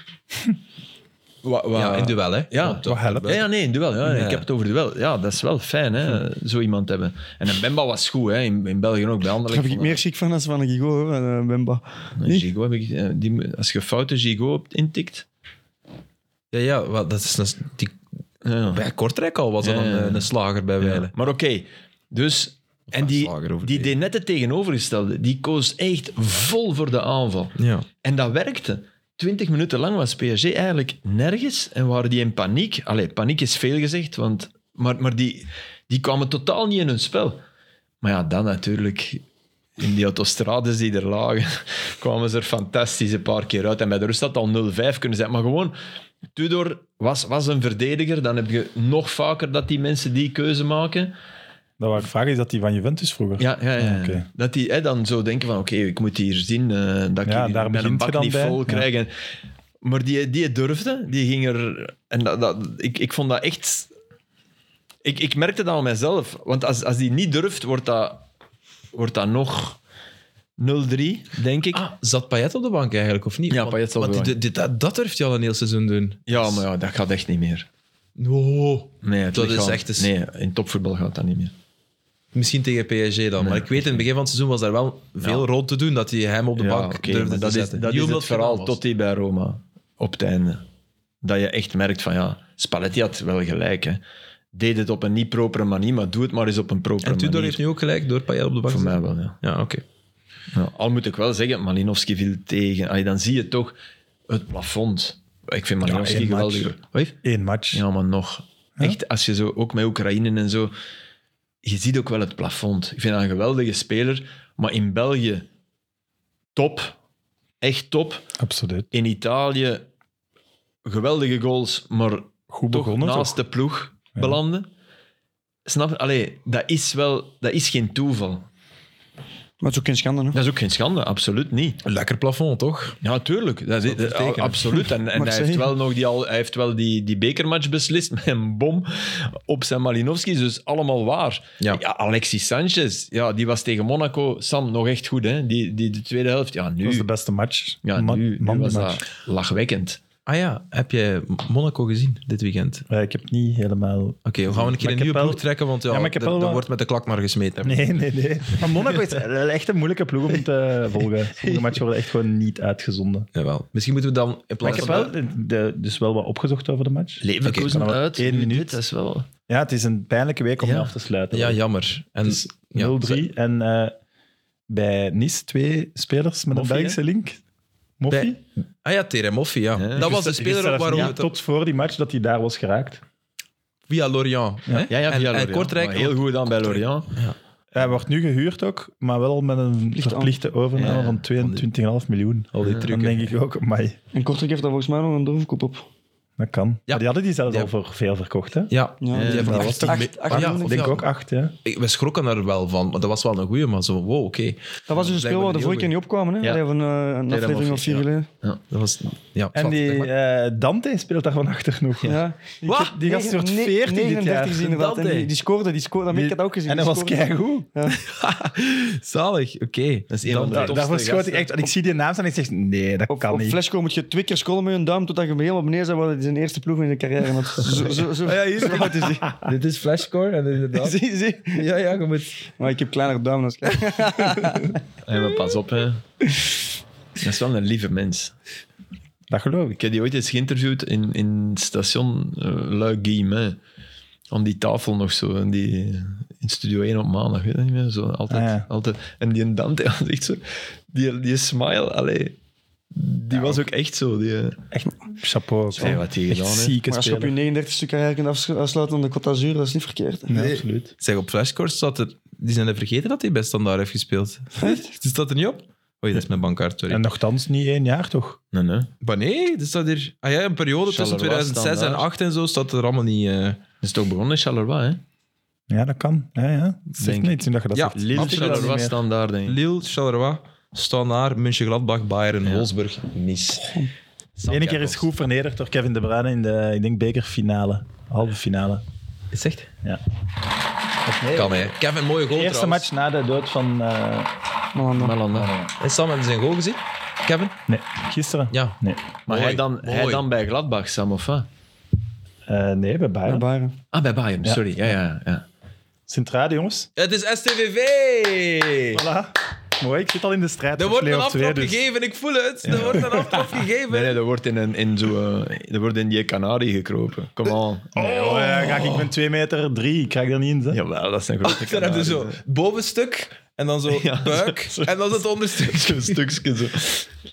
Wa- wa-
Ja, in duel, hè?
Ja,
toch.
helpt.
ja, ja, nee, in duel. Ja. Hm.
Ja.
Ik heb het over duel. Ja, dat is wel fijn, hè, zo iemand hebben. En een Bemba was goed, hè, in, in België ook, bij
Daar
anderen.
heb ik meer chic van dan van een Gigo, hoor, en, eh, Bemba.
Nee, Gigo heb ik, eh, die, moet- als je foute Gigo op- intikt...
Ja, ja wel, dat is een, die,
Ja.
bij Kortrijk al was dat
Ja, ja, ja.
een, een slager bij
Ja.
Weilen.
eh, Maar oké, dus... En die,
slager over
die
de-
deed net het tegenovergestelde. Die koos echt vol voor de aanval.
Ja.
En dat werkte. Twintig minuten lang was PSG eigenlijk nergens en waren die in paniek. Allee, paniek is veel gezegd, want, maar, maar die, die kwamen totaal niet in hun spel. Maar ja, dan natuurlijk, in die autostrades die er lagen, kwamen ze er fantastisch een paar keer uit. En bij de rust had het al 0-5 kunnen zijn. Maar gewoon, Tudor was, was een verdediger. Dan heb je nog vaker dat die mensen die keuze maken.
Dat wou ik vragen, is dat die van Juventus vroeger?
Ja, ja, ja.
Ah, oké.
Dat die hè, dan zo denken van, oké, ik moet hier zien eh, dat ik
Ja,
hier
daar
mijn
begint
bak
je dan
niet
bij.
vol
Ja.
krijg. En- Maar die, die durfde, die ging er... En dat, dat, ik, ik vond dat echt... Ik, ik merkte dat aan mezelf. Want als, als die niet durft, wordt dat, wordt dat nog 0-3, denk ik.
Ah, zat Payet op de bank eigenlijk, of niet?
Ja,
Want-
Payet zat op
want
de
die-
bank.
die- dat, dat durft hij al een heel seizoen doen.
ja, maar ja, dat gaat echt niet meer.
No.
Nee, het
Dat is
lichaam-
echt dus- eens-
Nee, in topvoetbal gaat dat niet meer.
Misschien tegen PSG dan. Maar ik weet, in het begin van het seizoen was daar wel veel
Ja.
rond te doen dat hij hem op de
ja,
bank
oké,
durfde
maar
te
dat is,
zetten.
dat
Niet
is
omdat
het verhaal
gedaan was.
tot die bij Roma op het einde. Dat je echt merkt van ja, Spalletti had wel gelijk. Hè. Deed het op een niet propere manier, maar doe het maar eens op een propere
En Tudor
manier.
heeft nu ook gelijk door Payet op de bank
Voor
te
mij
zetten.
wel, ja.
Ja, oké.
Ja, Al moet ik wel zeggen, Malinowski viel tegen. Allee, dan zie je toch het plafond. Ik vind Malinowski
één match.
geweldig. Wat heeft-
Eén match.
Ja, maar nog. Echt, als je zo, ook met Oekraïne en zo, je ziet ook wel het plafond. Ik vind dat een geweldige speler, maar in België top. Echt top.
Absoluut.
In Italië geweldige goals, maar
Goed
toch
begonnen.
naast de ploeg belanden. Snap je? Allee, dat is wel... Dat is geen toeval.
Maar het is ook geen schande, hè?
Dat is ook geen schande, absoluut niet.
Lekker plafond, toch?
Ja, tuurlijk. Dat is,
Dat is
dat-
tekenen.
absoluut. En, en
Mag
hij,
zeggen.
heeft wel nog die, al, hij heeft wel die, die bekermatch beslist met een bom op zijn Malinowski. Dus allemaal waar.
Ja.
Alexis Sanchez, ja, die was tegen Monaco, Sam, nog echt goed. Hè? Die, die, de tweede helft, ja,
Dat was
nu,
de beste match.
ja,
Ma-
nu, nu
man de
was
match.
dat lachwekkend.
Ah ja, heb jij Monaco gezien dit weekend?
Ja, Eh, ik heb het niet helemaal...
Oké, we gaan een keer
Maar
een
ik
nieuwe
heb wel-
ploeg trekken, want ja,
Ja, maar ik heb
dat,
wel
dat
wat-
wordt met de klak maar gesmeten.
Nee, nee, nee. Maar Monaco is echt een moeilijke ploeg om te volgen. Sommige matchen worden echt gewoon niet uitgezonden.
Jawel. Misschien moeten we dan in
Maar ik
plaats
heb
van...
wel de, dus wel wat opgezocht over de match.
Leverkusen
Oké, kan
uit,
wel. Eén
nu
minuut.
dit, dat is wel...
Ja, het is een pijnlijke week om
Ja.
je af te sluiten.
Ja, jammer. En,
Dus
ja,
0-3. En eh, bij Nice twee spelers met
Moffie,
een Belgische link. Moffie.
Bij- Ah ja, Teremoffi, ja.
Ja.
dat was de
Gisteren-
speler
gisteren
waarom
niet
we het
Tot voor die match dat hij daar was geraakt.
via Lorient. hè?
Ja, ja,
En-
via
en
Lorient.
Kortrijk-
Maar heel goed dan bij Lorient.
Hij wordt nu gehuurd ook, maar wel met een
Verplichte
verplichte
Ja,
overname
van
van 22,5 miljoen.
Al die
Dan
trucken.
denk ik ook, amai,
En Kortrijk heeft daar volgens mij nog een doorverkoop op.
dat kan. Maar die hadden die zelfs
Ja.
al voor veel verkocht, hè?
Ja,
Ja,
die
dat
hebben
was
echt
toch
acht-
mee-
acht
Ah,
miljoen
ja,
of
Ik denk
ja.
ook acht, hè?
Ik- We schrokken er wel van, want dat was wel een goeie, maar zo, wow, oké.
Dat was dus een speel waar de vorige keer niet opkwamen, hè?
Ja.
Allee, Van, eh, een aflevering of vier
ja.
geleden.
Dat was, ja,
En
zwart,
die
zeg maar.
eh, Dante speelt daar van achter nog.
Ja. Ik
Wat?
heb
Die gast wordt
negen-
14 dit
39
jaar.
gezien, inderdaad. En
Dante.
die, die scoorde, die scoorde. Dat heb ik het ook gezien.
En hij
die
was
scoorde.
keigoed.
Zalig, oké. Dat is
een van de
Dante.
topste
Daarvoor schoot
gasten.
ik echt... en Ik zie die naam staan en ik zeg, nee, dat kan
Op
niet.
Flesco moet je twee keer scrollen met je duim totdat je hem helemaal beneden bent, want het is zijn eerste ploeg in de carrière. Want zo, zo, zo,
Ah, ja, hier, kijk, het is die. Dit is flashcore, en inderdaad.
Zie, zie.
Ja, ja, je moet...
Maar ik heb kleiner duim dan jij.
En maar pas op, hè. Dat is wel een lieve mens.
Dat geloof ik.
Ik heb die ooit eens geïnterviewd in, in het station eh, Luik Guillemin. Aan die tafel nog zo. En die, in Studio 1 op maandag, weet je dat niet meer? Zo, altijd,
Ah, ja.
altijd. En die Dante was echt zo... Die, die smile, allee, die was ook echt zo. Die, eh,
Echt chapeau. ook,
Hey,
hè.
wat die
Echt
gedaan heeft.
zieke
Maar als je op je
speler.
39 stuk carrière kunt afs- afsluiten aan de Côte d'Azur, dat is niet verkeerd. hè.
Nee, absoluut.
Zeg, op flashcore staat er... Die zijn er vergeten dat hij bij Standaard heeft gespeeld. Die staat er niet op? Oei, dat is mijn bankkaart, sorry.
En nogthans niet één jaar, toch?
Nee, nee.
Maar nee, er staat hier... Ah ja, een periode tussen
Charleroi
2006 en
standaard.
8 en zo staat er allemaal niet... eh,
Dat is toch begonnen in Charleroi, hè?
Ja, dat kan. Ja, ja. Zeg
Denk
me iets nu dat je dat
Ja,
zegt.
Lille
Snap ik dat niet
Charleroi
meer.
staan daar, denk ik.
Lille, Charleroi, Standaard, Mönchengladbach, Bayern, Wolfsburg, Nice.
De ene keer is goed vernederd door Kevin De Bruyne in de, ik denk, bekerfinale. Halve finale.
Is echt?
Ja. Of nee,
Kan, hè. Kevin, mooie goal
de eerste
trouwens.
match na de dood van... eh,
Maar dan-
Malanda.
En Sam, hebben ze zijn goal gezien? Kevin?
nee, gisteren?
Ja.
Nee.
Maar
Mooi,
hij dan, hij
mooi.
dan bij Gladbach, Sam, of wat?
Eh, nee, bij Bayern.
naar Bayern.
Ah, bij Bayern,
Ja.
sorry. Ja, ja, ja.
Centrale, jongens.
Het is STVV!
Voilà. Mooi, ik zit al in de strijd.
Er
voor
wordt een
play-off
aftrap
twee, dus.
gegeven, ik voel het. Er wordt een aftrap gegeven.
Nee, nee, dat wordt in, een, in, zo, eh, dat wordt in die Canarie gekropen. Come on.
Oh.
Nee, hoor, Oh, ja, ga ik, ik ben 2 meter 3. Ik krijg dat niet in. Zeg.
Jawel, dat zijn grote
Dan heb je
Canaries,
zo
hè.
bovenstuk en dan zo buik en dan het onderstuk. Zo'n stukje zo.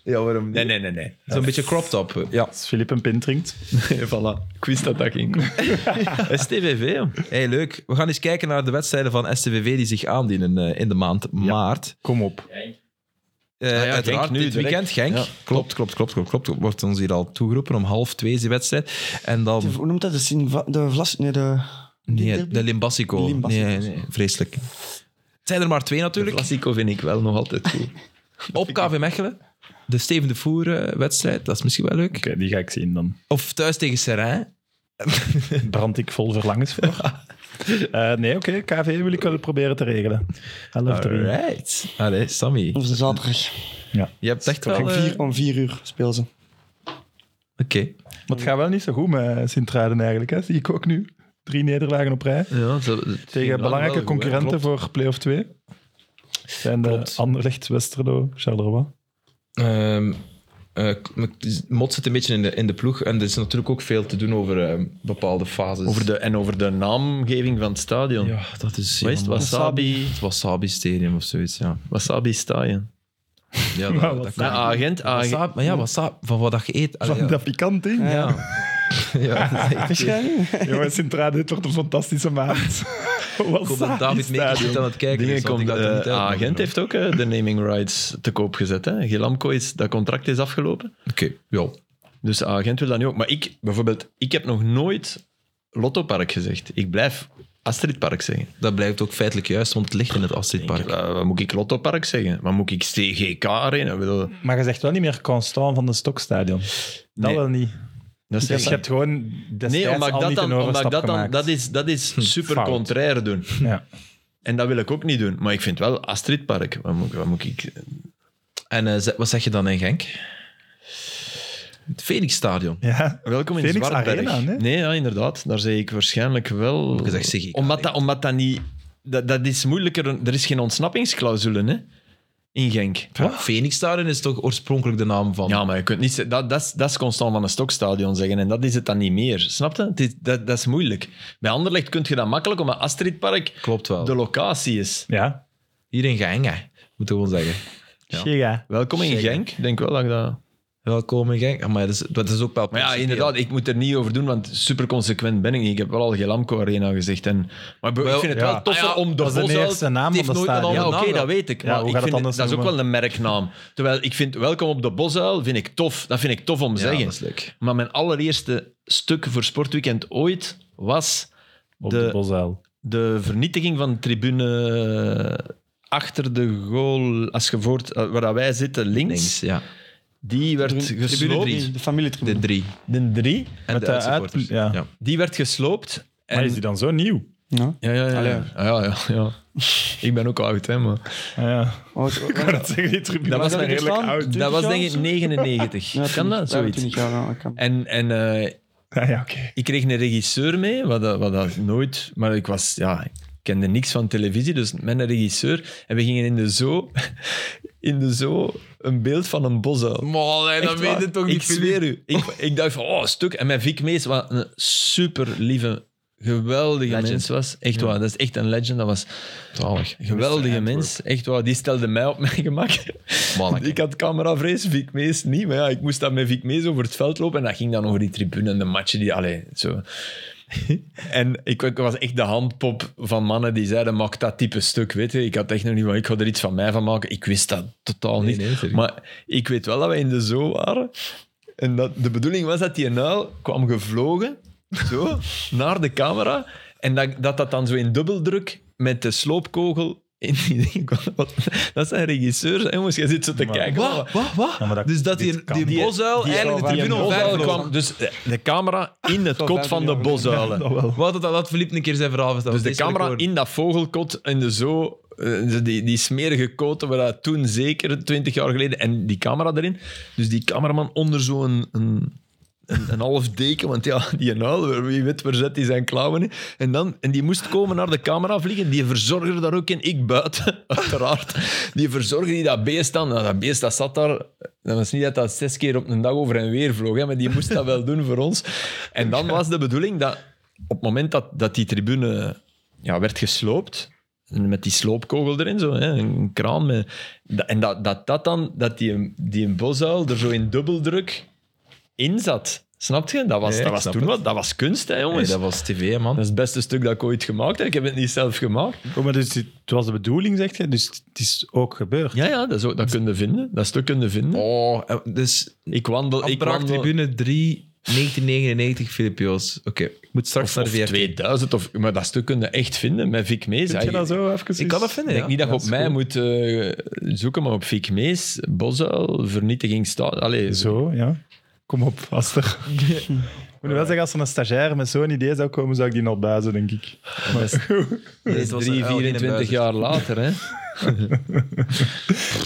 Ja, waarom niet?
Nee, nee, nee, nee.
Zo'n beetje crop top. Ja.
Als Filip een pint drinkt.
voilà. Ik wist dat dat ging komen. Eh, STVV, joh.
Hey, leuk. We gaan eens kijken naar de wedstrijden van STVV die zich aandienen eh, in de maand maart.
Kom op.
Eh,
Ah ja,
uiteraard
Genk nu
dit
direct.
weekend, Genk.
Ja.
Klopt, klopt, klopt, klopt, klopt. Wordt ons hier al toegeroepen om half twee is die wedstrijd. En dan...
Hoe noemt dat? De, Sinva- de Vlas... Nee, de...
Nee, de Limbassico.
Limbassico.
Nee, nee, vreselijk. Het zijn er maar twee natuurlijk.
Klassico vind ik wel nog altijd goed.
Op KV Mechelen. De Steven de Voer eh, wedstrijd, dat is misschien wel leuk.
Oké, die ga ik zien dan.
Of thuis tegen Serrain.
Brand ik vol verlangens voor. Eh, nee, oké. KV wil ik wel proberen te regelen. Half drie.
Alright. Allee, Sammy.
Of de zaterdag.
Je hebt echt wel...
Om
eh,
vier, om vier uur speel ze.
Oké.
Maar het gaat wel niet zo goed met Sint-Truiden eigenlijk, hè? zie ik ook nu. Drie nederlagen op rij.
Ja,
Tegen belangrijke concurrenten voor play-off 2. Zijn de
Klopt.
Anderlecht, Westerlo, Charleroi.
Ehm, eh, Mot zit een beetje in de, in de ploeg. En er is natuurlijk ook veel te doen over ehm, bepaalde fases.
Over de, en over de naamgeving van het stadion.
Ja, dat is...
Wat is het?
jammer.
Wasabi,
Het Wasabi Stadium of zoiets, ja.
wasabi Stadion.
Ja,
Ja,
dat, dat
wasabi.
kan.
Ja, agent, agent.
Wasabi, maar ja, wasabi, van wat dat je eet. Allee,
Van
ja.
dat pikant ding.
Ja. ja, dat is echt-
Wist jij niet?
Jongens, Sint-Truiden, dit wordt een fantastische maand.
Ik hoop dat David Meekers niet aan het kijken
Dingen
is, want ik
komt,
had er niet
eh,
uit
ah, Gent
mogen
heeft ook eh, de naming rights te koop gezet. Hè? Gilamco is, dat contract is afgelopen.
doen. Oké, ja.
Dus ah, Gent wil dat nu ook. Maar ik, bijvoorbeeld, ik heb nog nooit Lottopark gezegd. Ik blijf Astridpark zeggen.
Dat blijkt ook feitelijk juist, want het ligt in het Astridpark.
Wa- Wat, moet ik Lottopark zeggen? Wat moet ik CGK Arena? Ik bedoel,
Maar je zegt wel niet meer Constant van de Stokstadion. Dat
Nee.
wel niet.
dat is
Dus je hebt gewoon destijds
Nee, omdat ik
al
dat
niet
dan,
een
omdat ik
overstap
dat dan,
gemaakt. Hm,
dat is, dat is super
Fout.
contrair doen.
Ja.
En dat wil ik ook niet doen. Maar ik vind wel Astridpark. Wat moet, wat moet ik.
En eh, ze- wat zeg je dan in Genk? Het Phoenixstadion.
ja.
Welkom in
Phoenix
Zwartberg.
Arena, nee?
ja, inderdaad. Daar zeg ik waarschijnlijk wel.
je zegt, zeg ik.
omdat, dat, omdat dat niet. Dat, dat is moeilijker. Er is geen ontsnappingsclausule hè? in Genk.
Phoenixstadion is toch oorspronkelijk de naam van...
Ja, maar je kunt niet. ze- Dat, dat, is, dat is constant van een stokstadion zeggen. En dat is het dan niet meer. Snap je? Het is- dat, dat is moeilijk. Bij Anderlecht kun je dat makkelijk, omdat Astridpark
Klopt wel.
de locatie is.
Ja.
Hier in Genk, hè. Moet ik gewoon zeggen.
Chega.
Welkom in Genk. Ik denk wel dat ik dat.
Welkom in Genk. Ah, Maar dat is, dat is ook wel...
Maar ja,
principieel.
inderdaad, ik moet er niet over doen, want super consequent ben ik niet. Ik heb wel al Gelamco Arena gezegd. En, maar be-
Wel,
ik vind het
ja.
wel toffer
Ah ja,
om de
Dat is de
Bosuil-
eerste naam
die
van de
heeft nooit een
stadion.
Ja,
andere
oké,
naam,
dat weet ik.
Ja,
Maar
hoe
ik
gaat het
vind
anders
het- dat is ook
noemen?
wel een merknaam. Terwijl ik vind Welkom op de Bosuil vind ik tof. Dat vind ik tof om te
Ja,
zeggen.
dat is leuk.
Maar mijn allereerste stuk voor Sportweekend ooit was
Op de,
de-
Bosuil.
de vernietiging van de tribune achter de goal, als je voort, eh, waar dat wij zitten, links.
Links, ja.
Die werd
Tribune
gesloopt.
drie, De familietribune.
De drie.
De drie.
En
Met
de
de
uitsupporters.
uit- ja.
Die werd gesloopt.
Maar
en-
is die dan zo nieuw?
Ja.
Ja, ja, ja.
Allee.
Ah, ja, ja, ja, ja. Ik ben ook oud, hè, maar...
Ah, ja.
Oh, het-
Ik wou dat zeggen, die tribune
Dat was
is
nog
redelijk
staan.
oud.
Dat was
jaar
denk
of
ik
zo?
99.
Ja,
kan dat?
20, ja,
Zoiets.
20 jaar, ja, dat kan.
En, en eh,
Ah, ja, oké.
ik kreeg een regisseur mee, wat, dat- wat dat nooit... Maar ik was... Ja, ik kende niks van televisie, dus met een regisseur. En we gingen in de zoo... In de zoo een beeld van een bosuil.
Maar nee,
Echt waar. Ik zweer u. Ik, ik dacht van, oh, stuk. En mijn Vic Mees, wat een super lieve, geweldige
Legend.
mens was. Echt waar, dat is echt een legend. Dat was een geweldige mens. Echt waar, die stelde mij op mijn gemak.
Manneke.
Ik had cameravrees, Vic Mees niet. Maar ja, ik moest dan met Vic Mees over het veld lopen. En dat ging dan over die tribune en de matchen. Die, allee, zo. En ik, ik was echt de handpop van mannen die zeiden, maak dat type stuk, weet je. Ik had echt nog niet van, ik ga er iets van mij van maken. Ik wist dat totaal
Nee,
niet.
nee, sorry.
maar ik weet wel dat wij in de zoo waren. En dat, de bedoeling was dat die nuil kwam gevlogen, zo, naar de camera. En dat, dat dat dan zo in dubbeldruk met de sloopkogel in die ding kwam. Wat- Dat zijn regisseurs, hè, jongens. Jij zit zo te
Maar-
kijken.
Wat? Wat? Wat?
Ah,
Ja, maar dat-
dus dat
dit
die,
kan
die,
niet.
bosuil
die-
eigenlijk de
die-
tribune
die-
Bosuil
omver
kwam dus eh, de camera in het
Zo
kot
vijf
van de
miljoen.
bosuilen.
Dat wel.
Wat dat, dat Philippe een keer zijn verhaal verteld.
Dus de
Deze wil ik
camera
horen.
in dat vogelkot en de zo. eh, Die, die smerige koten, waar dat toen zeker 20 jaar geleden. En die camera erin. Dus die cameraman onder zo'n. Een, een, een half deken, want ja, die nuil, wie weet waar zet hij zijn klauwen in. En, dan, en die moest komen naar de camera vliegen, die verzorger daar ook in, ik buiten, uiteraard. Die verzorger die dat beest dan, nou, dat beest dat zat daar, dat was niet dat dat zes keer op een dag over en weer vloog, hè, maar die moest dat wel doen voor ons. En dan was de bedoeling dat op het moment dat, dat die tribune ja, werd gesloopt. En Met die sloopkogel erin, zo, hè, een kraan. Met, dat- en dat, dat, dat dan, dat die, die bosuil er zo in dubbeldruk in zat. Snap je? Dat was,
Ja, ik
dat was
snap
toen wat, dat was kunst, hè,
Nee,
jongens.
dat
dat,
was tv, hè, man.
is het beste stuk dat ik ooit gemaakt heb. Ik heb het niet zelf gemaakt.
Oh, maar dus het was de bedoeling, zeg je? Dus het is ook gebeurd.
Ja, ja, dat, is ook, dat kun je vinden. Dat stuk kun je vinden.
Oh, eh, dus
Ik wandel... Ik
Ambraak
wandel
Tribune 3, 1999, Philippe Joos. Oké, ik moet straks
of,
naar
of
de
2000, of, maar dat stuk kun je echt vinden met Vic Mees.
Vind je dat zo even?
Ik kan dat vinden,
Ik denk
ja.
niet dat je
Ja,
op
is
mij
goed.
moet eh, zoeken, maar op Vic Mees, Bosuil, vernietiging staat. Allee,
Zo, ja. Kom op, Aster. Ik moet wel zeggen, als er een stagiair met zo'n idee zou komen, zou ik die nog buizen, denk ik.
Nee,
dat
het
is
was
3,
een uil in een
24
buizerd.
jaar later. Hè?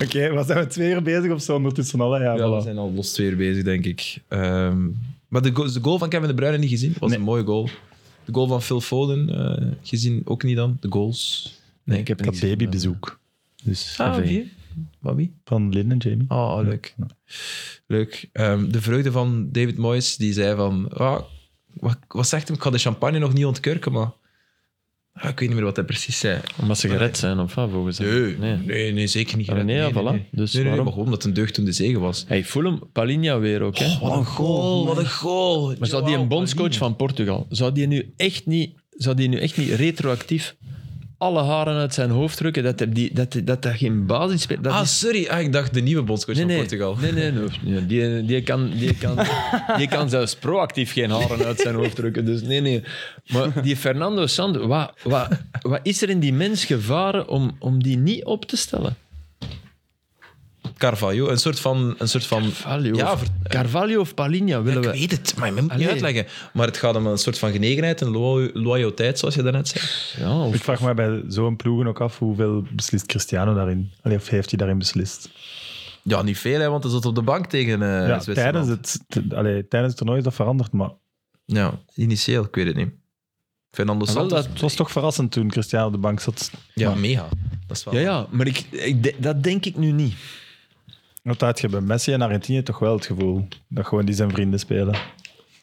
Oké, maar zijn we twee uur bezig of zo ondertussen al? hè?
Ja,
Ja,
we
voilà.
zijn al los weer bezig, denk ik. Ehm, maar de, go- de goal van Kevin De Bruyne niet gezien. was
Nee.
een mooie goal. De goal van Phil Foden eh, gezien ook niet dan. De goals. Nee,
ik heb
Ik had babybezoek. Dus
Ah,
Oké.
wie? Wat wie?
van Lynn en Jamie.
Ah, leuk. Leuk. Ehm, de vreugde van David Moyes, die zei van... Ah, wat, wat zegt hem? Ik ga de champagne nog niet ontkurken, maar... ah, ik weet niet meer wat hij precies zei.
Omdat ze gered zijn, of wat, volgens mij?
nee, nee, zeker niet.
Ah, nee, ja, voilà. Dus
nee, nee,
waarom?
maar gewoon omdat het een deugd toen de zegen was.
Hey, Fulham, Palinha weer ook. Hè?
Oh, wat een goal, wat een goal.
maar zou die een bondscoach van Portugal, zou die nu echt niet, zou die nu echt niet retroactief alle haren uit zijn hoofd drukken dat er die, dat, dat, dat geen basis speelt. Dat
Ah,
is-
sorry. Ah, ik dacht de nieuwe bondscoach
nee,
van
nee,
Portugal.
Nee, nee, nee. nee. Die, die, kan, die, kan, die kan zelfs proactief geen haren uit zijn hoofd drukken. Dus nee, nee. Maar die Fernando Sand, wat, wat, wat is er in die mens gevaren om, om die niet op te stellen?
Carvalho, een soort van... Een soort van
Carvalho,
Ja,
of,
ver-
Carvalho of Palinha willen
ik
we...
weet het, maar je moet het niet
Allee.
uitleggen. Maar het gaat om een soort van genegenheid en lo- loyaliteit, zoals je daarnet zei.
Ja, of-
Ik vraag me bij zo'n ploegen ook af hoeveel beslist Cristiano daarin. Allee, of heeft hij daarin beslist?
Ja, niet veel, hè, want hij zat op de bank tegen eh
ja,
Zwitserland.
tijdens, het, t- allee, tijdens het toernooi is dat veranderd, maar
Ja, initieel, ik weet het niet. Fernando
wel,
Santos.
dat,
het was toch verrassend toen Cristiano op de bank zat.
Ja, mega. Dat is wel...
ja, ja, maar ik, ik, de- dat denk ik nu niet.
Want dat had je bij Messi en Argentinië toch wel het gevoel dat gewoon die zijn vrienden spelen.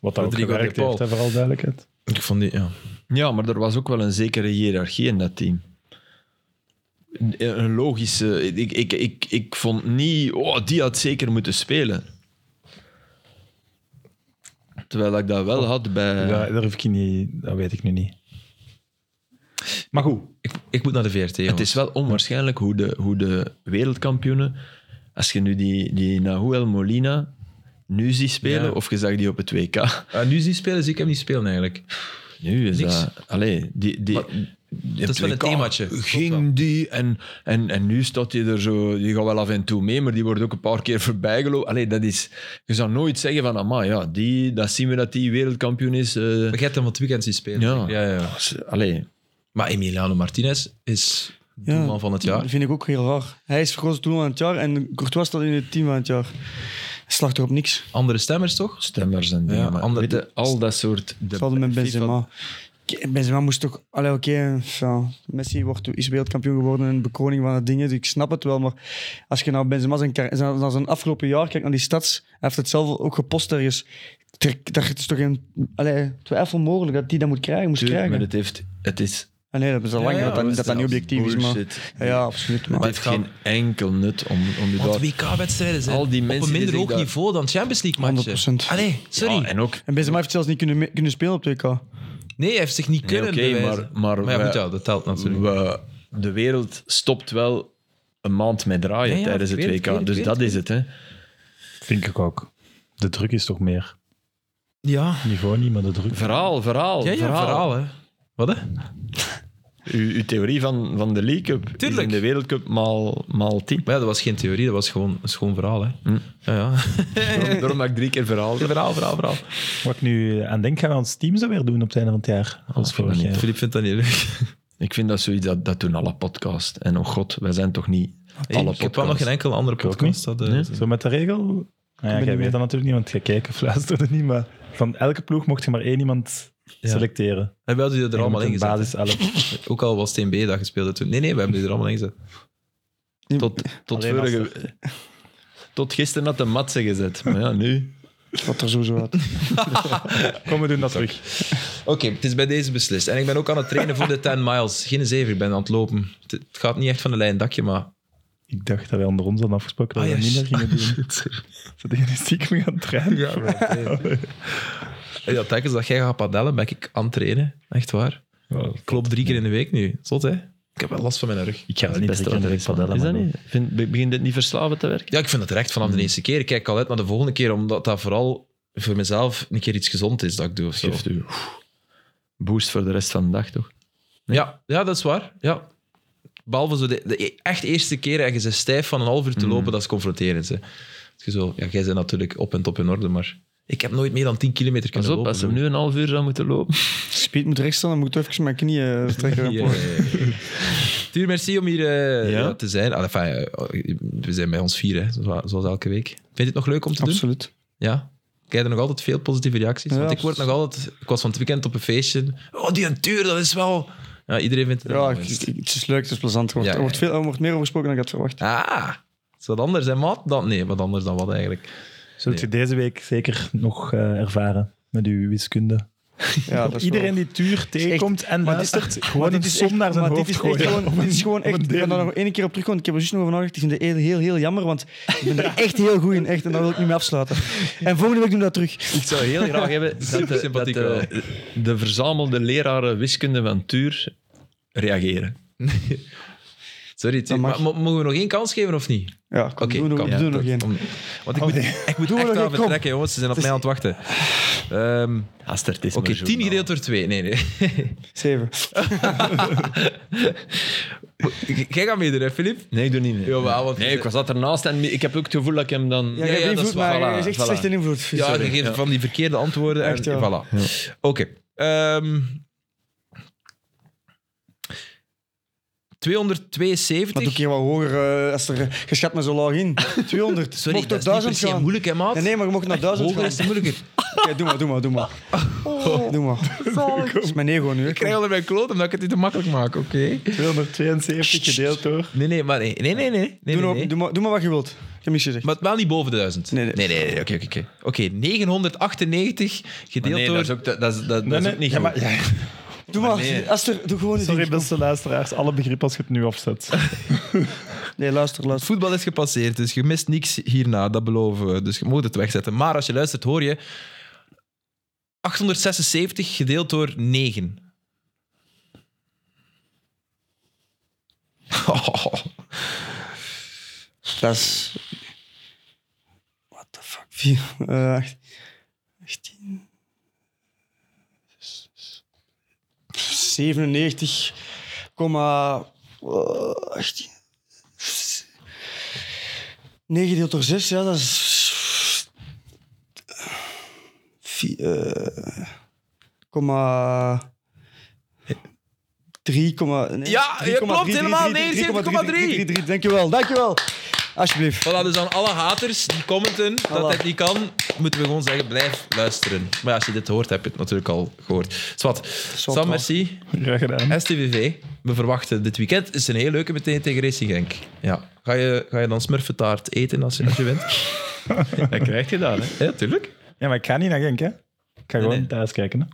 Wat dat ook
Rodrigo de
gewerkt
Paul.
heeft, hè, vooral duidelijkheid.
Ik vond die... Ja.
Ja, maar er was ook wel een zekere hiërarchie in dat team. Een- Een logische. Ik, ik, ik, ik vond niet. Oh, die had zeker moeten spelen. Terwijl ik dat wel had bij.
Ja, daar hoef ik je niet, dat weet ik nu niet. Maar goed,
Ik, ik moet naar de VRT,
het is wel onwaarschijnlijk hoe de, hoe de wereldkampioenen. Als je nu die, die Nahuel Molina nu ziet spelen,
Ja.
of je zag die op het WK.
Ah, nu zie spelen, zie ik hem niet spelen eigenlijk.
Nu is
Niks.
dat... Allee, die... die die-
dat is wel een
WK
themaatje. Klopt
Ging
wel.
die en, en, en nu staat hij er zo... Die gaat wel af en toe mee, maar die wordt ook een paar keer voorbij gelopen. Allee, dat is... Je zou nooit zeggen van, amai, ja, die, dat zien we dat die wereldkampioen is. eh.
Maar jij hebt hem van het weekend zien spelen.
Ja.
Ja, ja.
Allee,
Maar Emiliano Martinez is de man van het jaar.
Dat vind ik ook heel raar. Hij is grootste doel van het jaar en Courtois staat in het team van het jaar. Hij slacht er op niks.
Andere stemmers, toch?
stemmers en dingen.
Ja,
maar
ander-
weet je, al dat soort... De
Hetzelfde met
FIFA-
Benzema. K- Benzema moest toch... Allee, oké, ja, Messi wordt, is wereldkampioen geworden en bekroning van de dingen, dus ik snap het wel. Maar als je naar Benzema zijn, kar- zijn, naar zijn afgelopen jaar kijkt, naar die stads, hij heeft het zelf ook gepost ergens. Ter- Dat is toch een... Allee, twijfel mogelijk dat hij dat moet krijgen, moest
Tuurlijk, maar
krijgen.
het heeft... Het is
Ah, nee, dat is al lang
Ja, ja,
dat, dat,
dat
dat dat niet objectief is, maar...
Bullshit.
Ja, ja, absoluut.
Het
Maar.
heeft geen enkel nut om, om die
Want
daar-
WK-wedstrijden zijn
Al die
op
mensen
een
die
minder
zich
hoog
daar-
niveau dan Champions League matchen.
100%.
Allee, sorry.
Ja, en ook
En Benzema heeft zelfs niet kunnen, me- kunnen spelen op 2K.
Nee, hij heeft zich niet
Nee,
kunnen
oké,
bewijzen.
maar, maar,
ja,
wij-
goed, ja, dat telt natuurlijk.
we- de wereld stopt wel een maand met draaien
Ja, ja,
tijdens
ik
het
weet
WK.
het, ik weet
dus
het,
dat is het, hè.
vind ik ook. De druk is toch meer.
Ja,
Niveau niet, maar de druk.
Verhaal, verhaal,
ja, ja verhaal.
verhaal.
hè. Wat, hè?
Uw, uw theorie van, van de League Cup is
Tuurlijk.
in de Wereldcup maal, maal tien.
Maar ja, dat was geen theorie, dat was gewoon een schoon verhaal, hè. Ja, ja. Eh.
Daarom, daarom maak ik drie keer verhaal.
Hm. verhaal, verhaal, verhaal.
Wat ik nu aan denk, gaan we ons team zo weer doen op het einde van het jaar. Als
vind
vorig
ik
jaar.
Filip vindt dat niet leuk.
Ik vind dat zoiets, dat, dat doen alle podcasts. En oh god, wij zijn toch niet
ik
alle
heb wel nog
podcasts.
geen enkele andere
ook
podcast. Dat, eh,
Zo met de regel? Nou ja, jij
niet mee.
weet dat natuurlijk niet, want jij kijkt of luisterde niet. Maar van elke ploeg mocht je maar één iemand
Ja.
selecteren.
Hebben jullie er allemaal in
in
gezet?
basis elf.
Ook al was TNB dat gespeeld had toen. Nee, nee, we hebben die er allemaal in gezet.
Tot, tot,
Alleen
vorige, tot gisteren had de matse gezet. Maar ja, nu...
Wat er sowieso uit.
Kom, we doen dat terug.
Oké, het is bij deze beslist. En ik ben ook aan het trainen voor de 10 miles. Geen zeven, ik ben aan het lopen. Het, het gaat niet echt van de lijn dakje, maar...
Ik dacht dat wij onder ons hadden afgesproken dat
Ah,
we
ja,
dat niet meer gingen doen.
shit.
Ze tegen die ziek mee gaan trainen.
Ja, right. ja, telkens dat jij gaat padellen, ben ik aan het trainen. Echt waar.
Oh,
Ik loop drie keer in de week nu. Zot, hè? Ik heb wel last van mijn rug.
Ik ga wel
Het
niet
beste
drie keer in de week
wat er
padellen,
is, man.
maar
Is dat niet? Vind, begint dit niet verslavend te werken?
Ja, ik vind het recht vanaf de eerste keer. Ik kijk al uit naar de volgende keer, omdat dat vooral voor mezelf een keer iets gezond is dat ik doe of zo.
Geeft u oef, boost voor de rest van de dag, toch?
Ja, ja, dat is waar. Ja. Behalve zo de, de e- echt eerste keer en je bent stijf van een half uur te lopen, dat is confronterend. Hè. Dus je zo, ja, jij bent natuurlijk op en top in orde, maar ik heb nooit meer dan 10 kilometer
Pas
kunnen
op,
lopen.
als we nu een half uur zou moeten lopen.
Speed moet rechts staan, dan moet ik even mijn knieën eh, strekken.
Ja, ja, ja. Tuur, merci om hier eh,
Ja.
ja, te zijn. Allee, enfin, eh, we zijn bij ons vier, hè, zoals, zoals elke week. Vind je het nog leuk om te doen?
Absoluut.
Ja. Ik krijg er nog altijd veel positieve reacties.
Ja,
want ik word nog
absoluut.
altijd... Ik was van het weekend op een feestje. Oh, die Tuur, dat is wel... Ja, iedereen vindt het
Ja,
wel
ik-
mooi.
ik- het is leuk, het is plezant. Er wordt,
Ja,
er wordt,
ja,
veel, er wordt meer over gesproken dan ik had verwacht.
Ah, het is wat anders, hè, maat? Dan, nee, wat anders dan wat eigenlijk.
Zult je deze week zeker nog eh, ervaren met uw wiskunde?
Ja, dat is
Iedereen
wel-
die Tuur tegenkomt en
maar dit-
luistert,
Maar
gewoon een
dit is
som
echt-
naar zijn
maar dit
hoofd
is echt
gooien.
gewoon-
Op een-
Dit is gewoon
op een
echt... Ik
deel.
ben daar nog één keer op terugkomen. Ik heb er juist nog over nagedacht. Ik vind het heel, heel, heel jammer, want ik ben er echt heel goed in. Echt, en dat wil ik niet meer afsluiten. En volgende week doen we dat terug.
Ik zou heel graag hebben dat, eh, de,
Supersympathiek
dat de, de verzamelde leraren wiskunde van Tuur reageren.
Sorry, Tim.
mag.
Maar, mo- mogen we nog één kans geven of niet?
Ja, kom,
Oké,
doe, nog-
kom.
doe
Ja,
nog
tot-
één. Oh,
om- Want ik moet, ik moet
Doe
echt aan
nog één, kom. Dus-
vertrekken, jongens. Ze zijn op mij aan het wachten. Ehm,
Astertisme.
Oké, 10 gedeeld door 2. Nee, nee.
Zeven.
G- Jij gaat meedoen, hè, Filip?
Nee, ik doe niet. Nee,
Jawel, want-
nee ik was dat ernaast en ik heb ook het gevoel dat ik hem dan...
ja,
Ja, je hebt
dat is
invloed,
waar.
maar
Voilà,
je is echt
voilà.
slecht in invloed.
Ja,
Sorry.
je geeft van die verkeerde antwoorden.
Echt,
en,
ja.
Voilà. Oké. Ehm 272.
Maar doe ik hier wat hoger, eh, als er, eh, je schat me zo laag in. 200.
Sorry,
mocht
dat
tot
is niet per
1000
se
gaan.
moeilijk, hè, maat?
Nee, nee, maar je mocht naar 1000
Hoger
gaan.
is het moeilijker.
Oké, doe maar, doe maar, doe maar. Doe maar. Dat is mijn ego nu. hè.
Ik krijg al mijn kloot omdat ik het niet te makkelijk maak, oké?
272 gedeeld door.
Nee, nee, maar nee. Nee, nee, nee. nee,
Doe,
nee,
nou-
nee.
Doe, maar, doe maar wat je wilt. Je mis je zegt.
Maar wel niet boven de 1000.
Nee, nee.
nee. nee, nee, Oké, oké, oké. Oké, 998 gedeeld
Maar nee,
door...
dat is ook, dat, dat, is- dat,
Nee,
dat is
nee,
ook niet
ja,
goed.
maar- ja.
doe maar,
nee.
Aster, doe gewoon eens
Sorry,
iets.
beste luisteraars. Alle begrip als je het nu afzet.
Nee, luister,
Het
luister.
voetbal is gepasseerd, dus je mist niks hierna, dat beloven we. Dus je moet het wegzetten. Maar als je luistert, hoor je 876 gedeeld door 9.
Dat is... What the fuck? Vier, eh, acht- 18... 97, comma... eh, 18... 9 gedeeld door 6, ja, dat is... Vier, eh, Comma... 3, comma... nee,
Ja, je
3,3,
klopt helemaal,
3,3, 3,3, Dankjewel, dankjewel. Alsjeblieft.
Voilà, dus aan alle haters die commenten dat
Voilà.
dit niet kan, moeten we gewoon zeggen, blijf luisteren. Maar als je dit hoort, heb je het natuurlijk al gehoord. Zwat. Sam,
wel.
merci.
Graag gedaan.
STVV, we verwachten dit weekend. is een heel leuke meteen tegen Racing Genk. Ja. Ga, je, ga je dan smurfetaart eten als je, als je wint?
Dat krijg je daar, hè.
ja, tuurlijk.
Ja, maar ik ga niet naar Genk, hè. Ik ga gewoon
nee.
thuis kijken, hè.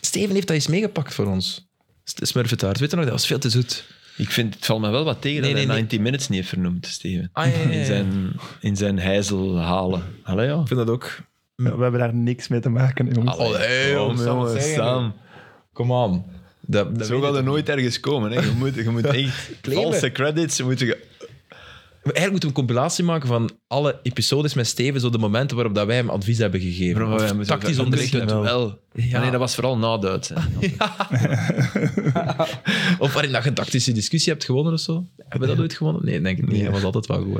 Steven heeft dat eens meegepakt voor ons. St- Smurfetaart, weet je nog, dat was veel te zoet.
Ik vind, het valt me wel wat tegen
Nee,
dat
nee,
hij
nee.
90 Minutes niet heeft vernoemd, Steven.
Ah, ja, ja, ja.
In zijn, in zijn heizel halen. Allee, ja.
Ik vind dat ook.
Ja, we hebben daar niks mee te maken, jongens.
Allee,
Kom,
jongens,
jongens,
zeggen,
Oh, Sam.
Come on. Dat, dat
Zo
weet
gaat er
ik.
nooit ergens komen. Hè. Je moet, je moet echt
Claimen.
valse credits. Moet je,
Maar Eigenlijk moeten we een compilatie maken van alle episodes met Steven, zo de momenten waarop dat wij hem advies hebben gegeven. Of tactisch onderricht.
het
hebben.
wel. Ah,
Ja.
Nee, dat was vooral na Duits. hè.
Of waarin dat je een tactische discussie hebt gewonnen of zo. Hebben we dat ooit gewonnen? Nee, denk ik niet. Hij was altijd wel goed.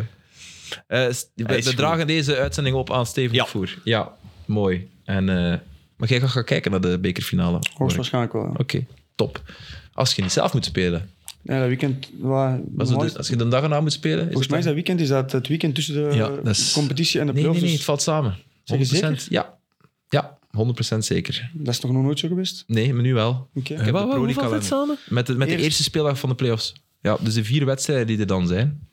Hè. Eh, St- we
Hij
we
is goed.
dragen deze uitzending op aan Steven
Ja.
Voer. Ja, mooi. En, eh, maar jij gaat gaan kijken naar de bekerfinale. hoor ik.
Hoogstwaarschijnlijk wel. ja.
Oké, top. Als je niet zelf moet spelen.
Ja, dat weekend... Waar,
Maar zo
mooi-
dus, als je de dag erna moet spelen. Is
volgens mij is dat weekend is dat het weekend tussen de
Ja, dat is-
competitie en de
Nee, nee,
playoffs. dus
nee, het valt samen. 100%.
Zeg je zeker?
Ja. ja, 100% zeker.
Dat is toch nog nooit zo geweest?
Nee, maar nu wel.
Oké.
Ik heb de Pro League kalender.
samen?
Met, de, met de
Eerst-
eerste speeldag van de playoffs. Ja, dus de vier wedstrijden die er dan zijn.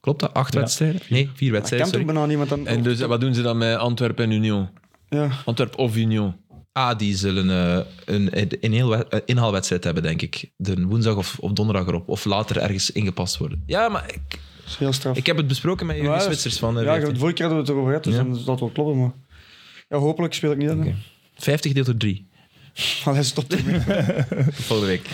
Klopt dat? Acht wedstrijden? Nee, vier
Dat kan
wedstrijden.
toch
Sorry.
bijna niemand dan...
En dus, wat doen ze dan met Antwerpen en Union?
ja.
Antwerpen of Union?
Ah, die zullen eh, een, een, inheel- een inhaalwedstrijd hebben, denk ik. De woensdag of, of donderdag erop. Of later ergens ingepast worden. Ja, maar ik,
Dat is heel straf.
ik heb het besproken met jullie
Maar-
Zwitsers van eh,
ja, de
14.
vorige keer hadden we het erover gehad, dus
Ja.
dan zal dat wel kloppen, maar... Ja, hopelijk speel ik niet aan.
Oké. 50 gedeeld door 3.
Maar hij stopt ermee.
Volgende week.